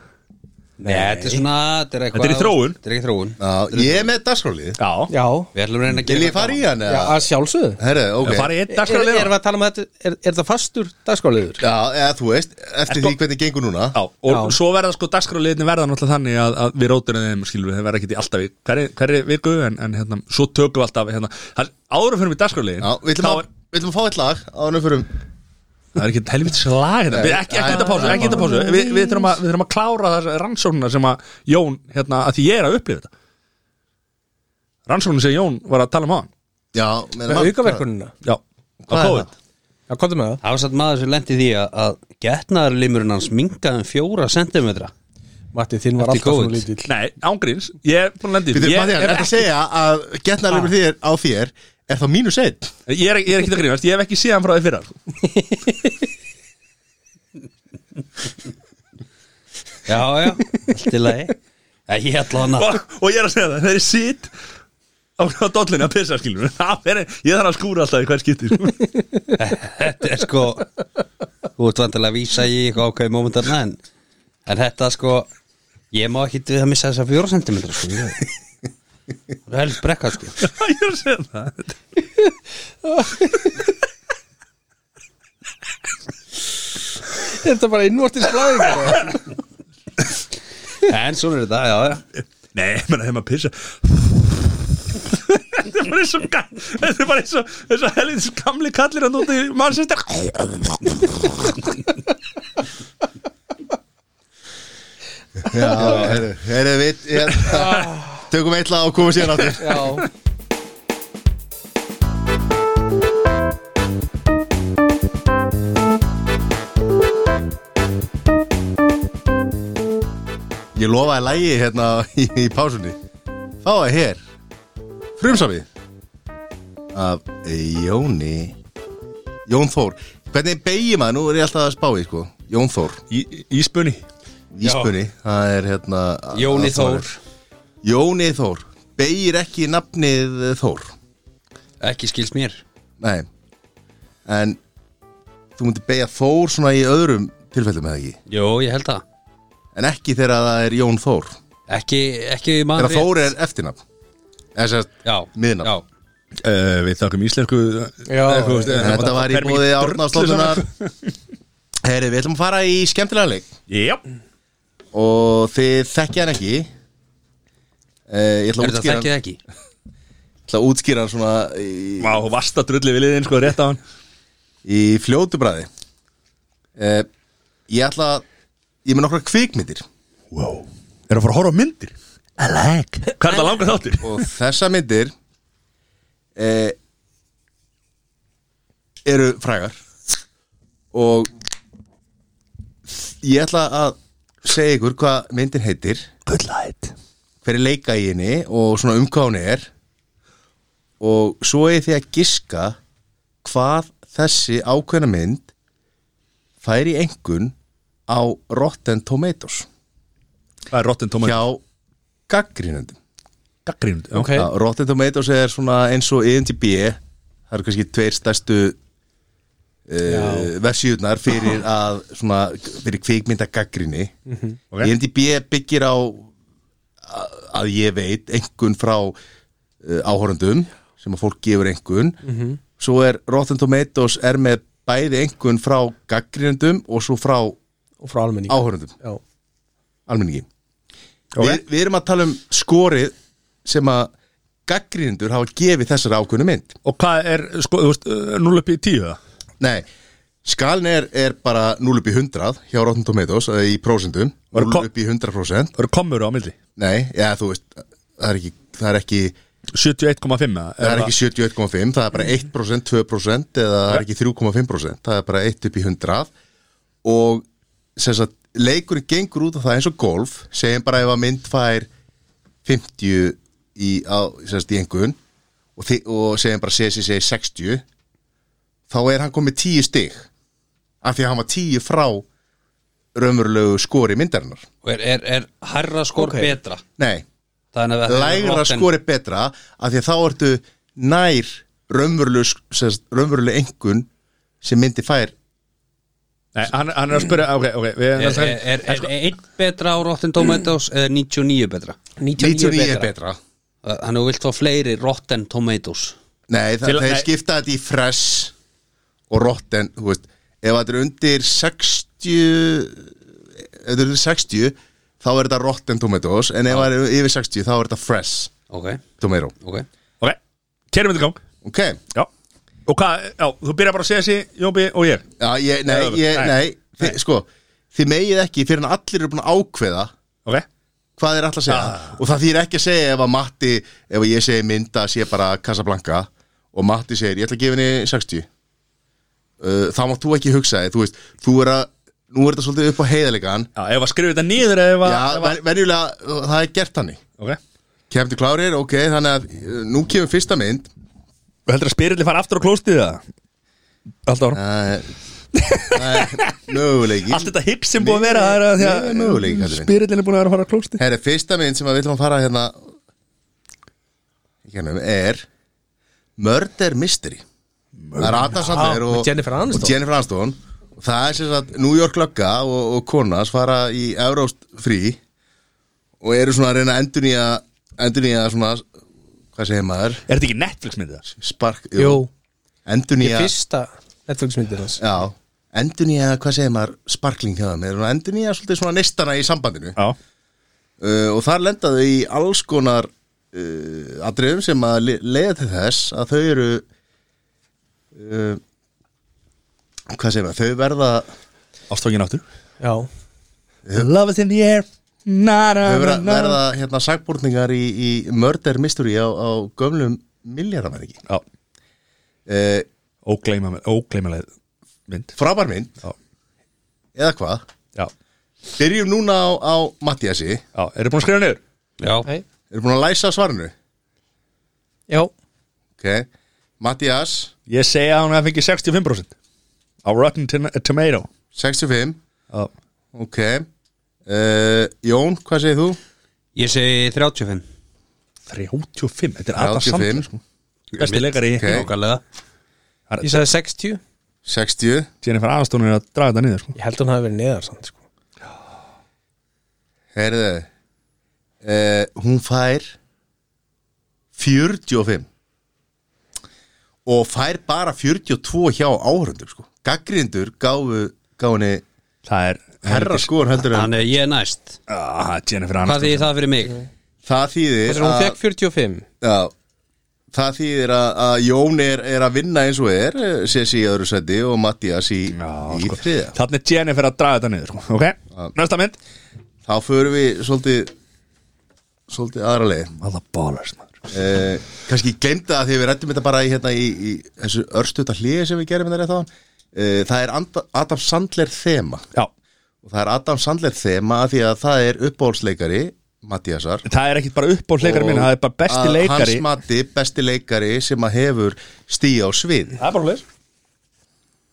Speaker 4: Nei, þetta er svona Þetta er,
Speaker 2: Þetta er í þróun.
Speaker 4: Þetta er ekki þróun
Speaker 1: Já, ég er með dagskólið
Speaker 2: Já,
Speaker 3: Já,
Speaker 4: Við ætlum að reyna að
Speaker 1: Vil
Speaker 4: gera
Speaker 1: ég fara í hann?
Speaker 3: já
Speaker 1: eða?
Speaker 3: að sjálfsögðu
Speaker 1: Herre, ok
Speaker 2: okay. farið í einn
Speaker 3: Er, er,
Speaker 2: dagskraliða
Speaker 3: erum við að tala um þetta, er, er það fastur dagskáliður?
Speaker 1: Já, eða þú veist, eftir því hvernig gengur núna
Speaker 2: Já, og
Speaker 3: Já.
Speaker 2: svo verða sko dagskráliðinni verða náttúrulega þannig að, að við róturum þeim skilur við, þeir verða ekki í alltaf í hverri, hverri viku en, en hérna, svo tökum við alltaf hérna, það er- áður fyrir við dagskráliðin
Speaker 1: Já, við ætlum að,
Speaker 2: er,
Speaker 1: við ætlum að fá eitt lag áður en við förum
Speaker 2: það er ekki helvits lag hérna. Við- ekki, ekki þetta pásu, ekki þetta pásu við, við, þurfum að, við þurfum að klára þess rannsóknuna sem að Jón, hérna, að því ég er að upplifa þetta rannsóknuna sem Jón var að tala um á hann
Speaker 1: Já,
Speaker 3: Með aukaverkunina?
Speaker 2: já, á
Speaker 1: Hvað er
Speaker 2: COVID
Speaker 1: það?
Speaker 3: Já, komdu með það
Speaker 4: Það var satt maður sem lendi því að, að getnaðarlimurinn hans mingaði um fjóra sentimetra
Speaker 3: Matti, þinn var
Speaker 4: Eftir
Speaker 3: alltaf svona
Speaker 4: COVID.
Speaker 3: lítill
Speaker 2: nei, ángríns, ég er búin að lendi
Speaker 1: Býtum,
Speaker 2: ég,
Speaker 1: Mattias,
Speaker 2: er
Speaker 1: þetta að segja að getnaðarlefur
Speaker 3: Ah.
Speaker 1: þér á þér er þá mínus einn
Speaker 2: ekki- ég er ég er ekki að grínast, ég hef ekki séð hann frá því fyrra sko.
Speaker 4: Já, já, allt í lagi Já, Ég ætla hann að
Speaker 2: og, og ég er að segja það, þegar ég sit á, á dollinu að pissa skilur það er, ég þarf að skúra alltaf í hver skipti sko.
Speaker 4: Þetta er sko Þú ert vantilega að vísa í eitthvað ákveði momentarna en, en þetta sko Ég má ekki við að missa þessa fjóra sentimetra sko. Ég- Það er helst brekka sko
Speaker 2: ég er að segja það
Speaker 3: Er þetta bara innvortis blæðing?
Speaker 4: En svona er þetta, já, já
Speaker 2: nei, ég menna þegar maður pissa þetta er bara eins og ga- þetta er bara eins og, eins og helið gamli kallir hann út í mannsistar
Speaker 1: Já, herru, herru, við hérna, Tökum eitt lag og komum síðan áttir
Speaker 3: Já
Speaker 1: Ég lofaði lagi hérna í, í pásunni Þá er hér Frumsamið Af Jóni Jón Þór Hvernig beigir maður? Nú er ég alltaf að spá í sko Jón Þór,
Speaker 2: íspunni
Speaker 1: íspunni Það er hérna
Speaker 4: Jóni
Speaker 1: allt sem
Speaker 4: Þór,
Speaker 1: er. Jóni Þór Beigir ekki nafnið Þór
Speaker 4: ekki skils mér
Speaker 1: Nei En þú myndir beigja Þór svona í öðrum tilfellum eða ekki
Speaker 4: Jó, ég held það
Speaker 1: En ekki þegar það er Jón Þór
Speaker 4: Ekki, ekki maður
Speaker 1: Þegar Þór er eftirnafn Eða sem sagt,
Speaker 4: Já,
Speaker 1: miðnafn.
Speaker 4: já
Speaker 2: uh, við þakkum íslensku
Speaker 3: Já,
Speaker 2: Eh, þú veist, eh,
Speaker 1: Þetta var í
Speaker 2: fer mikið
Speaker 1: bóði
Speaker 2: drullu
Speaker 1: Árnáðslóðunar
Speaker 2: saman.
Speaker 1: Heri, við ætlum að fara í skemmtilega leik
Speaker 2: já,
Speaker 1: Og þið þekkja hann ekki Eh, Ég ætla að
Speaker 4: Er þetta
Speaker 1: útskýra
Speaker 4: þekkið
Speaker 1: hann
Speaker 4: ekki?
Speaker 1: ætla að útskýra hann svona í,
Speaker 2: Vá, vasta drulli við liðin sko rétt á hann
Speaker 1: í fljótu bræði eh, Ég ætla að Ég með nokkra kvikmyndir
Speaker 12: wow. Er að fara að horfa á myndir? I like
Speaker 2: Hvað er það langar þáttir?
Speaker 1: Og þessa myndir eh, Eru frægar Og Ég ætla að segja ykkur hvað myndin heitir
Speaker 12: Good light
Speaker 1: hver er leika í henni og svona umkáni er og svo er því að giska hvað þessi ákveðna mynd fær í engun á Rotten Tomatoes
Speaker 2: Það er Rotten Tomatoes
Speaker 1: hjá gaggrínundum
Speaker 2: Gaggrind
Speaker 3: Ok.
Speaker 1: Já, Rotten Tomatoes er svona eins og IMDb það eru kannski tveir stærstu uh, vefsíðunar fyrir að svona fyrir kvikmynda gaggrinni
Speaker 2: Ok.
Speaker 1: IMDb byggir á að- að ég veit engun frá uh, áhorundum sem að fólk gefur engun svo er Rotten Tomatoes er með bæði engun frá gaggrinundum og svo frá
Speaker 3: og frá almenning
Speaker 1: áhorundum
Speaker 3: Já.
Speaker 1: almenningi við, við erum að tala um skorið sem að gaggrindur hafa gefið þessari ákveðnu mynd
Speaker 2: Og hvað er, sko, þú veist, uh, 0 upp í 10 það?
Speaker 1: nei, skalin er, er bara 0 upp í 100 hjá Rotten Tomatoes eða í prósentum,
Speaker 2: Var
Speaker 1: 0
Speaker 2: kom-
Speaker 1: upp í 100%
Speaker 2: Það eru komur á milli
Speaker 1: nei, já þú veist það er ekki, það er ekki
Speaker 2: 71,5 eða?
Speaker 1: Það er ekki 71,5, það er bara 1%, 2% eða það er ekki 3,5%, það er bara 1 upp í 100 og sem sagt, leikurinn gengur út af það eins og golf, segjum bara ef að mynd fær 50 í, á, sem sagt, í engun og, þi- og segjum bara CSC 60 þá er hann komið 10 stig af því að hann var 10 frá raumurlegu skori myndarinnar
Speaker 4: Og er, er, er hærra skor betra
Speaker 1: Nei,
Speaker 4: Þannig að
Speaker 1: lægra
Speaker 4: Rotten-
Speaker 1: skori betra af því að þá ertu nær raunveruleg engun sem myndi fær
Speaker 2: Nei, hann, hann er að spyrja, Ah, ok, ok við,
Speaker 4: Er, er, er, er, einn betra á Rotten Tomatoes eða 99 betra
Speaker 3: 99
Speaker 1: 99 er
Speaker 3: betra
Speaker 1: betra
Speaker 4: Þannig að þú vilt fá fleiri Rotten Tomatoes
Speaker 1: Nei, það,
Speaker 2: Til-
Speaker 1: þeir
Speaker 2: nei.
Speaker 1: skipta þetta í fresh og rotten, þú veist ef þetta er undir 60 ef þetta er undir 60 þá er þetta rotten tomatoes en
Speaker 2: Ah.
Speaker 1: ef það er yfir 60 þá er þetta fresh
Speaker 4: Ok,
Speaker 1: tomato
Speaker 4: ok
Speaker 2: Ok, kerum við í gang
Speaker 1: Ok,
Speaker 2: Já Og hvað, já, þú byrjar bara að segja þessi, Jóbi og ég
Speaker 1: já, ég, nei,
Speaker 2: Nei,
Speaker 1: ég,
Speaker 2: nei.
Speaker 1: nei, þið, sko þið megið ekki fyrir en allir eru búin að ákveða
Speaker 2: Ok
Speaker 1: hvað er alltaf að segja og það þýr ekki að segja ef að Matti ef að ég segi mynda sé bara Casablanca og Matti segir ég ætla að gefa henni 60 uh, þá mátt þú ekki hugsa þig þú veist, þú er að nú er þetta svolítið upp á heiðalegan
Speaker 2: Já, ef að skrifa þetta niður eða ef að
Speaker 1: já,
Speaker 2: ef að-
Speaker 1: ven, venjulega uh, það er gert þannig
Speaker 2: Ok
Speaker 1: kemdi klárir, ok, þannig að uh, nú kemur fyrsta mynd
Speaker 2: Þú heldur að spyrilli fara aftur á klóstið það? Alltaf ára
Speaker 1: það er- Uh, það er möguleiki
Speaker 2: Allt þetta hygg sem búið að vera það er að því
Speaker 1: Nei, möguleiki,
Speaker 2: að
Speaker 1: kallinn minn.
Speaker 2: Spyrillin er búin að vera að fara á klóstið
Speaker 1: Herri, fyrsta mynd sem að við ætlum að fara hérna hérna er Murder Mystery Það er Adam Sandler
Speaker 3: Ah,
Speaker 1: og,
Speaker 3: með Jennifer Aniston.
Speaker 1: og Jennifer Aniston og það er sem sagt New York lögga og, og konas fara í Evróst frí og eru svona að reyna að endurnýja endurnýja svona hvað segir maður
Speaker 2: Er þetta ekki Netflix myndið það?
Speaker 1: spark,
Speaker 3: Jú,
Speaker 1: endurnýja
Speaker 3: fyrsta Netflix myndir hans
Speaker 1: já, endurnýja, hvað segir maður sparkling hjá þeim, er svona endurnýja svolítið svona neistana í sambandinu
Speaker 2: Já
Speaker 1: uh, og þar lendaðu í alls konar uh, atriðum sem að le- leiða til þess að þau eru uh, hvað segir maður, þau verða
Speaker 2: Ástókin aftur
Speaker 3: Já,
Speaker 2: Love is in the air Na na
Speaker 1: þau verða,
Speaker 2: na na
Speaker 1: verða hérna sagbúrningar í, í murder mystery á, á gömlum miljardamæringi
Speaker 2: Já,
Speaker 1: uh,
Speaker 2: ógleyma- ógleymanleg mynd
Speaker 1: frábær mynd
Speaker 2: Já.
Speaker 1: eða hvað,
Speaker 2: Já,
Speaker 1: byrjum núna á, á Mattiasi,
Speaker 2: já, eru búin að skrifa niður?
Speaker 4: Já,
Speaker 3: nei,
Speaker 1: eru búin að læsa svarinu
Speaker 3: já
Speaker 1: ok, Mattias
Speaker 2: Ég segja að hún hefði fengið 65% á Rotten Tin- Tomato
Speaker 1: 65,
Speaker 2: Já.
Speaker 1: ok uh, Jón, hvað segir þú?
Speaker 4: ég segi 35
Speaker 2: 35, þetta er Adam
Speaker 1: 35.
Speaker 2: Sandler sko. Besti leikari í
Speaker 1: Ok.
Speaker 4: Nákvæmlega
Speaker 3: Ég sagði 60
Speaker 1: 60
Speaker 2: Jennifer Aniston er að draga þetta niður sko.
Speaker 3: Ég held hún hafi verið neðar samt sko.
Speaker 1: Herðu uh, Hún fær 45 Og fær bara 42 hjá áhörundum sko. Gaggrindur gáfu gáni
Speaker 2: Það er
Speaker 1: herra skor heldur en
Speaker 4: Þannig að ég er næst
Speaker 2: ah, Jennifer
Speaker 4: Hvað
Speaker 2: Aniston
Speaker 4: þýðir það fyrir mig?
Speaker 1: það þýðir
Speaker 3: Þessar hún fekk 45
Speaker 1: já, það þýðir að, að Jón er, er að vinna eins og er eh, Sessi í öðru sæti og Mattias í, í þriðja
Speaker 2: Þannig er Jennifer að draga þetta niður sko. Ok, næsta mynd
Speaker 1: þá förum við svolítið svolítið aðra leið
Speaker 2: Alla ballers maður
Speaker 1: eh, kannski glemta að því við rættum þetta bara í, hérna, í, í þessu örstuta hliði sem við gerum þetta rétt á eh, það er Anda- Adam Sandler þema
Speaker 2: Já,
Speaker 1: og það er Adam Sandler þema af því að það er uppbólsleikari Mattiasar
Speaker 2: það er ekkit bara upp á leikari mín
Speaker 1: Og
Speaker 2: Það er bara besti
Speaker 1: að
Speaker 2: leikari
Speaker 1: hans mati, besti leikari sem að hefur stíð á svið
Speaker 2: Það er bara leis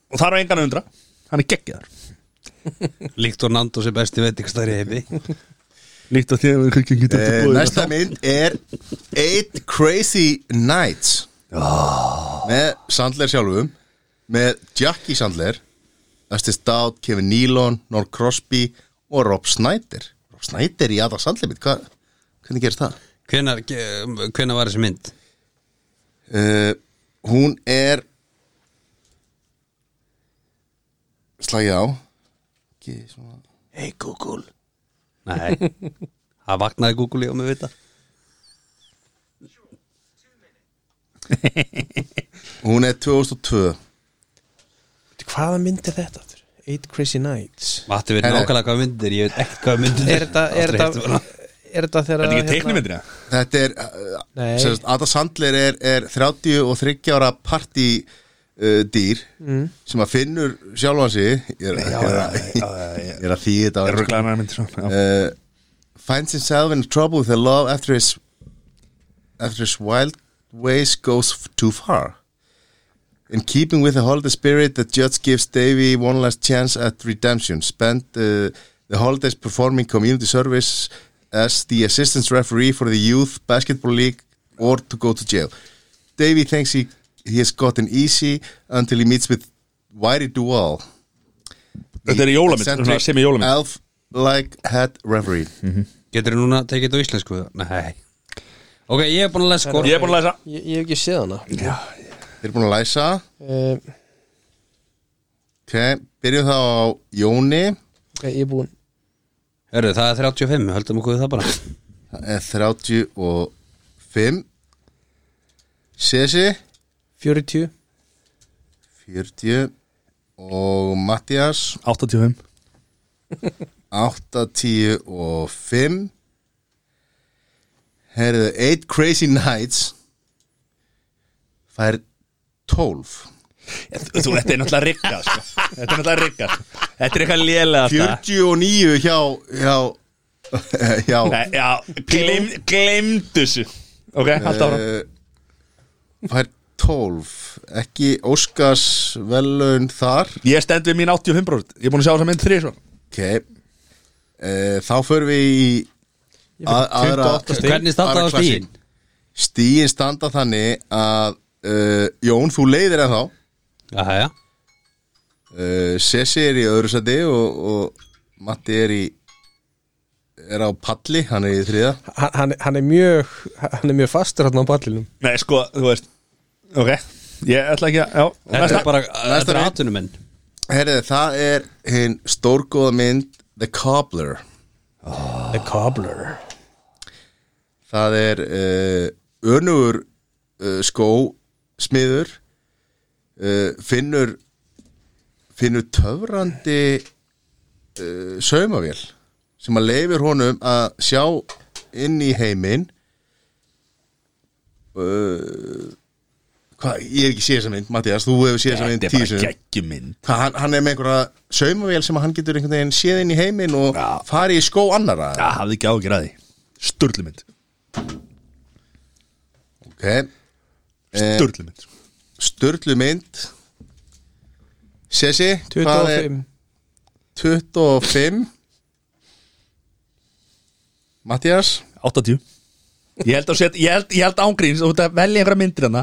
Speaker 2: Og það er á engan að undra Hann er geggjaðar
Speaker 4: Líkt og Nando sem besti veitingstæri heimi
Speaker 2: Líkt að því að við kukkin getur
Speaker 1: Eh, Næsta mynd er Eight Crazy Nights með Sandler sjálfum með Jackie Sandler Dustin Stout, Kevin Nealon Norm Crosby og Rob Snyder Rob Snyder í aða Sandler mynd Hva, hvernig gerist það?
Speaker 4: Hvenær, ge- hvenær var þessi mynd?
Speaker 1: Uh, hún er slagið á ekki svona
Speaker 4: Hey Google Nei, það vaknaði Google í og með vita
Speaker 1: hún er 2002
Speaker 3: Hvaða mynd er þetta? aftur? Eight Crazy Nights
Speaker 4: Matti verið
Speaker 1: Herre.
Speaker 4: nákvæmlega hvað myndir, ég veit ekki hvað myndir
Speaker 3: Er þetta Er
Speaker 4: Aldrei heyrt um
Speaker 3: þetta
Speaker 4: hana.
Speaker 3: Er þetta þegar
Speaker 2: Þetta er ekki
Speaker 3: hérna-
Speaker 2: teiknumyndir eða?
Speaker 1: Þetta er, uh,
Speaker 3: Nei.
Speaker 1: sem sagt, Ada Sandler er, er 30 og 30 ára partí uh, dýr sem að finnur sjálfan sig ég er, ég er, að- ég er að þýði þetta á
Speaker 2: Það eru
Speaker 1: ensku.
Speaker 2: glæðanar myndir svo Já.
Speaker 1: uh, Finds himself in trouble with the love after his after his wild ways goes too far In keeping with the holiday spirit, the judge gives Davy one last chance at redemption. Spent uh, the holidays performing community service as the assistant referee for the youth basketball league or to go to jail. Davy thinks he, he has gotten easy until he meets with Whitey Duval.
Speaker 2: Þetta er í jólamynd, svona
Speaker 1: Eccentric
Speaker 2: semi-jólamynd.
Speaker 1: Elf-like head referee.
Speaker 4: Getur núna tekið þetta á íslensku? Nei Ok, ég er búin að lesa skor
Speaker 2: Ég er búin að læsa
Speaker 3: Ég, ég hef ekki séð hana
Speaker 1: Þeir eru búin að læsa
Speaker 3: uh,
Speaker 1: Ok, byrjum þá á Jóni
Speaker 3: okay, Ég er búinn
Speaker 4: Hörru, það er 35, höldum okkur við það bara
Speaker 1: Það er 35 Sesi
Speaker 3: 40
Speaker 1: 40 og Mattias
Speaker 2: 85
Speaker 1: 8, 10 og 5 Herðu, 8 Crazy Nights fær 12
Speaker 2: Þú, þú- þetta er náttúrulega rikkað sko. Þetta er náttúrulega rikkað Þetta er eitthvað lélega
Speaker 1: 49 hjá hjá, hjá
Speaker 2: Nei, Eh, já, gleym, gleymd þessu Ok, halda áfram
Speaker 1: Eh, fær 12 ekki Óskars velun þar
Speaker 2: Ég stend við mín 85 bróð Ég er búin að sjá þess að mynd þrið svona
Speaker 1: ok uh, þá förum við í að, aðra
Speaker 3: 28 stig.
Speaker 4: Hvernig standa
Speaker 1: aðra
Speaker 4: á stíðin?
Speaker 1: klassin. stíin standa þannig að uh, Jón þú leiðir en þá
Speaker 4: Jæja,
Speaker 1: uh, Sessi er í öðru sæti og, og Matti er í er á palli, hann er í þriða
Speaker 3: hann, hann- hann er mjög Hann er mjög fastur hann á pallinum
Speaker 2: Nei, sko, þú veist Ok, ég ætla ekki að Já,
Speaker 4: þetta er bara Þetta er
Speaker 1: mynd.
Speaker 4: atvinnumenn
Speaker 1: herriði það er hinn stórgóða mynd The Cobbler
Speaker 3: The Cobbler
Speaker 1: það er uh, önugur uh, skó smiður uh, finnur finnur töfrandi uh, saumavél sem að leifir honum að sjá inn í heiminn uh, hvað, ég hef ekki séð þessa mynd Mattias, þú hefur séð þessa mynd
Speaker 2: Þetta er
Speaker 1: tíu
Speaker 2: bara
Speaker 1: sinum
Speaker 2: geggjuminn
Speaker 1: Hvað, hann, hann er með einhverja saumavél sem að hann getur einhvern veginn séð inn í heiminn og
Speaker 2: Já.
Speaker 1: farið í skó annara
Speaker 2: Já, hafði ekki ágjur að því Sturlumynd
Speaker 1: ok Eh,
Speaker 2: Sturlumynd
Speaker 1: Sturlu mynd Sessi hvað er-
Speaker 3: 25
Speaker 1: 25 Mattias
Speaker 2: 80 Ég held að set, ég held, ég held ángríns Þú veist að velja einhverja myndir hana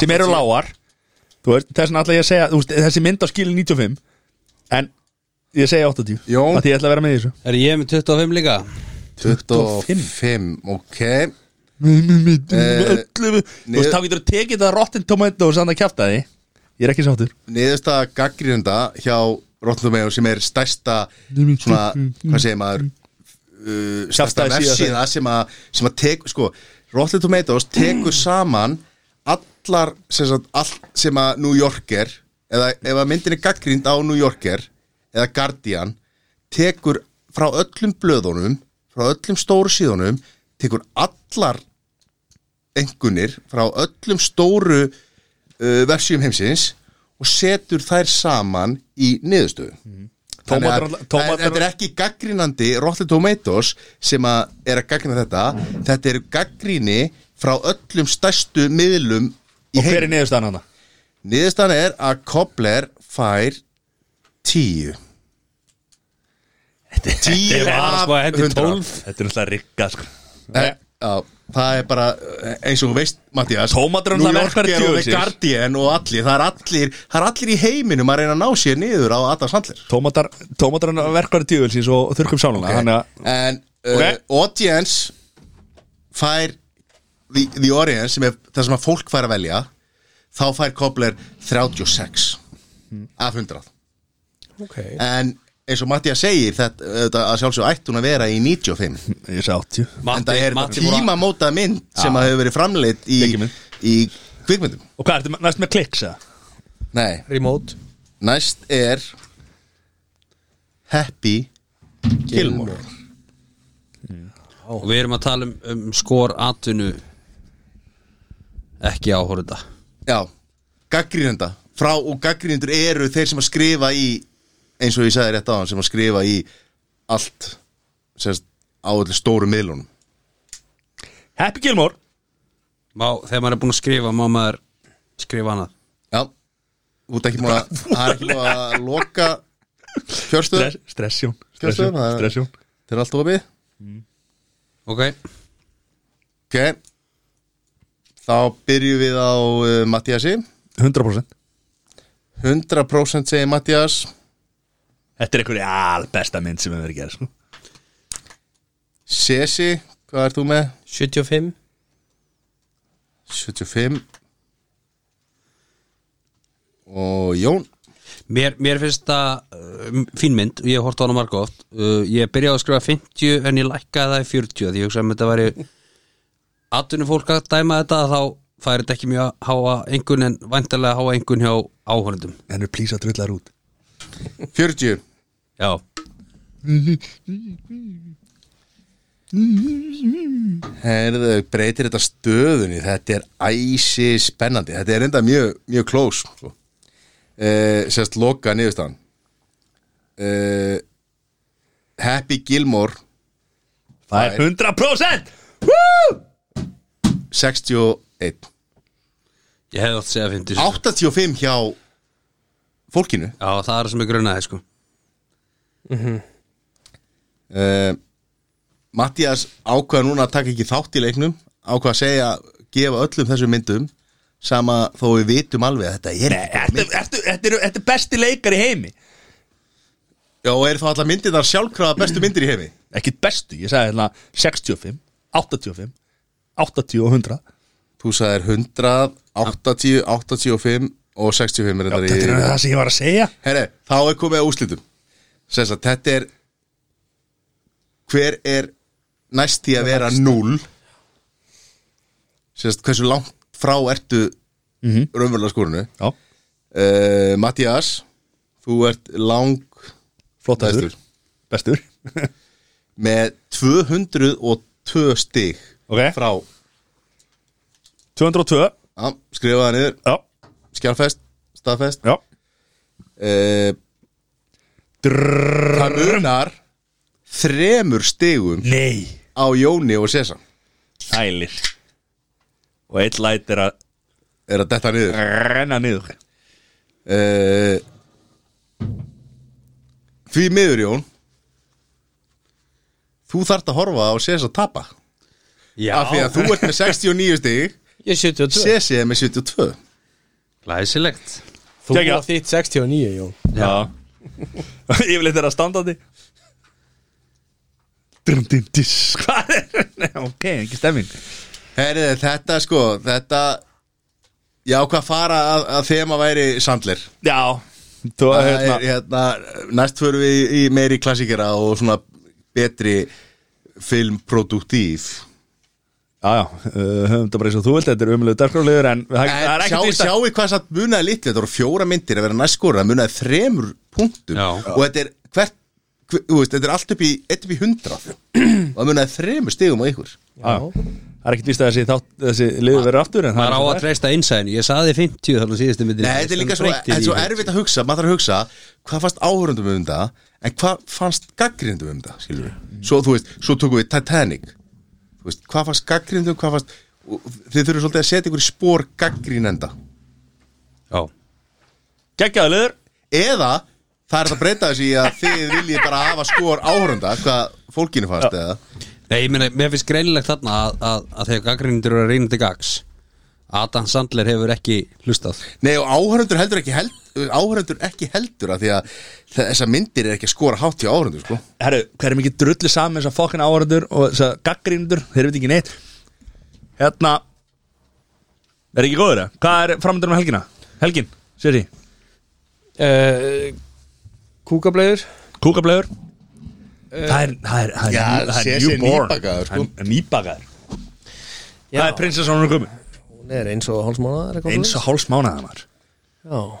Speaker 2: Sem eru
Speaker 1: 80.
Speaker 2: lágar Þú veist, þess vegna ætla ég að segja þú veist, Þessi mynd á skilin 95 En ég segja 80
Speaker 1: Jón.
Speaker 2: Af Því ég ætla að vera með í þessu
Speaker 4: Er ég með 25 líka?
Speaker 1: 25 Ok Eh,
Speaker 2: Öllu- Þú veist, þá getur þú tekið það Rotten Tomatoes Sann að kjafta því Ég er ekki sáttur
Speaker 1: Niðurstaða gaggrínunda hjá Rottumegum sem er stærsta svona, hvað segir maður uh, stærsta
Speaker 2: Kjaftæði síðan.
Speaker 1: versiða sem að, sem að tek, sko, Rotten Tomatoes tekur saman allar sem, sagt, allt sem að New Yorker eða ef að myndin er gaggrind á New Yorker eða Guardian tekur frá öllum blöðunum frá öllum stóru síðunum tekur allar engunir frá öllum stóru uh, versjum heimsins og setur þær saman í niðurstöðu Þannig að
Speaker 2: Mhm. Tómatar-
Speaker 1: það er-
Speaker 2: tómatar-
Speaker 1: þetta er ekki gaggrinandi Rotten Tomatoes sem að er að gaggrina þetta
Speaker 2: Mhm.
Speaker 1: þetta er gaggrini frá öllum stærstu miðlum í
Speaker 2: Og hver er
Speaker 1: heim
Speaker 2: niðurstaðan hana?
Speaker 1: niðurstaðan er að Kobler fær tíu tíu af hundrað
Speaker 2: sko, Þetta er náttúrulega rigga sko.
Speaker 1: Eh, Já, það er bara eh, eins og þú veist Mattias
Speaker 2: Tómatur er
Speaker 1: New
Speaker 2: náttúrulega
Speaker 1: Yorker
Speaker 2: verkfæri
Speaker 1: og The
Speaker 2: djöfulsins.
Speaker 1: Guardian og allir það er allir, það er allir í heiminum að reyna að ná sér niður á Adam Sandler
Speaker 2: Tómatar, tómatar verkar tíðulsins og þurrkum sáluna Þannig að
Speaker 1: en uh,
Speaker 2: Ok.
Speaker 1: audience fær the, the audience sem er það sem að fólk fær að velja þá fær Kobler 36 af 100
Speaker 3: okay.
Speaker 1: en eins og Mattias segir þetta, þetta að sjálfsög ætti hún að vera í 95
Speaker 2: Ég sé 80
Speaker 1: en það er þetta tímamóta mynd sem að hefur verið framleitt í,
Speaker 2: Kvikmynd.
Speaker 1: í kvikmyndum
Speaker 2: Og hvað, ertu næst með klikks eða?
Speaker 1: Nei,
Speaker 3: Remote
Speaker 1: næst er Happy Gilmore
Speaker 4: Og við erum að tala um, um skor atvinnu Ekki áhorunda
Speaker 1: Já, gaggrínenda Frá og gaggrínendur eru þeir sem að skrifa í eins og ég sagði rétt á hann sem að skrifa í allt sérst, á öllu stóru miðlunum
Speaker 2: Happy Gilmore
Speaker 4: Má, þegar maður er búinn að skrifa Má maður skrifa annað
Speaker 1: Já, þú ert ekki múin að það er ekki múin að loka kjörstöð
Speaker 2: Stress- Stressjón
Speaker 1: Stressjón, það er-
Speaker 2: Stressjón
Speaker 1: til allt opið
Speaker 4: Ok
Speaker 1: Ok Þá byrjum við á uh, Mattiasi
Speaker 2: 100%
Speaker 1: 100% segir Mattias
Speaker 2: Þetta er einhverju albesta mynd sem við verið að gera sko.
Speaker 1: Sesi, hvað ert þú með?
Speaker 3: 75
Speaker 1: 75 og Jón
Speaker 4: Mér, mér finnst það uh, fín mynd og ég horfði á hana marga oft uh, Ég byrjaði að skrifa 50 en ég lækkaði það í 40 Því ég hugsaði um að þetta væri Atvinni fólk að dæma þetta Þá færi þetta ekki mjög háa engun En væntalega háa engun hjá áhorundum
Speaker 2: En við plýsa drullar út
Speaker 1: 40
Speaker 4: Já,
Speaker 1: Herðu, breytir þetta stöðunni þetta er æsi spennandi þetta er enda mjög, mjög close sko. uh, sérst loka niðurstaðan uh, Happy Gilmore
Speaker 2: Það er 100%
Speaker 1: 61
Speaker 4: ég hefði átt að segja 50 sko.
Speaker 1: 85 hjá fólkinu
Speaker 4: Já, það er það sem ég grunaði sko
Speaker 1: uh, Mattias ákvaða núna að taka ekki þátt í leiknum ákvaða að segja, gefa öllum þessum myndum sama þó við vitum alveg að þetta er
Speaker 2: Nei, ertu, ertu, ertu, ertu besti leikar í heimi
Speaker 1: Já, og eru þá allar myndir þar sjálfkrafa bestu myndir í heimi
Speaker 2: Ekki bestu, ég sagði hérna 65, 85 80 og 100
Speaker 1: Þú sagðir 100, 80, 85 og 65 er
Speaker 2: Þetta er
Speaker 1: þetta í
Speaker 2: það sem ég var að segja
Speaker 1: Herre, þá er komið að úslitum Sess að þetta er Hver er næst í að vera 0 Sess hversu langt frá ertu mm -hmm. raunverulega skorinu
Speaker 2: Mhm. Já,
Speaker 1: uh, Mattias Þú ert lang
Speaker 2: flottastur,
Speaker 1: Bestur.
Speaker 2: bestur.
Speaker 1: með 202 stig
Speaker 2: Ok.
Speaker 1: frá
Speaker 2: 202
Speaker 1: Já, skrifaði það niður,
Speaker 2: Já,
Speaker 1: skjálfest, staðfest
Speaker 2: já
Speaker 1: uh, Það munar þremur stigum
Speaker 2: Nei
Speaker 1: á Jóni og Sesam
Speaker 2: Ælir Og eitt læt er að
Speaker 1: er að detta niður
Speaker 2: renna niður
Speaker 1: uh, Því miður Jón Þú þarft að horfa á Sesa tapa
Speaker 4: Já,
Speaker 1: af því að þú ert með 69 stig
Speaker 3: Ég er 72
Speaker 1: Sesi er með 72
Speaker 4: Læsilegt
Speaker 3: Þú
Speaker 2: Kekja.
Speaker 3: var þitt 69 Jón
Speaker 2: Já Yfirleitt er að standandi Drumdindis Hvað er? Nei, ok, ekki stemming
Speaker 1: Herrið, þetta sko, þetta Já, hvað fara að, að þema væri Sandler
Speaker 2: Já Þú að
Speaker 1: Það
Speaker 2: hérna
Speaker 1: er hérna, næst fyrir við í, í meiri klassíkera og svona betri filmproduktív
Speaker 2: Já, já, uh, höfum þetta bara eins og þú vilt Þetta er umlega dagskrálegur en það,
Speaker 1: En
Speaker 2: það er
Speaker 1: sjá,
Speaker 2: ekkert víst að-
Speaker 1: sjáu hvað það munaði litlu Þetta voru fjóra myndir að vera næstkóra Það munaði þremur punktum
Speaker 4: Já.
Speaker 1: Og þetta er hvert hver, þú veist, Þetta er allt upp í, eitt upp í hundrað Og það munaði þremur stigum á ykkur
Speaker 2: Já, já. það er ekkert víst að þessi, þátt, þessi liður verður aftur en
Speaker 4: Það er á
Speaker 2: það
Speaker 4: að treysta innsæðinu, ég saði 50 þannig síðustu myndin
Speaker 1: Nei, þetta er líka svo, þetta er svo erfitt að hugsa Maður þarf að hugsa hvað fannst áhörundum um þetta En hvað fannst gaggrindum um þetta Skilur Svo, þú veist, svo tókum við Titanic Þú veist, Hvað fannst gaggrindum, hvað fannst og Þið þurfum svolítið að setja ykkur í spór gaggrínenda
Speaker 4: Já,
Speaker 2: Gekkjaðu liður
Speaker 1: eða það er þetta að breyta þessu í að þið viljið bara hafa skor áhörunda hvað fólkinu fannst eða
Speaker 4: nei, ég meina, mér finnst greinilegt þarna að, að, að þegar gaggrindur eru að reyna til gags Adam Sandler hefur ekki hlustað
Speaker 1: nei og áhörundur heldur ekki heldur áhörundur ekki heldur að því að þessar myndir er ekki að skora hátt hjá áhörundur sko
Speaker 2: Herru, hver er mikið drullu saman þessar fokkin áhörður og þessar gaggríndur, þeir veit ekki neitt Hérna Er ekki góður það? Hvað er framöndur um helgina? Helgin, sér því
Speaker 3: Eh,
Speaker 13: uh, Kúkablegur
Speaker 2: Kúkablegur Það er, það er, það er,
Speaker 1: Já,
Speaker 2: það
Speaker 1: sé
Speaker 2: er
Speaker 1: sér
Speaker 2: newborn
Speaker 1: nýbakaður, sko.
Speaker 2: Hann er Nýbakaður
Speaker 13: Já.
Speaker 2: Það er prinsessan hún er komin
Speaker 3: Hún er eins og hálsmánaðar eitthvað
Speaker 2: Eins og háls mánaðamar
Speaker 3: svoleiðis.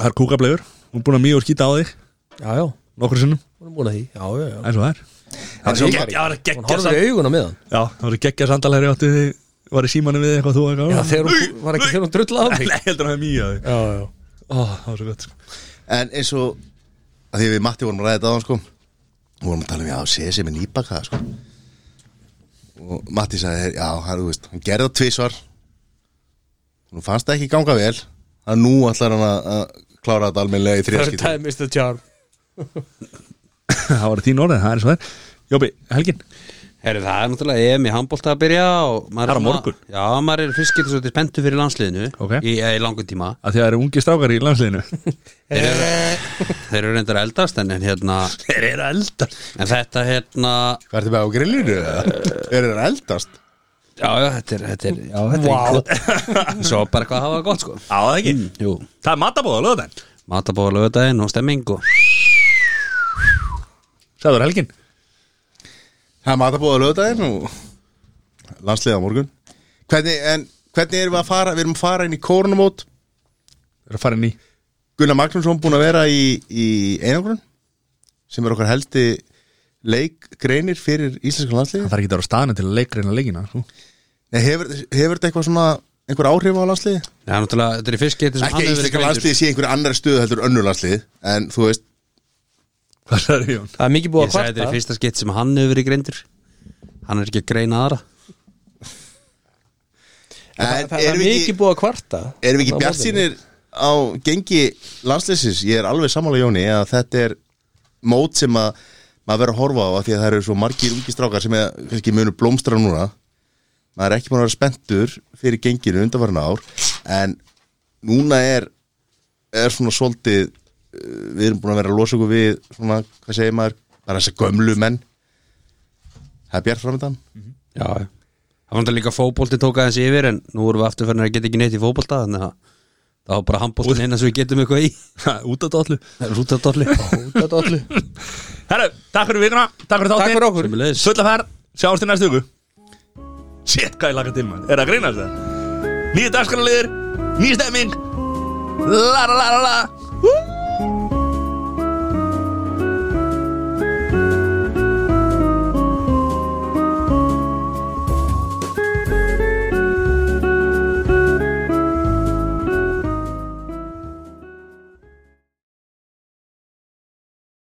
Speaker 2: Það er kúkablegur, hún er búin að mjög skýta á þig
Speaker 3: Já, já, já,
Speaker 2: Nokkur sinnum,
Speaker 3: hún er búin að því Já, já, já
Speaker 2: eins og það er Það er svo
Speaker 3: Hún
Speaker 2: geggja, það er
Speaker 3: Hún
Speaker 2: geggja
Speaker 3: horfður í augun á miðan
Speaker 2: Já, það voru geggja sandalhæri átti því Var í símanum við eitthvað þú eitthvað
Speaker 3: Já, þegar hún var ekki þegar hún drulla á
Speaker 2: Nei,
Speaker 3: mig
Speaker 2: Nei, heldur hann hefði mjög að því
Speaker 3: Já, já
Speaker 2: Ó, það var svo gott sko.
Speaker 1: en eins og að því við Matti vorum að ræða þetta á hann sko og vorum að tala um já, sé sem er nýbakaða sko og Matti sagði já, hann, þú veist, hann gerði það tvisvar nú fannst það ekki ganga vel að nú ætlar hann að að klára þetta almennilega í
Speaker 3: Third
Speaker 1: þriðskipti
Speaker 3: time is the charm
Speaker 2: Það var þín orðið, það er eins og það er Jópi, helgin
Speaker 4: Herri, það er náttúrulega EM í handbólta að byrja og maður
Speaker 2: Það er á
Speaker 4: svona-
Speaker 2: morgun.
Speaker 4: Já, maður er fyrst getur svolítið spenntu fyrir landsliðinu
Speaker 2: Ok.
Speaker 4: í, eh, í langu tíma
Speaker 2: að Því að það eru ungi strákar í landsliðinu
Speaker 4: Þeir eru reyndar að eldast en, en hérna
Speaker 2: Þeir eru eldar
Speaker 4: En þetta hérna
Speaker 1: Hvað ertu með á grillinu? Er það eldast?
Speaker 4: Já, já, þetta er, þetta er, já, þetta er wow. Svo bara eitthvað að hafa það gott sko
Speaker 2: Á, það ekki
Speaker 4: Jú,
Speaker 2: Það er matabóða, löða þenn
Speaker 4: matabóða lögudaginn og stemming og
Speaker 2: Sæður helgin
Speaker 1: Það er matabóða lögdæðin og landsliða á morgun hvernig, En hvernig erum við að fara? Við erum að fara inn í kórnumót
Speaker 2: Það er að fara inn í
Speaker 1: Gunnar Magnússon búin að vera í, í einangrun sem er okkar helsti leikgreinir fyrir íslenska landsliði
Speaker 2: Það er ekki að vera á staðinu til að leikreina leikina sko.
Speaker 1: Nei, hefur, hefur þetta eitthvað svona einhver áhrif á landsliði?
Speaker 4: Já, náttúrulega, þetta er í fyrst getur
Speaker 1: Ekki að íslenska landsliði sé einhver annar stöð heldur önnur landsliði en þú veist,
Speaker 2: Hvað sagður Jón?
Speaker 3: Það er mikið
Speaker 4: Ég
Speaker 3: búið að
Speaker 4: sagði þetta
Speaker 3: kvarta
Speaker 4: er í fyrsta skeitt sem hann hefur verið greindur Hann er ekki að greina aðra
Speaker 1: en
Speaker 3: Það er
Speaker 1: erum við
Speaker 3: mikið
Speaker 1: ekki,
Speaker 3: búið að kvarta
Speaker 1: erum við ekki
Speaker 3: Þarna á
Speaker 1: bjart sínir á gengi landsliðsins? Ég er alveg sammála Jóni að þetta er mót sem að maður verður að horfa á af því að það eru svo margir ungi strákar sem er, kannski munur blómstra núna maður er ekki búin að vera spenntur fyrir genginu undanvarna ár en núna er er svona svolítið uh, við erum búin að vera að losa okkur við svona, hvað segir maður, bara þess að gömlu menn það er bjart framöndan
Speaker 4: Já, já Það var þetta líka fótbolti tók aðeins yfir en nú erum við afturferðin að geta ekki neitt í fótbolta þannig að það var bara handbóltin eina sem við getum eitthvað í
Speaker 2: Út af dollu
Speaker 4: Rútadolli
Speaker 3: mótinu. Þetta öllu
Speaker 2: Herru, takk fyrir vikuna Takk fyrir þáttinn
Speaker 3: Takk fyrir okkur
Speaker 4: Sömuleiðis.
Speaker 2: Fulla ferð Sjáumst í næstu viku Shit, hvað ég laka til maður Er það að grínast það? Nýja dagskrarliðir Nýja stemming La la la la la